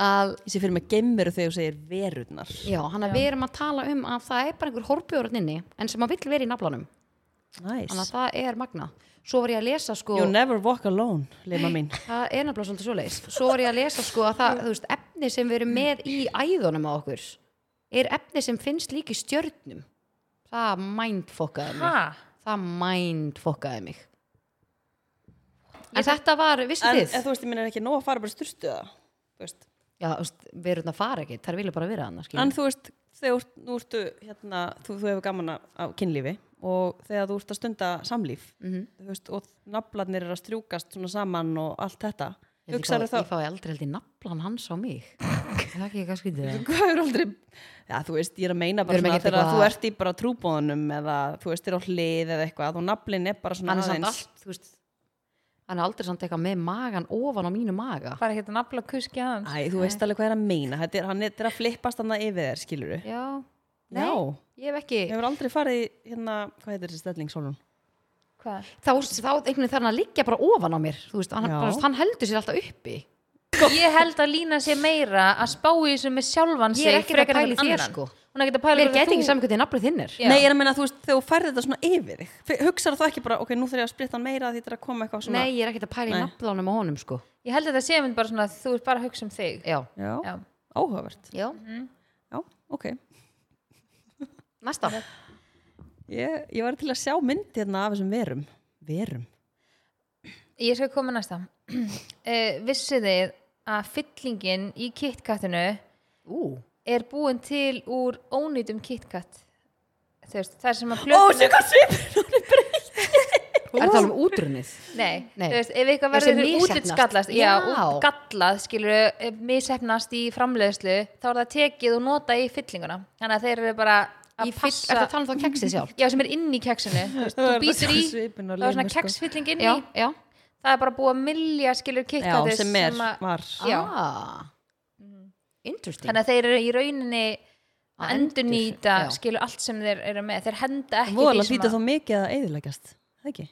Speaker 1: að
Speaker 2: Ég sé fyrir mig geimveru þegar þú segir verurnar.
Speaker 1: já, hann að við erum að tala um að það er bara einhver horfbjörn inni en sem að vill vera í naflanum þannig
Speaker 2: Nice.
Speaker 1: að það er magna svo var ég að lesa sko
Speaker 2: You never walk alone, lima mín.
Speaker 1: það er nefnilega svolítið svoleiðis svo var ég að lesa sko að það, þú veist, efni sem við erum með í æðunum á okkur er efni sem finnst líka í stjörnum það mindfokkaði mig
Speaker 3: Ha?
Speaker 1: það mindfokkaði mig en þetta var, vissu
Speaker 2: En,
Speaker 1: þið
Speaker 2: en þú veist, ég minn er ekki nóg að fara bara sturtu það. Þú veist.
Speaker 1: já, þú veist, við erum að fara ekki, þær vilja bara vera annars
Speaker 2: En þú veist, þegar þú ert- nú ertu, hérna, þú, þú hefur gaman af- af kynlífi og þegar þú ert að stunda samlíf,
Speaker 1: Mhm.
Speaker 2: þú veist, og naflarnir eru að strjúkast svona saman og allt þetta.
Speaker 1: ég
Speaker 2: Hugsaðu
Speaker 1: fái
Speaker 2: þá,
Speaker 1: ég fái aldrei held í naflan hans á mig Er það ekki eitthvað skýtið það
Speaker 2: [laughs] hvað er aldrei, já, þú veist, ég er að meina
Speaker 1: Við
Speaker 2: bara
Speaker 1: erum
Speaker 2: svona
Speaker 1: ekkert
Speaker 2: þegar
Speaker 1: eitthvað
Speaker 2: þú
Speaker 1: að-
Speaker 2: ert í bara trúbóðunum eða þú veist, er á hlið eða eitthvað og naflin er bara svona
Speaker 1: hann er samt
Speaker 2: aðeins.
Speaker 1: allt, þú veist hann er aldrei samt eitthvað með magan ofan á mínu maga
Speaker 3: Bara ekki að nafla kuski hans.
Speaker 2: Æ, þú veist alveg hvað er að meina, þetta er, hann er, þetta er að flippast hann yfir þér, skilur við.
Speaker 1: já, nei,
Speaker 2: Já,
Speaker 1: ég hef ekki
Speaker 2: ég hefur aldrei farið, í, hérna, hvað heitir þessi stelling, Solon?
Speaker 3: Hvað?
Speaker 1: þá, þá einhvern veginn þarf hann að liggja bara ofan á mér þú veist, hann,
Speaker 2: Já.
Speaker 1: bara, hann heldur sér alltaf uppi
Speaker 3: Sko, Ég held að lína sé meira að spá í þessu með sjálfan sig
Speaker 1: Ég er ekkert að
Speaker 3: frekar en
Speaker 1: pæla í
Speaker 3: einhvern
Speaker 1: þér,
Speaker 3: annan.
Speaker 1: sko.
Speaker 3: Hún er ekkert að pæla
Speaker 1: mér
Speaker 3: hvort að
Speaker 1: geti
Speaker 3: þú-
Speaker 1: ekki saman hvernig nafnið þinn er
Speaker 3: Já.
Speaker 2: Nei, ég er að meina þú veist, þegar þú færði þetta svona yfir þig fe- Hugsar það ekki bara, ok, nú þarf ég að splitta hann meira því þetta er að koma eitthvað svona
Speaker 1: nei, ég er ekkert að pæla í
Speaker 2: Nei.
Speaker 1: nafnlánum á honum sko.
Speaker 3: Ég held að þetta sé mynd bara svona að þú ert bara að hugsa um þig.
Speaker 1: já.
Speaker 2: Já,
Speaker 3: Já.
Speaker 2: áhugavert
Speaker 1: já,
Speaker 2: Já, ok
Speaker 1: næsta
Speaker 2: ég, ég var til að sjá mynd hérna af þessum verum Verum?
Speaker 3: Ég skal koma með næsta. [clears throat] uh, vissu þið að fyllingin í kitkattinu
Speaker 1: ú,
Speaker 3: er búin til úr ónýtum kitkatt? Þú veist, það er sem
Speaker 2: Ó,
Speaker 3: að plötu...
Speaker 2: sé hvað svipur
Speaker 1: er það um útrunnið
Speaker 3: Nei,
Speaker 1: Nei.
Speaker 3: þú veist, ef eitthvað
Speaker 1: Já, sem
Speaker 3: verður
Speaker 1: misheppnast.
Speaker 3: útlitsgallast, já,
Speaker 1: Já.
Speaker 3: út- gallað, skilur, misefnast í framleiðslu, þá er það tekið og nota í fyllinguna. Þannig að þeir eru bara að
Speaker 1: í fyrst, er
Speaker 3: passa...
Speaker 1: það að tala um þá keksið sjálf
Speaker 3: Já, sem er inn í keksinu. Þú, veist,
Speaker 2: Það
Speaker 3: þú
Speaker 2: er
Speaker 3: býtur í,
Speaker 2: svipinn á
Speaker 3: það er svona
Speaker 2: limur, sko.
Speaker 3: keksfylling inn í,
Speaker 1: já, já,
Speaker 3: það er bara búið að milja, skilur,
Speaker 2: Já,
Speaker 3: kitkatis
Speaker 2: sem er,
Speaker 3: að-
Speaker 2: var
Speaker 3: Já. Mhm.
Speaker 1: Ah. interesting
Speaker 3: þannig að þeir eru í rauninni
Speaker 1: Að
Speaker 3: að endurnýta
Speaker 1: endur- já.
Speaker 3: skilu allt sem þeir eru með þeir henda ekki
Speaker 2: Ah, Voðalega
Speaker 3: því
Speaker 2: hlýta þá
Speaker 3: sem
Speaker 2: mikið að eyðileggjast Það ekki?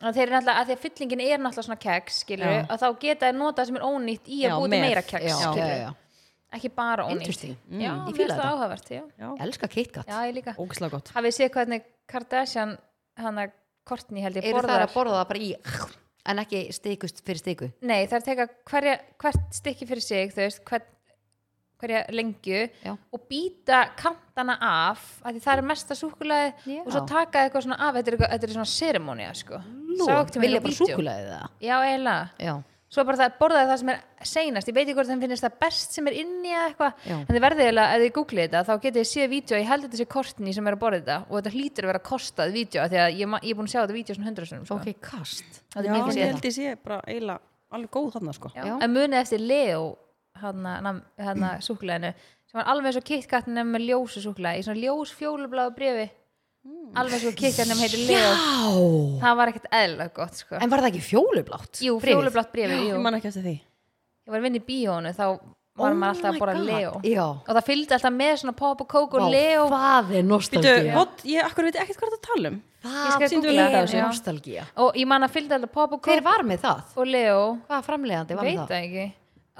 Speaker 3: að, þeir eru náttúrulega, að því að fyllingin er náttúrulega svona keks skilu,
Speaker 2: Já.
Speaker 3: að þá geta þeir nota sem er ónýtt í
Speaker 2: Já,
Speaker 3: að búið
Speaker 2: með.
Speaker 3: meira keks
Speaker 1: já,
Speaker 3: skilurðu.
Speaker 1: já, já,
Speaker 3: ekki bara ónýtt
Speaker 1: Interesting.
Speaker 3: mm. já,
Speaker 1: Ég
Speaker 3: mér
Speaker 1: fíla
Speaker 3: finnst það
Speaker 1: þetta.
Speaker 3: áhugavert já.
Speaker 2: Já,
Speaker 1: já elska KitKat
Speaker 3: já, ég líka
Speaker 2: ógislega gott
Speaker 3: hafið séð hvernig Kardashian hana Kortni held ég
Speaker 1: eru það
Speaker 3: borðar
Speaker 1: að borða það bara í en ekki stikust fyrir stiku
Speaker 3: nei, það er teka hverja, hvert stykki fyrir sig þú veist, hver, hverja lengju
Speaker 1: Já.
Speaker 3: og býta kantana af af því það er mesta súkulæði
Speaker 1: Já.
Speaker 3: og svo taka eitthvað svona af þetta er, eitthvað, þetta er svona ceremonía sko. Sá ekki til
Speaker 1: vil ég
Speaker 3: mér á
Speaker 1: bara
Speaker 3: vídeó.
Speaker 1: súkulaði það
Speaker 3: já, eiginlega
Speaker 1: já,
Speaker 3: svo bara það borðaði það sem er seinast ég veit ekki hvort þeim finnist það best sem er inni eða eitthvað
Speaker 1: Já.
Speaker 3: en þið verðið eiginlega, ef þið googlið þetta þá getið þið séð vídeo, ég held að þetta sé kortni sem er að borða þetta og þetta hlýtur að vera kostað vídeo af því að ég, ma- ég er búin að sjá þetta vídeo svona hundra sinum sko.
Speaker 1: ok, kast
Speaker 3: Þetta er
Speaker 2: Já,
Speaker 3: mjög fínt.
Speaker 2: ég held ég sé bara eiginlega alveg góð þarna sko
Speaker 3: Já. en munið eftir Leo hann
Speaker 1: [clears throat]
Speaker 3: að súkuleginu sem var alveg eins og KitKat nefn með ljósu súkulegi í svona ljós fjólubláðu brefi
Speaker 1: Hmm.
Speaker 3: alveg eins og KitKat nefn heitir Leo
Speaker 1: já,
Speaker 3: það var ekkert eðlilega gott sko.
Speaker 1: en var það ekki fjólublátt
Speaker 3: jú,
Speaker 1: Bréfið?
Speaker 3: fjólublátt brefi
Speaker 2: Ég
Speaker 3: jú.
Speaker 2: man ekki eftir því
Speaker 3: ég var að vinna í bíónu þá var
Speaker 1: Oh
Speaker 3: maður alltaf
Speaker 1: my
Speaker 3: að bora
Speaker 1: God.
Speaker 3: Leo
Speaker 1: Já.
Speaker 3: og það fylgdi alltaf með svona pop og kók og
Speaker 1: Vá,
Speaker 3: Sko, Leo
Speaker 1: það er
Speaker 2: Býtu,
Speaker 1: nostalgía
Speaker 2: what? ég akkur veit ekkert hvað það tala um
Speaker 1: það
Speaker 3: skal googla
Speaker 1: er
Speaker 3: þetta, já.
Speaker 1: nostalgía
Speaker 3: og ég man að fylgdi alltaf pop og
Speaker 1: hver
Speaker 3: kók
Speaker 1: var með það?
Speaker 3: og Leo
Speaker 1: hvað framlegandi var
Speaker 3: veit
Speaker 1: með það?
Speaker 3: það ekki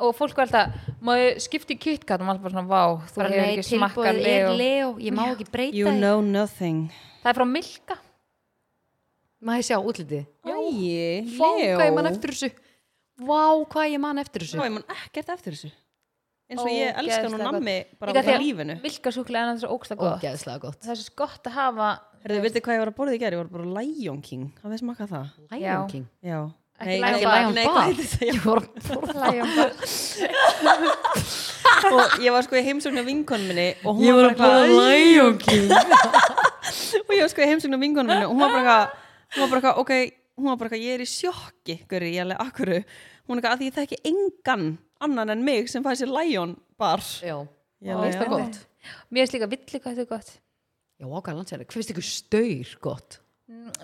Speaker 3: og fólk var alltaf, má ég skipta í KitKat og maður bara svona, vá, þú
Speaker 1: bara
Speaker 3: hefur
Speaker 1: nei,
Speaker 3: ekki smakkað
Speaker 1: tilbúið er
Speaker 3: Leo
Speaker 1: Leo ég má ekki breyta
Speaker 2: You
Speaker 1: því.
Speaker 2: know nothing
Speaker 3: það er frá Milka
Speaker 1: má ég sjá útlitið
Speaker 2: Æi,
Speaker 1: Vá, hvað ég man eftir þessu Vá, hvað ég man eftir
Speaker 2: Vá,
Speaker 1: þessu
Speaker 2: ég man ekkert eftir þessu eins og ég elska nú
Speaker 3: Ógeðslega
Speaker 2: nammi bara
Speaker 3: Líka
Speaker 2: út
Speaker 3: því
Speaker 2: af
Speaker 3: að
Speaker 2: lífinu
Speaker 3: Vilkasúkulega er náttúrulega ógsta gott
Speaker 1: Ógæðslega gott
Speaker 3: Það er svo gott að hafa
Speaker 2: Herðu, veitir hvað ég var að borða í gerð? Ég var bara Lion King, hafið þið smakað það?
Speaker 1: Lion King
Speaker 2: Já
Speaker 3: Ekki
Speaker 2: Nei,
Speaker 3: Lion
Speaker 2: ekki
Speaker 3: Bar.
Speaker 2: Lion
Speaker 1: Lion
Speaker 2: Nei,
Speaker 1: Bar.
Speaker 2: hvað heitir það?
Speaker 1: Ég voru að borða
Speaker 2: Já, og ég var sko í heimsóknu á vinkonu minni og hún var bara eitthvað-
Speaker 1: Lion King
Speaker 2: [laughs] og ég var sko í heimsóknu á vinkonu minni og hún var bara eitthvað- hún var bara eitthvað, ok hún var bara eitthvað, ég er í sjokki, guri, ég er alveg akkuru hún er eitthvað, að því ég þekki engan annan en mig sem fæði sér Lion bar
Speaker 1: Já,
Speaker 2: Já,
Speaker 1: mér finnst
Speaker 2: já.
Speaker 1: það gott
Speaker 3: Mér finnst líka villi hvað þetta er gott
Speaker 1: Já, ákvæðan sér Hvað finnst ykkur staur gott?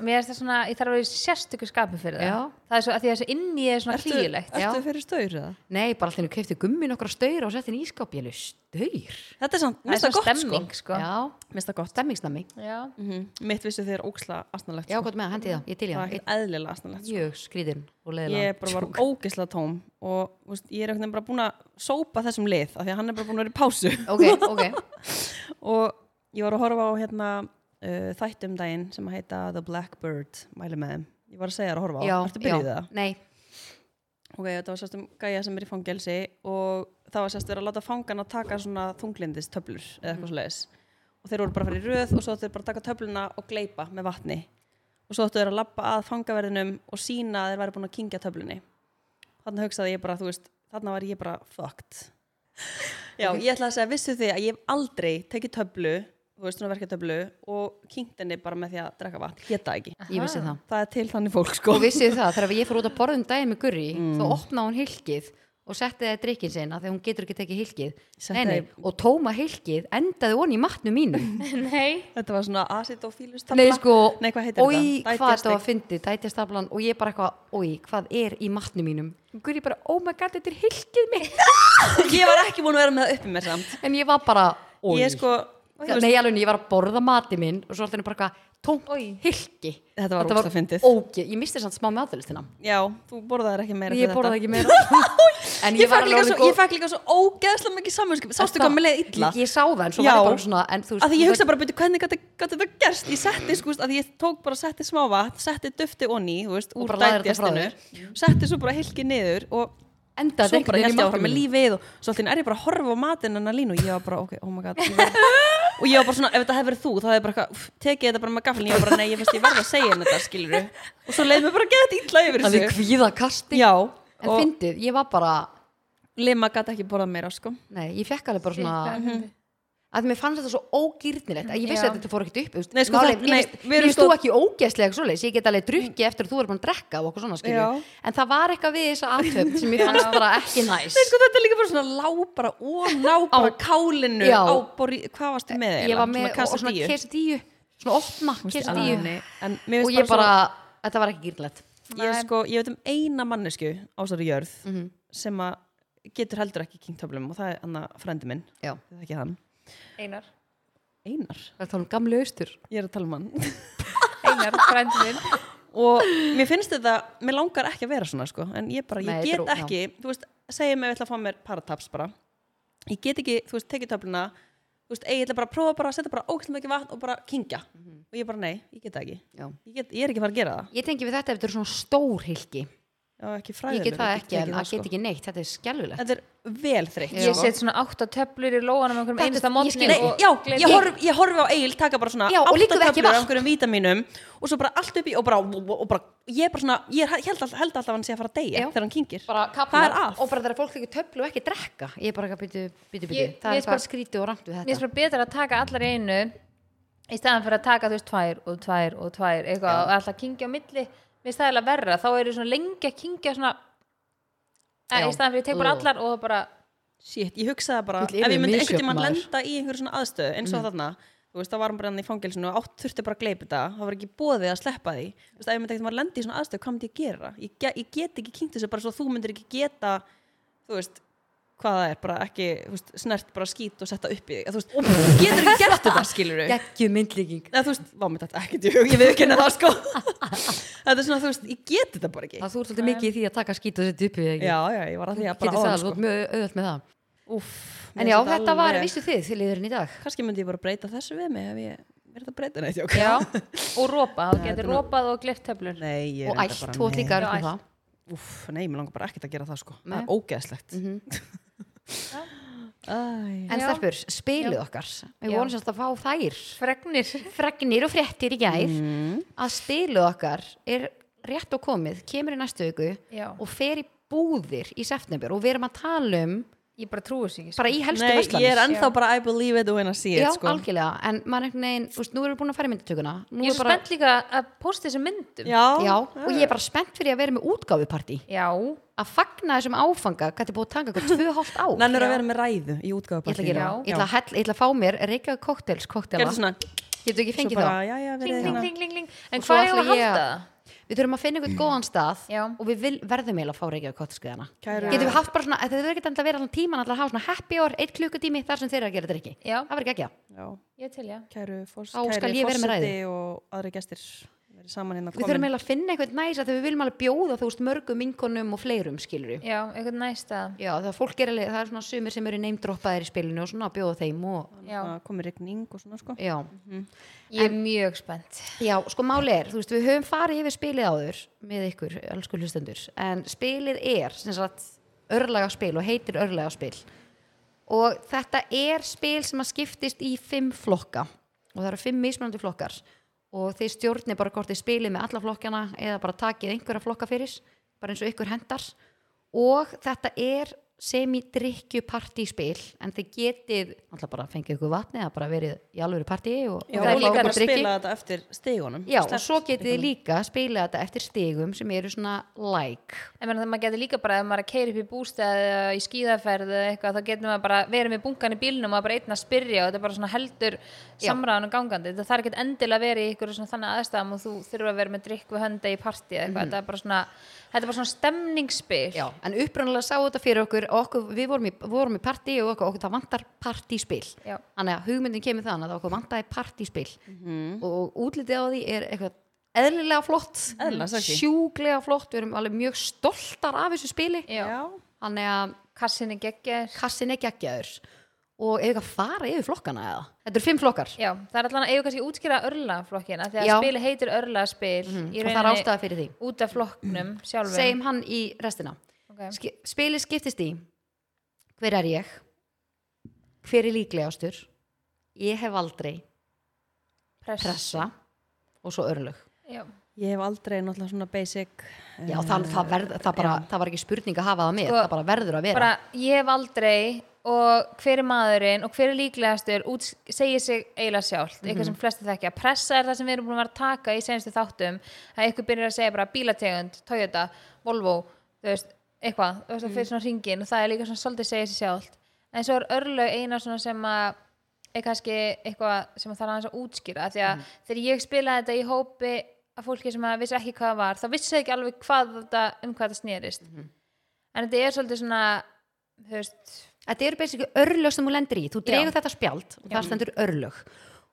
Speaker 3: mér er það svona, ég þarf að vera í sérstöku skapi fyrir það
Speaker 1: Já.
Speaker 3: það er svo, að því að þessu inni er svona klígilegt
Speaker 1: já.
Speaker 2: Ertu fyrir staur eða?
Speaker 1: Nei, bara alltaf keifti gummi nokkra staur og setti inn í ískáp, ég alveg staur.
Speaker 2: Þetta er samt,
Speaker 3: það
Speaker 2: mér
Speaker 3: er
Speaker 2: finnst það
Speaker 3: svona
Speaker 2: gott sko
Speaker 3: stemming sko,
Speaker 1: Já,
Speaker 2: Mér finnst það gott
Speaker 1: stemmingsnami.
Speaker 3: Já.
Speaker 2: mm Mitt vissu þeir óksla astnalegt
Speaker 1: Já, gott með það, hendi það, ég til í
Speaker 2: sko. Það er
Speaker 1: það.
Speaker 2: ekkert eðlilega astnalegt sko.
Speaker 1: Mjög skrýðin og leiðilega.
Speaker 2: Ég bara var ógislega tóm og þú veist, ég er ekkert bara búin að sópa þessum lið af því að hann er bara búin að vera í pásu
Speaker 1: [laughs] Ok, ok.
Speaker 2: [laughs] og ég var að horfa á hérna uh, þættum daginn sem að heita The Blackbird mæli með þeim ég var að segja þér að horfa á,
Speaker 1: Já,
Speaker 2: ertu byrjuð
Speaker 1: já.
Speaker 2: það?
Speaker 1: Nei,
Speaker 2: ok, þetta var sérst um gæja sem er í fangelsi og það var sérst verið að láta fangana taka svona þunglindis töflur eða eitthvað svo og þeir voru bara að fara í röð og svo áttu þeir bara að taka töfluna og gleipa með vatni og svo áttu þeir að labba að fangaverðinum og sína að þeir væri búin að kingja töflunni þannig hugsaði ég bara, þú veist þannig var ég bara fucked já, ég ætla að segja, vissu þið að ég hef aldrei tekið töflu, þú veist, svona verka töflu og kingt henni bara með því að drekka vatn geta ekki,
Speaker 1: ég vissi það.
Speaker 2: það er til þannig fólk sko
Speaker 1: Og vissið það, þegar ég fór út að borðum daginn með Gurri, þá
Speaker 2: Mm.
Speaker 1: opnaði hún hilkið og setti það í drikkin sinna þegar hún getur ekki tekið hilkið.
Speaker 2: Setti
Speaker 1: Nei, nei,
Speaker 2: það
Speaker 1: og tóma hilkið endaði honi í matnu mínu.
Speaker 3: nei,
Speaker 2: Þetta var svona acidofílus
Speaker 1: Nei, sko,
Speaker 2: Nei, hvað heitir
Speaker 1: oj,
Speaker 2: þetta?
Speaker 1: hvað þetta var að fyndi, dætjastaflan og ég bara eitthvað, oj, hvað er í matnu mínum? Gurri bara, oh my god, þetta er hilkið
Speaker 2: [laughs]
Speaker 1: mitt.
Speaker 2: Ég var ekki búin að vera með það uppi mér samt
Speaker 1: en ég var bara, oj.
Speaker 2: Ég sko þú veist,
Speaker 1: Nei, alveg, ég var að borða mati minn og svo alltaf bara eitthvað tómt
Speaker 3: Oj.
Speaker 1: hilki.
Speaker 2: Þetta var ógeðslega fyndið.
Speaker 1: ógeð, ég misti samt smá meðalistina.
Speaker 2: Já, þú borðaðir ekki meira
Speaker 1: Ég
Speaker 2: fyrir
Speaker 1: borða
Speaker 2: þetta.
Speaker 1: ekki
Speaker 2: [laughs]
Speaker 1: meira. en
Speaker 2: Ég fekk líka
Speaker 1: alveg
Speaker 2: svo-
Speaker 1: orðin
Speaker 2: Ég fekk líka svo ógeðslega mikið samvinskip Sástu hvað mér leið illa?
Speaker 1: Ég sá það, en svo
Speaker 2: Já.
Speaker 1: var ég bara svona, en þú
Speaker 2: Af því ég hugsa bara, byrju, hvernig gat gat þetta gerst? Ég setti, sko, að ég tók bara, setti smá vatn, setti dufti onni, þú veist, úr
Speaker 1: bara lagðir þetta frá
Speaker 2: dætjastinu, setti svo bara hilki niður og
Speaker 1: enda
Speaker 2: svo bara held ég áfram með lífið og svo alltaf er ég bara að horfa á matinn hennar línu og ég var bara, ok, oh my god ég var, og ég var bara svona, ef þetta hefði verið þú þá hefði ég bara, eitthvað, úff, tekið þetta bara með gaflin ég var bara, nei, ég finnst ég verð að segja henni þetta, skilur og svo leið mér bara að geta ítla yfir
Speaker 1: Það er
Speaker 2: þessu
Speaker 1: kvíða kasti.
Speaker 2: já,
Speaker 1: En
Speaker 2: og
Speaker 1: fyndið, ég var bara,
Speaker 2: Lima gæti ekki borðað meira, sko
Speaker 1: nei, ég fekk alveg bara
Speaker 3: Shit,
Speaker 1: svona,
Speaker 3: hvað er
Speaker 1: að mér fannst þetta svo ógýrnilegt, að ég vissi
Speaker 3: Já.
Speaker 1: að þetta fór ekkert upp. þú veist,
Speaker 2: Nei, sko,
Speaker 1: málið-
Speaker 2: það-
Speaker 1: Mér
Speaker 2: nei,
Speaker 1: finnst-
Speaker 2: við
Speaker 1: mér
Speaker 2: erum
Speaker 1: finnst
Speaker 2: sko-
Speaker 1: þú ekki ógeðslega svo leiðis, ég get alveg drukkið eftir að þú er búin að drekka og okkur svona skilju.
Speaker 2: Já.
Speaker 1: En það var eitthvað við þessa aðtöfn sem ég fannst bara ekki næs.
Speaker 2: Nei, sko, þetta er líka bara svona lá bara og ná bara kálinu
Speaker 1: Já.
Speaker 2: á bori, hvað varstu með
Speaker 1: Ég
Speaker 2: eiginlega?
Speaker 1: var með og svona
Speaker 2: quesadillu?
Speaker 1: quesadillu, svona opna
Speaker 2: Þú veist, í
Speaker 1: quesadillu.
Speaker 2: alvörunni, en mér
Speaker 1: Og
Speaker 2: finnst
Speaker 1: ég
Speaker 2: bara
Speaker 1: bara,
Speaker 2: svo-
Speaker 1: þetta var ekki gýrnilegt.
Speaker 2: ég,
Speaker 3: Nei.
Speaker 2: sko, ég veit um eina mannesku á þessari jörð
Speaker 1: Mhm.
Speaker 2: sem að getur heldur ekki kingtöflum og það er Anna frendi minn
Speaker 1: Já,
Speaker 2: það er ekki hann
Speaker 3: Einar
Speaker 2: Einar,
Speaker 1: það er tala um gamlu austur.
Speaker 2: ég er að tala um hann [laughs]
Speaker 3: Einar, frændi minn
Speaker 2: og mér finnst þetta, mér langar ekki að vera svona sko, en ég bara, ég
Speaker 1: Nei,
Speaker 2: get
Speaker 1: þetta er ó-
Speaker 2: ekki þú veist, segjum ef ég ætla að fá mér parataps bara, ég get ekki, þú veist, tekið töfluna þú veist, "Ey, ég ætla bara að prófa bara að setja bara ógæslega mikið vatn og bara kingja
Speaker 1: Mhm.
Speaker 2: og ég bara, nei, ég get það ekki
Speaker 1: Já.
Speaker 2: ég, get, ég er ekki að fara að gera það,
Speaker 1: Ég tengi við þetta ef þetta er svona stór hilki.
Speaker 2: Já, ekki
Speaker 1: Ég
Speaker 2: fræðilega
Speaker 1: get það ekki, en það
Speaker 2: sko.
Speaker 1: get ekki neitt, þetta er skelvilegt.
Speaker 2: þetta er vel þreytt sko.
Speaker 3: ég set svona átta töflur í lóanum einhverjum
Speaker 1: Þetta-
Speaker 3: einasta
Speaker 1: ég
Speaker 3: mótni
Speaker 1: skil.
Speaker 2: Nei,
Speaker 3: og
Speaker 2: já,
Speaker 3: gleymi-
Speaker 2: ég, horf, ég horfi á Egil taka bara svona
Speaker 1: Já, og líka
Speaker 2: átta
Speaker 1: ekki
Speaker 2: töflur
Speaker 1: vatn.
Speaker 2: af einhverjum vítamínum og svo bara allt upp í og bara, og bara ég er bara svona, ég er, held, all- held alltaf að hann sé að fara að deyja
Speaker 1: Já.
Speaker 2: þegar hann kynkir
Speaker 1: Bara
Speaker 2: Það er
Speaker 1: kapnar
Speaker 2: að.
Speaker 1: og bara þegar fólk ekki töflu og ekki drekka. Ég er bara ekki að byttu, byttu, byttu. Það er
Speaker 3: Ég- mér finnst bara-
Speaker 1: eitthvað skrítið og rangt við
Speaker 3: mér finnst
Speaker 1: þetta.
Speaker 3: bara betur að taka allar í einu í staðan fyrir að taka þú veist tvær og tvær og tvær eitthvað og alltaf kingja á milli mér finnst það eða verra, þá eru svona lengi að kingja svona e,
Speaker 1: Já.
Speaker 3: í staðan fyrir að teka bara
Speaker 1: Ú.
Speaker 3: allar og það bara
Speaker 2: Shit, ég hugsaði bara,
Speaker 1: Vill yfir
Speaker 2: ef ég myndi
Speaker 1: misjöfn
Speaker 2: einhvern tímann
Speaker 1: maður. Mm.
Speaker 2: lenda í einhverjum svona aðstöðu eins og þarna, þú veist, þá var hann bara hann í fangelsinu og átt þurfti bara að gleypa þetta, það var ekki bóðið að sleppa því, þú veist, ef ég myndi einhvern tímann lenda í svona aðstöðu, hvað myndi ég gera? Ég, ge ég get ekki kynnt þessu bara svo þú myndir ekki geta, þú veist, hvað það er, bara ekki, þú veist, snert bara skít og setta upp í þig, þú veist, þú getur ekki gert þetta, skilur við?
Speaker 1: Gekkju myndlíking.
Speaker 2: Eða, þú veist, vá, mér þetta ekki, ég veit ekki henni það, sko. þetta er svona, þú veist, ég get þetta bara ekki.
Speaker 1: Það þú ert svolítið mikið í því að taka skít og setja upp við ekki.
Speaker 2: Já, já, ég var að því að
Speaker 1: Getur
Speaker 2: bara
Speaker 1: það, þú
Speaker 2: áðan, sko.
Speaker 1: ert mjög auðvelt með það.
Speaker 2: Úff,
Speaker 1: En
Speaker 2: mér
Speaker 1: já,
Speaker 2: finnst
Speaker 1: þetta var,
Speaker 2: alveg-
Speaker 1: vissu þið, þið liðurinn í dag.
Speaker 2: kannski myndi ég bara breyta þessu við mig ef ég verið að breyta neitt jók.
Speaker 3: já, og
Speaker 2: [laughs]
Speaker 3: rópa, þú getur rópað og gleift töflur
Speaker 2: Nei, ég
Speaker 1: Og ætt, þú ert líka
Speaker 3: Já,
Speaker 1: auðvelt með
Speaker 3: ælt.
Speaker 1: það.
Speaker 2: Úf, nei, mér langar bara ekkert að gera það sko
Speaker 1: Nei. Mhm.
Speaker 2: Það er ógeðslegt mm
Speaker 3: Já.
Speaker 2: -hmm.
Speaker 1: En
Speaker 3: Já.
Speaker 1: stelpur, spilið okkar. Við
Speaker 3: Já.
Speaker 1: vonum sérst að fá þær
Speaker 3: fregnir
Speaker 1: fregnir og fréttir í gær
Speaker 2: Mm.
Speaker 1: að spilið okkar er rétt og komið, kemur í næstu viku
Speaker 3: Já.
Speaker 1: og fer í búðir í september og við erum að tala um
Speaker 3: ég bara trúi sig ekki sko.
Speaker 1: bara í helstu
Speaker 2: Nei,
Speaker 1: verslanir
Speaker 2: ég er ennþá bara I believe it when I see it
Speaker 1: Já,
Speaker 2: sko.
Speaker 1: algjörlega, en maður einhvern veginn, þú veist, nú erum við búin að fara í myndatökuna Nú
Speaker 3: ég er svo
Speaker 1: bara,
Speaker 3: spennt líka að posta þessum myndum
Speaker 2: Já,
Speaker 1: Já, og ég er bara spennt fyrir að vera með útgáfupartí
Speaker 3: já,
Speaker 1: að fagna þessum áfanga, hvað er búið að taka eitthvað tvö og hálft ár
Speaker 2: Nennar að vera með ræðu í
Speaker 1: Ég ætla að
Speaker 2: útgáfapartíð
Speaker 1: gera,
Speaker 3: Já.
Speaker 1: ég ætla að hell- ég ætla að fá mér reykjaðu kóktels, kóktela
Speaker 2: Gerðu svona
Speaker 1: getur ekki fengið
Speaker 2: bara,
Speaker 1: þá
Speaker 2: já, já, verið
Speaker 3: Kling, kling,
Speaker 2: hérna.
Speaker 3: kling, kling, kling. En
Speaker 1: Og svo
Speaker 3: hvað er að
Speaker 1: ætla ég
Speaker 3: halda það?
Speaker 1: við þurfum að finna einhvern góðan stað
Speaker 3: Já.
Speaker 1: og við vil, verðum eiginlega að fá reykja á kottuskriðana
Speaker 2: Kæru-
Speaker 1: getum við haft bara svona, þetta verður ekki alltaf að vera allan tíman alltaf að hafa svona happy hour, eitt klukkutími þar sem þeir eru að gera drikki
Speaker 3: Já,
Speaker 1: það verður ekki ekki,
Speaker 2: Já,
Speaker 3: ég til, já.
Speaker 2: kæru, fors,
Speaker 1: Þá skal
Speaker 2: kæri
Speaker 1: ég vera með
Speaker 2: forseti og aðri gestir verið saman hérna
Speaker 1: við þurfum eiginlega að finna einhvern næs að við viljum alveg bjóða þú veist mörgum vinkonum og fleirum skilur
Speaker 3: Já, eitthvað næsta.
Speaker 1: já það fólk er alveg, það er svona sumir sem eru neymdroppaðir í spilinu og svona að bjóða þeim og
Speaker 3: Já,
Speaker 2: að komið regning og svona sko
Speaker 1: já,
Speaker 3: ég er mjög spennt.
Speaker 1: já sko máli er, þú veist við höfum farið yfir spilið áður með ykkur, elsku hlustendur en spilið er, sem sagt örlaga og heitir örlaga og þetta er spil sem að skiptist í fimm flokka og það eru fimm mismunandi flokkar og þeir stjórni bara hvort þeir spilið með alla flokkana eða bara takið einhverja flokka fyrir bara eins og ykkur hendar og þetta er semidrykju partíspil en þið getið alltaf bara fengið ykkur vatni eða bara verið í alvöru partí og, og
Speaker 2: Já, það er
Speaker 1: fá
Speaker 2: líka
Speaker 1: ykkur
Speaker 2: að
Speaker 1: drykki.
Speaker 2: spila þetta eftir stigunum
Speaker 1: Já, og svo getið þið líka spilað þetta eftir stigum sem eru svona like
Speaker 3: En meðan það maður getur líka bara, ef maður er að keira upp í bústæð eða í skíðaferð eða eitthvað, þá getur maður bara verið með bungan í bílnum og bara einn að spyrja og þetta er bara svona heldur samræðan og gangandi. Þetta þarf ekki endilega að vera í ykkur svona þannig aðstæðum og þú þurfa að vera með drikk við hönda í partí eða eitthvað. Þetta er bara svona, þetta er bara svona stemningsspil.
Speaker 1: Mhm. Já, en upprunalega sá þetta fyrir okkur, og okkur við vorum í, vorum í partí og okkur, okkur það vantar partíspil
Speaker 3: Já.
Speaker 1: þannig að hugmyndin kemur þannig að okkur vantaði partíspil
Speaker 3: Mhm.
Speaker 1: og útlitið á því er eitthvað eðlilega flott
Speaker 2: Eðlilega sexy.
Speaker 1: sjúglega flott, við erum alveg mjög stoltar af þessu spili
Speaker 3: Já.
Speaker 2: Já,
Speaker 1: þannig að
Speaker 3: Kassin er geggjær.
Speaker 1: kassin er geggjaður og ef ekki að fara yfir flokkana eða þetta eru fimm flokkar
Speaker 3: Já, það er allan að eiga kannski að útskýra örlaflokkina því að
Speaker 1: Já. Mhm,
Speaker 3: spili heitir örlaspil í
Speaker 1: og það er
Speaker 3: rauninni
Speaker 1: ástæða fyrir því
Speaker 3: út af flokknum sjálfum
Speaker 1: segjum hann í restina
Speaker 3: Ok.
Speaker 1: Ski, spilið skiptist í hver er ég hver er líklegastur ég hef aldrei
Speaker 3: press,
Speaker 1: pressa og svo örlög
Speaker 3: Já.
Speaker 2: ég hef aldrei náttúrulega svona basic
Speaker 1: Já, það, það, verð, það, bara, það var ekki spurning að hafa það með
Speaker 3: Eh, Sko,
Speaker 1: það bara verður að vera
Speaker 3: bara ég hef aldrei og hver er maðurinn og hver er líklegastur út, segir sig eiginlega sjálft eitthvað sem flesti þekkja, pressa er það sem við erum búin að vera að taka í senstu þáttum að eitthvað byrjar að segja bara bílategund, Toyota Volvo, þú veist, eitthvað þú veist, það fyrir svona ringin og það er líka svona svolítið segir sig sjálft, en svo er örlög eina svona sem að er kannski eitthvað sem það er aðeins að útskýra af því að þegar ég spilaði þetta í hópi af fólki sem að vissi ekki hvað það var þá vissi það ekki alveg hvað þetta, um hvað þetta snerist en þetta er svolítið svona þú veist,
Speaker 1: Þetta eru basically örlög sem þú lendir í þú dregur
Speaker 3: Já.
Speaker 1: þetta spjald og það stendur örlög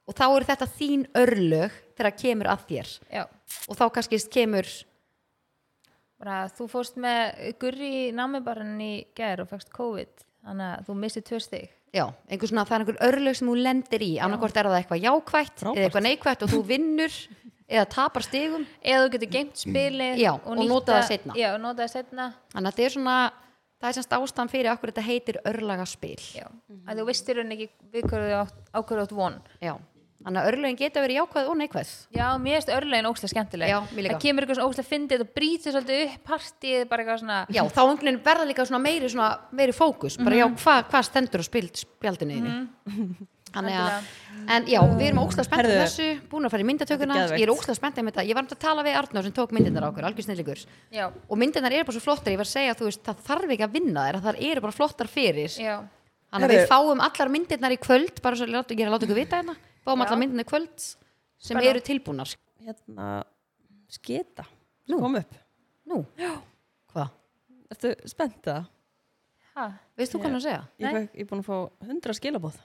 Speaker 1: og þá eru þetta þín örlög þegar kemur að þér
Speaker 3: já
Speaker 1: og þá kannski kemur
Speaker 3: bara, þú fórst með gurri í námibarinn í gær og fækst COVID þannig að þú missið tvö stig
Speaker 1: Já, einhver svona, það er einhver örlög sem þú lendir í annarkvort er það eitthvað jákvætt eða eitthvað neikvætt og þú vinnur eða tapar stigum
Speaker 3: eða þú getur geimt spilið
Speaker 1: Mm. Já, og
Speaker 3: nýtt
Speaker 1: notað það
Speaker 3: það-
Speaker 1: seinna.
Speaker 3: já, og notað það setna
Speaker 1: þannig að þetta er svona, það er semst ástæðan fyrir okkur þetta heitir örlagaspil
Speaker 3: já, að þú veistir hún ekki við hverju þú átt- á hverju þú átt von
Speaker 1: Já, þannig að örlögin geta verið jákvæð og neikvæð
Speaker 3: já, mér finnst örlegin ókslega skemmtileg
Speaker 1: Já, mér líka.
Speaker 3: það kemur eitthvað svona ókslega fyndið og brýtir svolítið upp partíið bara eitthvað svona
Speaker 1: Já, þá einhvern veginn verða líka svona meiri, svona, meiri fókus bara
Speaker 2: Mhm.
Speaker 1: já, hvað hva stendur á spild, spjaldinu mm Þannig að, en já, við erum ókslega spennt með
Speaker 2: Herðu,
Speaker 1: þessu, búin að fara í myndatökuna
Speaker 2: þetta er geðveikt.
Speaker 1: ég er ókslega spennt með þetta, ég var um að tala við Arnur sem tók myndirnar á okkur, algjör snillingur
Speaker 3: já,
Speaker 1: og myndirnar eru bara svo flottar, ég var að segja þú veist, það þarf ekki að vinna þær, það eru bara flottar fyrir
Speaker 3: já,
Speaker 1: Þannig að við
Speaker 2: Herðu.
Speaker 1: fáum allar myndirnar í kvöld bara svo láta- ég er að láta ykkur vita hérna, fáum
Speaker 3: Já.
Speaker 1: allar myndirnar í kvöld sem
Speaker 3: Spennandi.
Speaker 1: eru tilbúnar
Speaker 2: hérna, skita
Speaker 1: Nú.
Speaker 2: kom upp,
Speaker 1: Nú, hvað?
Speaker 2: ertu spennt það?
Speaker 3: ha,
Speaker 1: Veist þú hvað hann er að segja?
Speaker 2: Ég, fekk, ég er búin að fá 100 skilabóð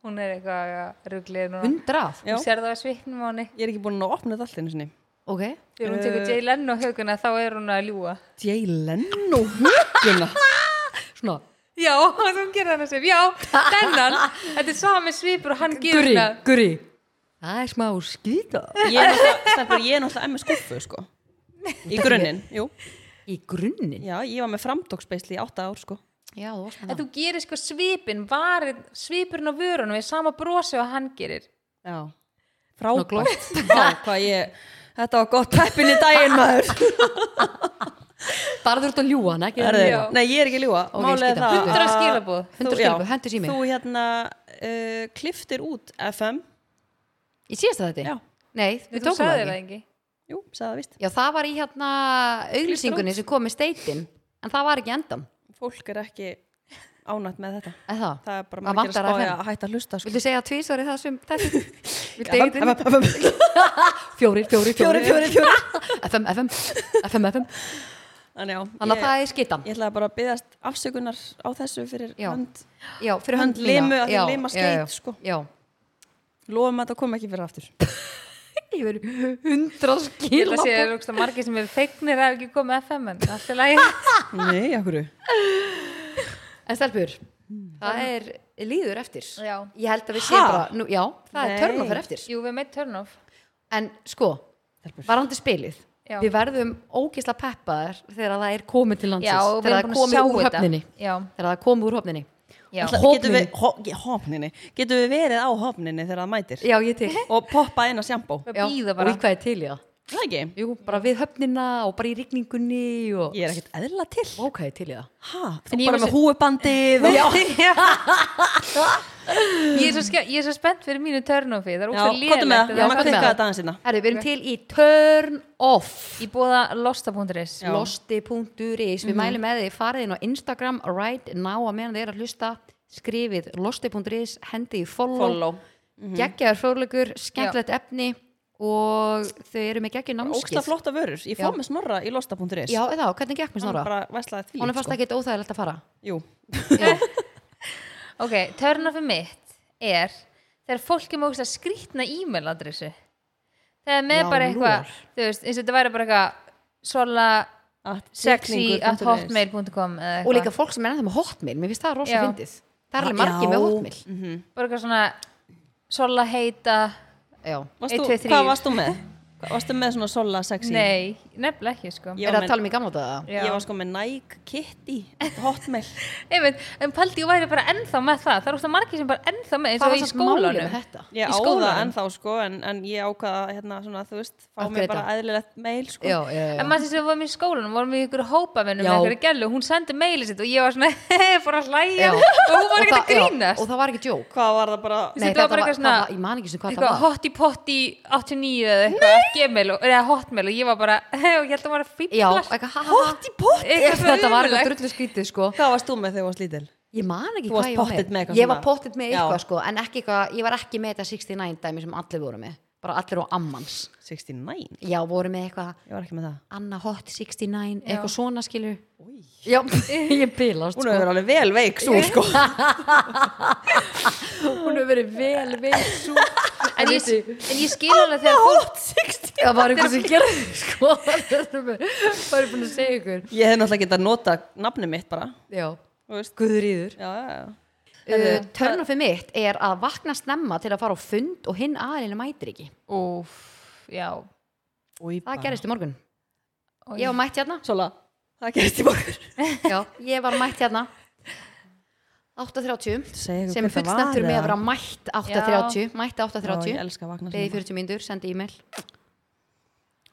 Speaker 3: hún er eitthvað ruglið núna
Speaker 1: Hundrað?
Speaker 2: Já.
Speaker 3: þú sér það á svipnum á henni
Speaker 2: ég er ekki búin að opna þetta allt einu sinni
Speaker 1: Ok,
Speaker 3: þegar hún tekur Jay Leno huguna þá er hún að ljúa
Speaker 2: Jay Leno huguna
Speaker 1: [laughs] svona
Speaker 3: Já, [laughs] þú gerir hann að segja, já,
Speaker 1: [laughs]
Speaker 3: þennan, þetta er sami svipur og hann gerir
Speaker 1: Guri,
Speaker 3: hann
Speaker 1: guri Það er smá skýta
Speaker 2: ég er náttúrulega stelpur, ég er náttúrulega MS skuffu sko í grunninn, jú
Speaker 1: Í grunnin
Speaker 2: já, ég var með framtóksbeisli í 8 ár sko
Speaker 1: Já, þú varst
Speaker 3: að þú gerir sko svipin, varin, svipurinn á vörunum er sama brosi og hann gerir.
Speaker 2: já,
Speaker 1: Svona glott.
Speaker 2: frábært Vá, hvað ég, þetta var gott peppin í daginn maður
Speaker 1: Bara þú ert að ljúa hann, ekki?
Speaker 2: Herðu,
Speaker 3: Já.
Speaker 2: nei, ég er ekki að ljúa
Speaker 1: Ok,
Speaker 2: Málið er
Speaker 1: skýta.
Speaker 2: það að-
Speaker 3: 100 skilaboð.
Speaker 1: 100
Speaker 2: Þú- já,
Speaker 1: skilaboð, hendur sími.
Speaker 2: Þú hérna uh, kliftir út FM
Speaker 1: Í síðasta þetta?
Speaker 2: Já.
Speaker 1: Nei, við tókum það
Speaker 3: það
Speaker 1: ekki
Speaker 3: ekki.
Speaker 2: Jú, sagði það víst
Speaker 1: Já, það var í hérna auglýsingunni sem kom með steitin En það var ekki endan
Speaker 2: Fólk er ekki ánætt með þetta
Speaker 1: eða það?
Speaker 2: það er bara
Speaker 1: Það
Speaker 2: margir að
Speaker 1: vantar hérna.
Speaker 2: spája
Speaker 1: FM.
Speaker 2: að hætta að hlusta sko.
Speaker 1: Viltu segja tvísvar í það sem þetta? [laughs] Viltu
Speaker 2: Ja,
Speaker 1: eigið inn?
Speaker 2: bam, bam, bam, bam.
Speaker 1: Fjórir, fjórir,
Speaker 2: Fjórir, fjórir,
Speaker 1: [laughs] FM, FM, FM, FM.
Speaker 2: [laughs] Þannig já,
Speaker 1: Þannig að
Speaker 2: ég-
Speaker 1: það er skitan.
Speaker 2: Ég ætlaði bara að byggast afsökunar á þessu fyrir
Speaker 1: Já.
Speaker 2: hönd,
Speaker 1: Já, fyrir
Speaker 2: hönd
Speaker 1: hönd mína.
Speaker 2: limu, að
Speaker 1: Já,
Speaker 2: því
Speaker 1: já,
Speaker 2: lima
Speaker 1: já,
Speaker 2: skeit, sko.
Speaker 1: Já.
Speaker 2: Lofum að það kom ekki fyrir aftur.
Speaker 1: Ég verið hundra
Speaker 3: Ég held að sé
Speaker 1: skilabók.
Speaker 3: rúkslega margir sem eru feignir að hafa ekki komið FM en allt er
Speaker 1: [laughs]
Speaker 3: læg.
Speaker 2: Nei, af hverju?
Speaker 1: En stelpur, það er líður eftir.
Speaker 3: Já.
Speaker 1: Ég held að við
Speaker 2: Ha?
Speaker 1: séum bara, nú, já, það
Speaker 2: Nei.
Speaker 1: er törn og fyrir eftir.
Speaker 3: Jú, við meitt turn off.
Speaker 1: En sko,
Speaker 2: Stelpur.
Speaker 1: varandi spilið,
Speaker 3: Já.
Speaker 1: við verðum ógisla peppaðar þegar það er komið til landsins.
Speaker 3: Já, og við
Speaker 1: þegar
Speaker 3: erum
Speaker 1: það
Speaker 3: búin að sjá
Speaker 1: komið úr
Speaker 3: þetta.
Speaker 1: höfninni.
Speaker 3: Já,
Speaker 1: Þegar það komið úr höfninni.
Speaker 3: já.
Speaker 1: Ætla-
Speaker 2: Getum
Speaker 1: Hópninni.
Speaker 2: við, hó, ge- hópninni. Getum við verið á hópninni þegar það mætir?
Speaker 1: Já, ég til.
Speaker 2: Og poppa inn á sjampó?
Speaker 3: Við
Speaker 1: Já,
Speaker 3: býða
Speaker 1: og
Speaker 3: bara.
Speaker 1: í hvað er til í það?
Speaker 2: Það ekki?
Speaker 1: Jú, bara við höfnina og bara í rigningunni og
Speaker 2: Ég er ekkert eðla til.
Speaker 1: ok, til í það.
Speaker 2: Hæ? Þú
Speaker 3: En ég
Speaker 2: bara
Speaker 3: vissi-
Speaker 2: með húubandið
Speaker 1: [laughs]
Speaker 2: og...
Speaker 3: Ég er svo, ske- ég er svo spennt fyrir mínu turn offi. Það er
Speaker 2: Já,
Speaker 3: óslega
Speaker 2: kottum með það. Já,
Speaker 1: komdu
Speaker 2: maður
Speaker 1: með það.
Speaker 2: klikkaði þetta aðeins hérna. innan.
Speaker 1: Herri, við erum til í turn off.
Speaker 3: Í bóða losta.is.
Speaker 2: Já. Mhm.
Speaker 1: losti.is, við mælum með því farið inn á Instagram right now að meðan þið er að hlusta skrifið losti.is, hendi í follow,
Speaker 2: Follow. Mhm.
Speaker 1: geggjaður fróðleikur, skemmtilegt efni og þau eru með geggjur
Speaker 2: Ógsta
Speaker 1: námskið
Speaker 2: flotta vörur. Ég fór með snorra í losta.is.
Speaker 1: Já, eða, hvernig gekk mér
Speaker 2: Hann
Speaker 1: snora?
Speaker 2: bara veslaði því. sko.
Speaker 1: Hún er fast ekkert óþægilegt að fara
Speaker 2: Jú.
Speaker 3: Ok, turn offi mitt er þegar fólk er mókst að skrýtna e-mailadressu. Það er með
Speaker 1: Já,
Speaker 3: bara
Speaker 1: nú er.
Speaker 3: eitthvað, þú veist, eins og þetta væri bara eitthvað sola
Speaker 2: At
Speaker 3: sexy
Speaker 2: siglingur
Speaker 3: at
Speaker 2: punktur is.
Speaker 3: hotmail.com eða
Speaker 1: Og
Speaker 3: eitthvað.
Speaker 1: líka fólk sem er ennþá með hotmail, mér finnst það rosa
Speaker 3: Já.
Speaker 1: fyndið Það er alveg margir með
Speaker 2: Já.
Speaker 1: hotmail
Speaker 2: Mhm.
Speaker 3: Bara eitthvað svona sola heita
Speaker 1: Já,
Speaker 2: Varst
Speaker 3: Einn,
Speaker 2: þú-
Speaker 3: tveir, þrír.
Speaker 2: Hvað varst þú með? Hvað- Varstu með svona sola sexy?
Speaker 3: Nei, nefnilega ekki sko
Speaker 1: er
Speaker 2: Ég var
Speaker 1: það að
Speaker 2: með-
Speaker 1: tala um í gamla daga?
Speaker 3: Já.
Speaker 2: Ég var sko með Nike Kitty
Speaker 3: [laughs]
Speaker 2: Hotmail
Speaker 3: Einmitt, en paldi, ég væri bara ennþá með það það er óslega margir sem bara ennþá með eins
Speaker 1: Það
Speaker 3: og
Speaker 1: var
Speaker 3: í
Speaker 1: samt málið með
Speaker 3: skólanum
Speaker 1: þetta
Speaker 2: Ég
Speaker 3: Í
Speaker 2: á það
Speaker 3: skólanum?
Speaker 2: ennþá sko en, en ég ákvaða hérna svona þú veist fá
Speaker 1: Að
Speaker 2: mér
Speaker 1: greita.
Speaker 2: bara eðlilegt mail sko
Speaker 1: Já, já, já
Speaker 3: en maður sem við vorum í skólanum, vorum við í ykkur hópavinnum
Speaker 1: Já.
Speaker 3: með ykkur gælu, hún sendi meilið sitt og ég var svona, [laughs] fór að
Speaker 1: [laughs] Já.
Speaker 3: hlæja og hún var ekki
Speaker 1: það-
Speaker 3: að
Speaker 1: Já,
Speaker 3: grínast
Speaker 1: og það var ekki djók
Speaker 2: Hvað var það bara
Speaker 3: Nei, þetta var bara eitthvað svona-
Speaker 1: það var- ég man ekki sem hvað það
Speaker 3: eitthvað
Speaker 1: var
Speaker 3: hotti potti 89 eða eitthvað gmail og, eða hotmail og ég var bara [laughs] og ég held að maður að
Speaker 1: já,
Speaker 3: fýblast
Speaker 1: eitthvað ha, ha, ha.
Speaker 2: Hot í pott
Speaker 3: Eitthvað svona
Speaker 1: þetta var eitthvað
Speaker 3: ömurlegt.
Speaker 1: drullu skrítið sko
Speaker 2: Hvað varst þú með þegar þú varst lítil?
Speaker 1: ég man ekki
Speaker 2: Þú
Speaker 1: hvað
Speaker 2: varst
Speaker 1: ég var
Speaker 2: pottet með eitthvað
Speaker 1: ég var
Speaker 2: svona.
Speaker 1: pottet með
Speaker 2: Já.
Speaker 1: eitthvað sko en ekki eitthvað, ég var ekki með þetta 69 dæmi sem allir voru með bara allir og ammans
Speaker 2: 69
Speaker 1: já, voru með eitthvað
Speaker 2: Ég var ekki með það
Speaker 1: Anna Hot 69,
Speaker 3: Já.
Speaker 1: eitthvað svona skilur
Speaker 2: Új.
Speaker 1: já, [laughs] ég bilast
Speaker 2: Hún
Speaker 1: sko
Speaker 2: hefur alveg vel veik svo sko
Speaker 1: hún hefur verið vel, vel svo
Speaker 3: en ég, en ég skil alveg þegar fólk
Speaker 2: Hot 69
Speaker 1: það var eitthvað sem gerði sko það er búin að segja ykkur
Speaker 2: Ég hef náttúrulega getað nota nafnið mitt bara
Speaker 1: já,
Speaker 2: Þú veist
Speaker 1: guðrýður
Speaker 2: Já, já, já
Speaker 1: Uh, Törnofið mitt er að vakna snemma til að fara á fund og hinn aðeins mætir ekki.
Speaker 3: úf, já
Speaker 2: Új,
Speaker 1: Það gerist í morgun. Ég var mætt hérna.
Speaker 2: Sola Það gerist í morgun
Speaker 1: Já, ég var mætt hérna. 8.30
Speaker 2: Segðu
Speaker 1: sem er
Speaker 2: hver það um var
Speaker 1: fullstendur með
Speaker 2: eða?
Speaker 1: að vera mætt 8.30 mætt
Speaker 2: Já, Ég
Speaker 1: 8.30
Speaker 2: elska að vakna
Speaker 1: beði
Speaker 2: snemma.
Speaker 1: 40 mínútur, sendi e-mail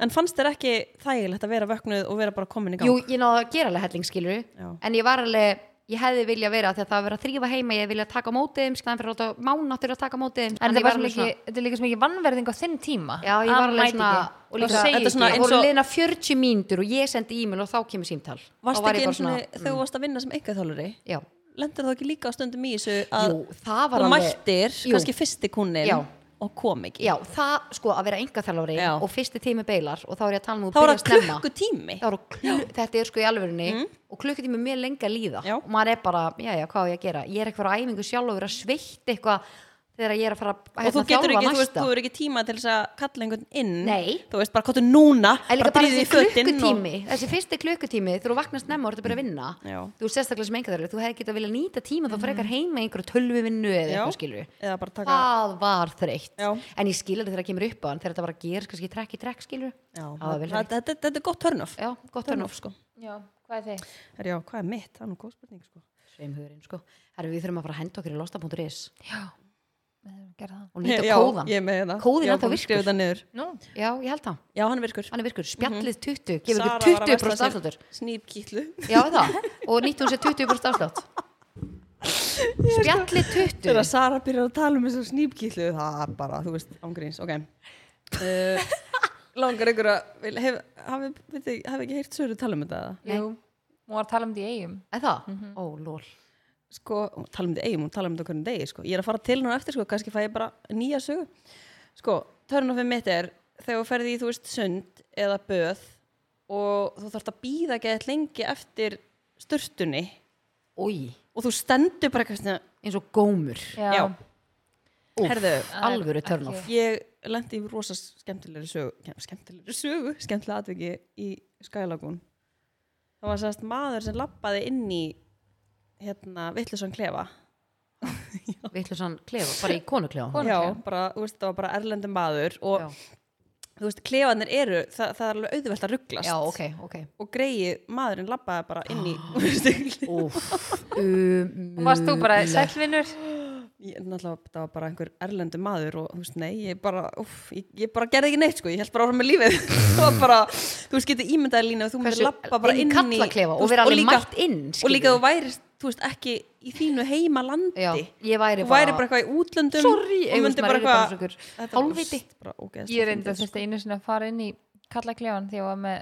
Speaker 2: En fannst þér ekki þægilegt að vera vöknuð og vera bara komin í gang?
Speaker 1: Jú, ég náðu að gera alveg hellingsskiluru
Speaker 2: Já.
Speaker 1: en ég var alveg, ég hefði vilja vera því að það var verið að þrýfa heima, ég vilja taka á móti þeim skæðan fyrir að láta mánáttur að taka á móti þeim
Speaker 3: En
Speaker 1: Þannig
Speaker 3: það
Speaker 1: ég
Speaker 3: var
Speaker 1: var
Speaker 3: svo
Speaker 1: alveg
Speaker 3: mikið, þetta er líka svo mikið vannverðing á þinn tíma.
Speaker 1: Já, ég
Speaker 3: Að
Speaker 1: var
Speaker 3: hann
Speaker 1: alveg
Speaker 3: mæti
Speaker 1: svona
Speaker 3: ekki.
Speaker 1: og líka,
Speaker 3: Það segir
Speaker 2: þetta er svona
Speaker 1: það
Speaker 3: ekki.
Speaker 2: eins
Speaker 1: voru
Speaker 2: og-
Speaker 1: leina 40 mínútur og ég sendi e-mail og þá kemur símtal
Speaker 2: Varst
Speaker 1: Þá var
Speaker 2: ekki
Speaker 1: ég bara
Speaker 2: eins og
Speaker 1: svona, Mm.
Speaker 2: þegar þú varst að vinna sem einkaþjálfari?
Speaker 1: já,
Speaker 2: Lendur þú ekki líka á stundum í þessu að
Speaker 1: jú, það var
Speaker 2: þú
Speaker 1: alveg
Speaker 2: mættir,
Speaker 1: Jú.
Speaker 2: kannski fyrsti kunnin
Speaker 1: Já.
Speaker 2: og kom ekki?
Speaker 1: já, það sko að vera engaþjálfari
Speaker 2: Já.
Speaker 1: og fyrsti tími beilar og þá er ég að tala um að
Speaker 2: Það var
Speaker 1: byrja
Speaker 2: að
Speaker 1: snemma
Speaker 2: klukku tími.
Speaker 1: það voru klu, þetta er sko í alvörunni og klukkutími mjög lengi að líða
Speaker 2: Mm. Já.
Speaker 1: og maður er bara, já, já, hvað á ég að gera ég er ekki að fara á æfingu sjálf og vera sveitt eitthvað þegar ég er að fara að hérna
Speaker 2: Og þú getur
Speaker 1: þjálfa
Speaker 2: ekki, þú veist,
Speaker 1: næsta.
Speaker 2: þú er ekki tíma til þess að kalla einhvern inn.
Speaker 1: Nei.
Speaker 2: Þú veist, bara kottu núna,
Speaker 1: En líka bara
Speaker 2: drífðu
Speaker 1: þessi
Speaker 2: í fötin
Speaker 1: klukkutími, þessi fyrsti klukkutími þegar þú vaknar snemma og ertu að byrja að vinna
Speaker 2: Já. Mm.
Speaker 1: þú er sérstaklega sem engaðarlega, þú hefði getað vilja nýta tíma þá frekar heima í einhverju tölvuvinnu eða
Speaker 2: Já.
Speaker 1: eitthvað skilur
Speaker 2: Eða bara taka...
Speaker 1: það var þreytt
Speaker 2: Já.
Speaker 1: en ég skilur þetta þegar það kemur upp á hann þegar þetta var að gera kannski trekk í trekk skilur
Speaker 2: Já,
Speaker 1: það var vel
Speaker 2: þetta- þetta þetta er gott törnöf.
Speaker 1: já, gott hann
Speaker 2: sko.
Speaker 3: Já, hvað er þið?
Speaker 2: Herra, Já, hvað er mitt? Það er nú góð spurning, sko.
Speaker 1: sveimhugurinn sko Herru, við þurfum að fara að henda okkur í losta.is
Speaker 3: Já, við þurfum að gera það.
Speaker 1: og nýta
Speaker 2: [laughs] Já,
Speaker 1: kóðan
Speaker 2: Ég er með hérna. það.
Speaker 1: Kóðinn
Speaker 2: Ég var
Speaker 1: ennþá
Speaker 2: búin að skrifa
Speaker 1: virkur.
Speaker 2: þetta niður.
Speaker 3: Nú,
Speaker 1: já, ég held það,
Speaker 2: Já, hann er virkur.
Speaker 1: hann er virkur spjallið 20, gefur
Speaker 2: Sara var
Speaker 1: okkur
Speaker 2: að
Speaker 1: 20%
Speaker 2: versla sér
Speaker 1: afsláttur
Speaker 2: Snýpkýtlu.
Speaker 1: já, það, og nýtti hún sér 20% afslátt spjallið 20
Speaker 2: Þegar Sara byrjar að tala um þessar snýpkýtlu það er bara, þú veist, ángríns, ok
Speaker 1: [laughs]
Speaker 2: uh, Langar ykkur að vil- hef, hafi, veit þið, hafi ekki heyrt Söru tala um þetta eða?
Speaker 3: jú, hún var að tala um því eigum.
Speaker 1: Eða það? Ó, lól.
Speaker 2: sko, hún tala um þetta eigum, hún tala um þetta á hvernig degi sko. ég er að fara til núna eftir, sko, kannski fæ ég bara nýja sögu sko, törnofið mitt er þegar þú ferði í, þú veist, sund eða böð og þú þarft að býða geðið lengi eftir sturtunni
Speaker 1: Új,
Speaker 2: og þú stendur bara eitthvað svona,
Speaker 1: eins og gómur
Speaker 3: já,
Speaker 2: Já.
Speaker 3: já.
Speaker 1: Úff,
Speaker 2: Herðu,
Speaker 1: Alvöru törn off
Speaker 2: ég lendi í rosa skemmtilegri sögu kem- skemmtilegri sögu, skemmtilega atviki í Skylagún það var sérst maður sem labbaði inn í hérna, vittlusan klefa
Speaker 1: Við ætlum sann klefa, bara í konuklefa
Speaker 2: já,
Speaker 3: Konuklefa.
Speaker 2: bara, þú veist, það var bara erlendum maður og
Speaker 1: Já.
Speaker 2: þú veist, klefanir eru það, það er alveg auðvelt að rugglast
Speaker 1: Já, ok, Ah. ok
Speaker 2: og greið maðurinn labbaði bara inn í [laughs] þú veist, ég-
Speaker 1: Úff, um,
Speaker 3: og varst þú bara sælvinur
Speaker 2: náttúrulega það var bara einhver erlendum maður og þú veist, nei, ég bara úf, ég, ég bara gerði ekki neitt, sko, ég held bara áfram með lífið [laughs] það var bara, þú veist, getur ímyndaði lína og þú myndir labba bara inn í
Speaker 1: kallaklefa
Speaker 2: þú
Speaker 1: og
Speaker 2: veist,
Speaker 1: vera alveg
Speaker 2: líka-
Speaker 1: mætt inn
Speaker 2: og líka þú værist, þú veist, ekki í þínu heima landi
Speaker 1: Já, ég væri
Speaker 2: þú
Speaker 1: bara-
Speaker 2: væri bara eitthvað í útlöndum
Speaker 1: Sorry,
Speaker 2: og
Speaker 1: Eyrún,
Speaker 2: myndir
Speaker 1: maður
Speaker 2: bara
Speaker 1: er bara
Speaker 2: eitthvað
Speaker 1: svona einhver
Speaker 2: Þetta var
Speaker 1: hálfviti.
Speaker 2: bara ógeðslega
Speaker 3: ég reyndi
Speaker 2: fyndið,
Speaker 3: að þetta einu sinni að fara inn í kallaklefan því að ég var með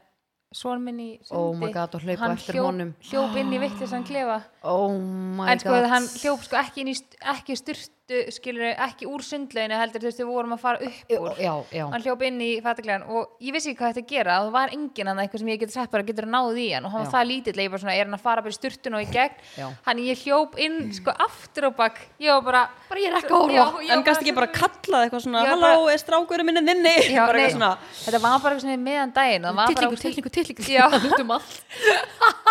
Speaker 3: son minn í sundi
Speaker 1: Oh my god, og hlaupa
Speaker 3: Hann
Speaker 1: eftir
Speaker 3: hljóp-
Speaker 1: honum.
Speaker 3: hljóp inn í vittlisann klefa
Speaker 1: Oh my
Speaker 3: en sko
Speaker 1: god
Speaker 3: hann hljóp sko ekki, inn í st- ekki styrtu skilur ekki úr sundlauginu heldur þú veist við vorum að fara upp úr
Speaker 1: Já, já
Speaker 3: hann hljóp inn í fataklegan og ég vissi ekki hvað þetta að gera og það var enginn annað eitthvað sem ég geti sett bara getur náð í hann og hann
Speaker 1: Já.
Speaker 3: var það lítill ég bara svona er hann að fara bara í styrtun og í gegn
Speaker 1: Já.
Speaker 3: hann ég hljóp inn sko aftur á bak ég var bara
Speaker 1: Bara ég er ekki að horfa.
Speaker 3: Já, ég
Speaker 2: en
Speaker 3: var
Speaker 2: gast ekki bara
Speaker 3: svona-
Speaker 2: kallað eitthvað svona
Speaker 3: Já,
Speaker 2: halló,
Speaker 3: bara-
Speaker 2: er strákurinn minni þinni bara
Speaker 3: Já, nei,
Speaker 2: eitthvað svona
Speaker 3: þetta var bara eitthvað svona meðan daginn og það var bara
Speaker 1: Tittlingur, tittlingur, tittlingur [laughs]
Speaker 3: Já.
Speaker 1: Hlutum allt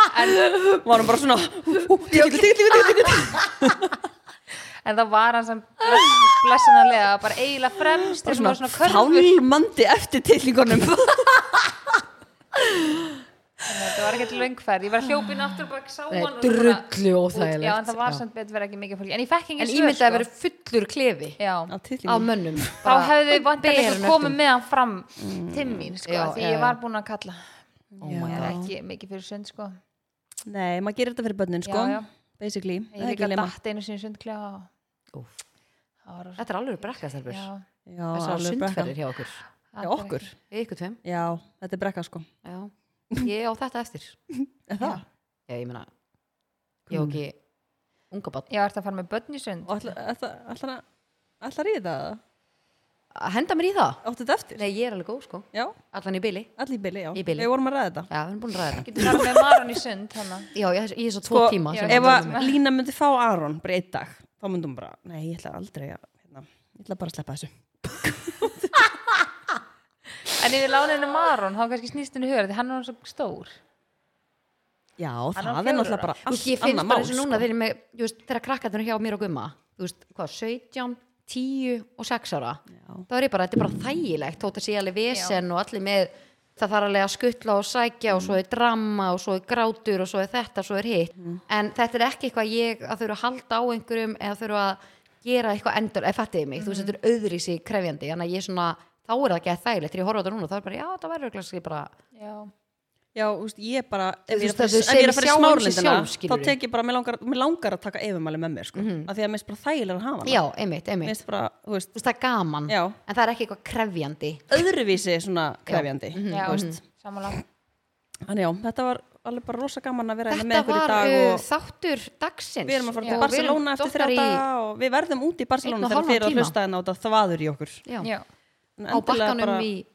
Speaker 2: varum bara svona hú, tíkli, tíkli, tíkli, tíkli.
Speaker 3: en það var hann sem bless- blessunarlega bara eiginlega fremst
Speaker 2: bara
Speaker 3: þessum var
Speaker 2: svona
Speaker 3: svona körfur
Speaker 2: fálmandi eftir tillingunum
Speaker 3: þetta var ekkert löngferð ég var hljópin aftur og bara sá
Speaker 1: Nei,
Speaker 3: hann og
Speaker 1: drullu
Speaker 3: bara-
Speaker 1: óþægilegt.
Speaker 3: já en það var
Speaker 1: Já.
Speaker 3: samt betur verið ekki mikið fólk en ég fekk engin
Speaker 1: En
Speaker 3: svör sko.
Speaker 1: ég myndi að vera fullur klefi
Speaker 3: já
Speaker 1: Af mönnum
Speaker 3: þá hefði vantilega
Speaker 1: berum
Speaker 3: komið
Speaker 1: öllum.
Speaker 3: með hann fram til mín sko
Speaker 1: Mm. Já,
Speaker 3: því
Speaker 1: já,
Speaker 3: ég
Speaker 1: já.
Speaker 3: var búin að kalla
Speaker 1: Oh my
Speaker 3: það
Speaker 1: god
Speaker 3: er ekki mikið fyrir sund sko
Speaker 2: nei, maður gerir þetta fyrir börnin sko
Speaker 3: Já, já.
Speaker 2: basically
Speaker 3: ég líka datt einu sinni sundklega
Speaker 1: Úf.
Speaker 3: það var
Speaker 1: Þetta er alveg brekka stelpur
Speaker 3: já
Speaker 1: Þessar sundferðir
Speaker 2: sundferðir
Speaker 1: hjá okkur
Speaker 2: hjá okkur
Speaker 1: Við ykkur tveim
Speaker 2: já, þetta er brekka sko
Speaker 1: Já Ég á þetta
Speaker 2: [laughs]
Speaker 1: eftir
Speaker 2: það
Speaker 1: Já, ég meina Ég á ekki unga barn
Speaker 3: ég var að fara með börn í sund
Speaker 2: og ætlar að ríða það
Speaker 1: Að Henda mér í það
Speaker 2: áttu þetta eftir
Speaker 1: Nei, ég er alveg góð sko
Speaker 2: já,
Speaker 1: Allan í byli
Speaker 2: allir í byli, já
Speaker 1: Í bili.
Speaker 2: við vorum að ræða þetta
Speaker 1: Já, við erum búin að ræða þetta
Speaker 3: getur farið með maran í sund þannig
Speaker 1: Já, ég, ég er svo tvo
Speaker 2: sko,
Speaker 1: tíma
Speaker 3: já,
Speaker 1: sem
Speaker 2: ef
Speaker 1: við
Speaker 2: að
Speaker 1: erum með.
Speaker 2: Lína myndi fá Aron bara einn dag, þá myndi hún bara nei, ég ætla aldrei að, hérna, ég ætla bara að sleppa þessu
Speaker 3: en ef ég lána henni maran þá kannski snýst henni hugur því hann er hann svo stór
Speaker 2: já, það
Speaker 3: á
Speaker 2: er
Speaker 3: fjögurra.
Speaker 2: náttúrulega bara
Speaker 1: Þú veist, ég
Speaker 2: allt
Speaker 1: finnst
Speaker 2: annað
Speaker 1: bara
Speaker 2: mál
Speaker 1: eins og
Speaker 2: sko.
Speaker 1: núna þeir eru með, þú veist, þegar krakkarnir hjá mér og gumma, þú veist, hvað, 17, 10 og 6 ára, þá er ég bara, þetta er bara þægilegt, þótt að sé alveg vesen og allir með, það þarf alveg að skuttla og sækja og svo er drama og svo er grátur og svo er þetta, svo er hitt,
Speaker 2: Mhm.
Speaker 1: en þetta er ekki eitthvað ég að þau eru að halda á einhverjum eða þau eru að gera eitthvað endur, eða fattiði mig,
Speaker 2: Mhm.
Speaker 1: þú veist, þetta er öðri sig krefjandi, þannig að ég er svona, þá er það ekki að þægilegt, þegar ég horfa á þetta núna, þá er bara, já, það verður örugglega bara,
Speaker 3: já
Speaker 2: já, úst, ég bara,
Speaker 1: Þú
Speaker 2: ef ég er
Speaker 1: veist,
Speaker 2: að fara
Speaker 1: þau
Speaker 2: í- ef ég er að fara í
Speaker 1: sjá um sig
Speaker 2: smárlindina
Speaker 1: sjálf, skilurðu.
Speaker 2: þá tek ég bara, mér langar, mér langar að taka yfirmæli með mér, sko, af því að mér finnst bara þægilega að hafa hana.
Speaker 1: já, Mm. einmitt,
Speaker 2: mér
Speaker 1: einmitt,
Speaker 2: finnst bara, þú veist,
Speaker 1: þú veist, það er gaman,
Speaker 2: Já.
Speaker 1: en það er ekki eitthvað krefjandi,
Speaker 2: öðruvísi svona krefjandi
Speaker 3: já
Speaker 2: þú veist.
Speaker 3: samanlagt
Speaker 2: en já, þetta var alveg bara rosa gaman að vera hérna með
Speaker 1: Þetta
Speaker 2: ykkur í
Speaker 1: var
Speaker 2: dag
Speaker 1: uh,
Speaker 2: og
Speaker 1: þáttur dagsins
Speaker 2: við erum að fara
Speaker 3: Já,
Speaker 2: til
Speaker 3: við
Speaker 2: Barcelona
Speaker 1: erum
Speaker 2: eftir
Speaker 1: dottar
Speaker 2: þrjá
Speaker 1: í-
Speaker 2: daga og við verðum út í
Speaker 1: Einn
Speaker 2: Barcelona
Speaker 1: og
Speaker 2: þegar
Speaker 1: hálfan
Speaker 2: fyrir að
Speaker 1: tíma.
Speaker 2: hlusta en á þetta þvaður í okkur
Speaker 1: Já,
Speaker 3: já
Speaker 2: En
Speaker 1: á
Speaker 2: endilega
Speaker 1: bakkanum
Speaker 2: bara-
Speaker 1: í,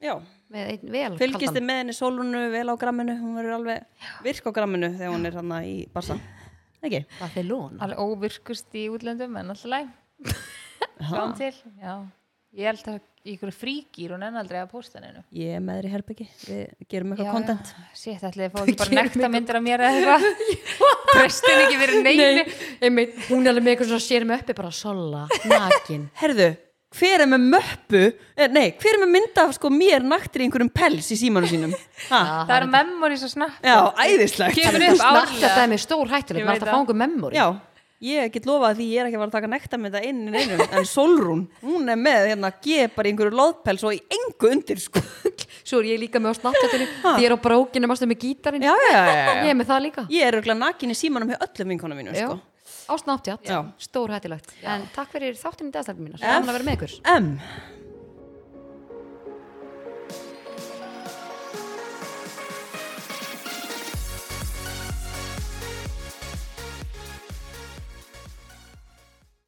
Speaker 2: Já,
Speaker 1: með einn vel
Speaker 2: fylgist þið
Speaker 1: kaldan.
Speaker 2: með henni sólunu vel á gramminu, hún verður alveg virk á gramminu þegar hún er hann í barsa ekki?
Speaker 1: Barcelona
Speaker 3: alveg óvirkust í útlöndum en alltaf læg skáum til já ég held að í ykkur fríkir og nenn aldrei að posta hennu
Speaker 2: Ég er með þér í herbyggi, við gerum eitthvað
Speaker 3: Já,
Speaker 2: kontent
Speaker 3: já. Shit, ætli þið fá ekki bara
Speaker 1: Gerum
Speaker 3: nekta myndir af mér eða eitthvað Prestin ekki verið neinu
Speaker 1: einmitt, hún er alveg með eitthvað svona sér með uppi bara sola, nakin
Speaker 2: [laughs] Herðu, hver er með möppu eh, nei, hver er með mynda af sko mér naktir í einhverjum pels í símanum sínum ha?
Speaker 3: Það eru memories og snapp
Speaker 2: Já, æðislegt
Speaker 3: Kemur upp
Speaker 1: Þetta
Speaker 3: árlega
Speaker 1: er með stór hættulegt,
Speaker 3: Ég
Speaker 1: maður
Speaker 3: veit
Speaker 1: ætti að fá
Speaker 3: það.
Speaker 1: einhver memory
Speaker 2: Já, ég get lofað því ég er ekki að fara að taka nekta með þetta inn í neinum, en Solrún hún er með hérna, ég bara í einhverju loðpels og í engu undir sko
Speaker 1: Svo er ég líka með á snartjöldinu Því er á brókinu, maður með gítarinn
Speaker 2: Já, já, já, já,
Speaker 1: Ég
Speaker 2: já.
Speaker 1: er með það líka
Speaker 2: Ég er auðvitað nakin í símanum hjá öllum vinkonum mínu
Speaker 1: Já.
Speaker 2: sko.
Speaker 1: Á snartjöld,
Speaker 2: Já.
Speaker 1: stór hættulegt En takk fyrir þáttinu dagslæfum mínar,
Speaker 2: F-
Speaker 1: hann að vera með ykkur
Speaker 2: M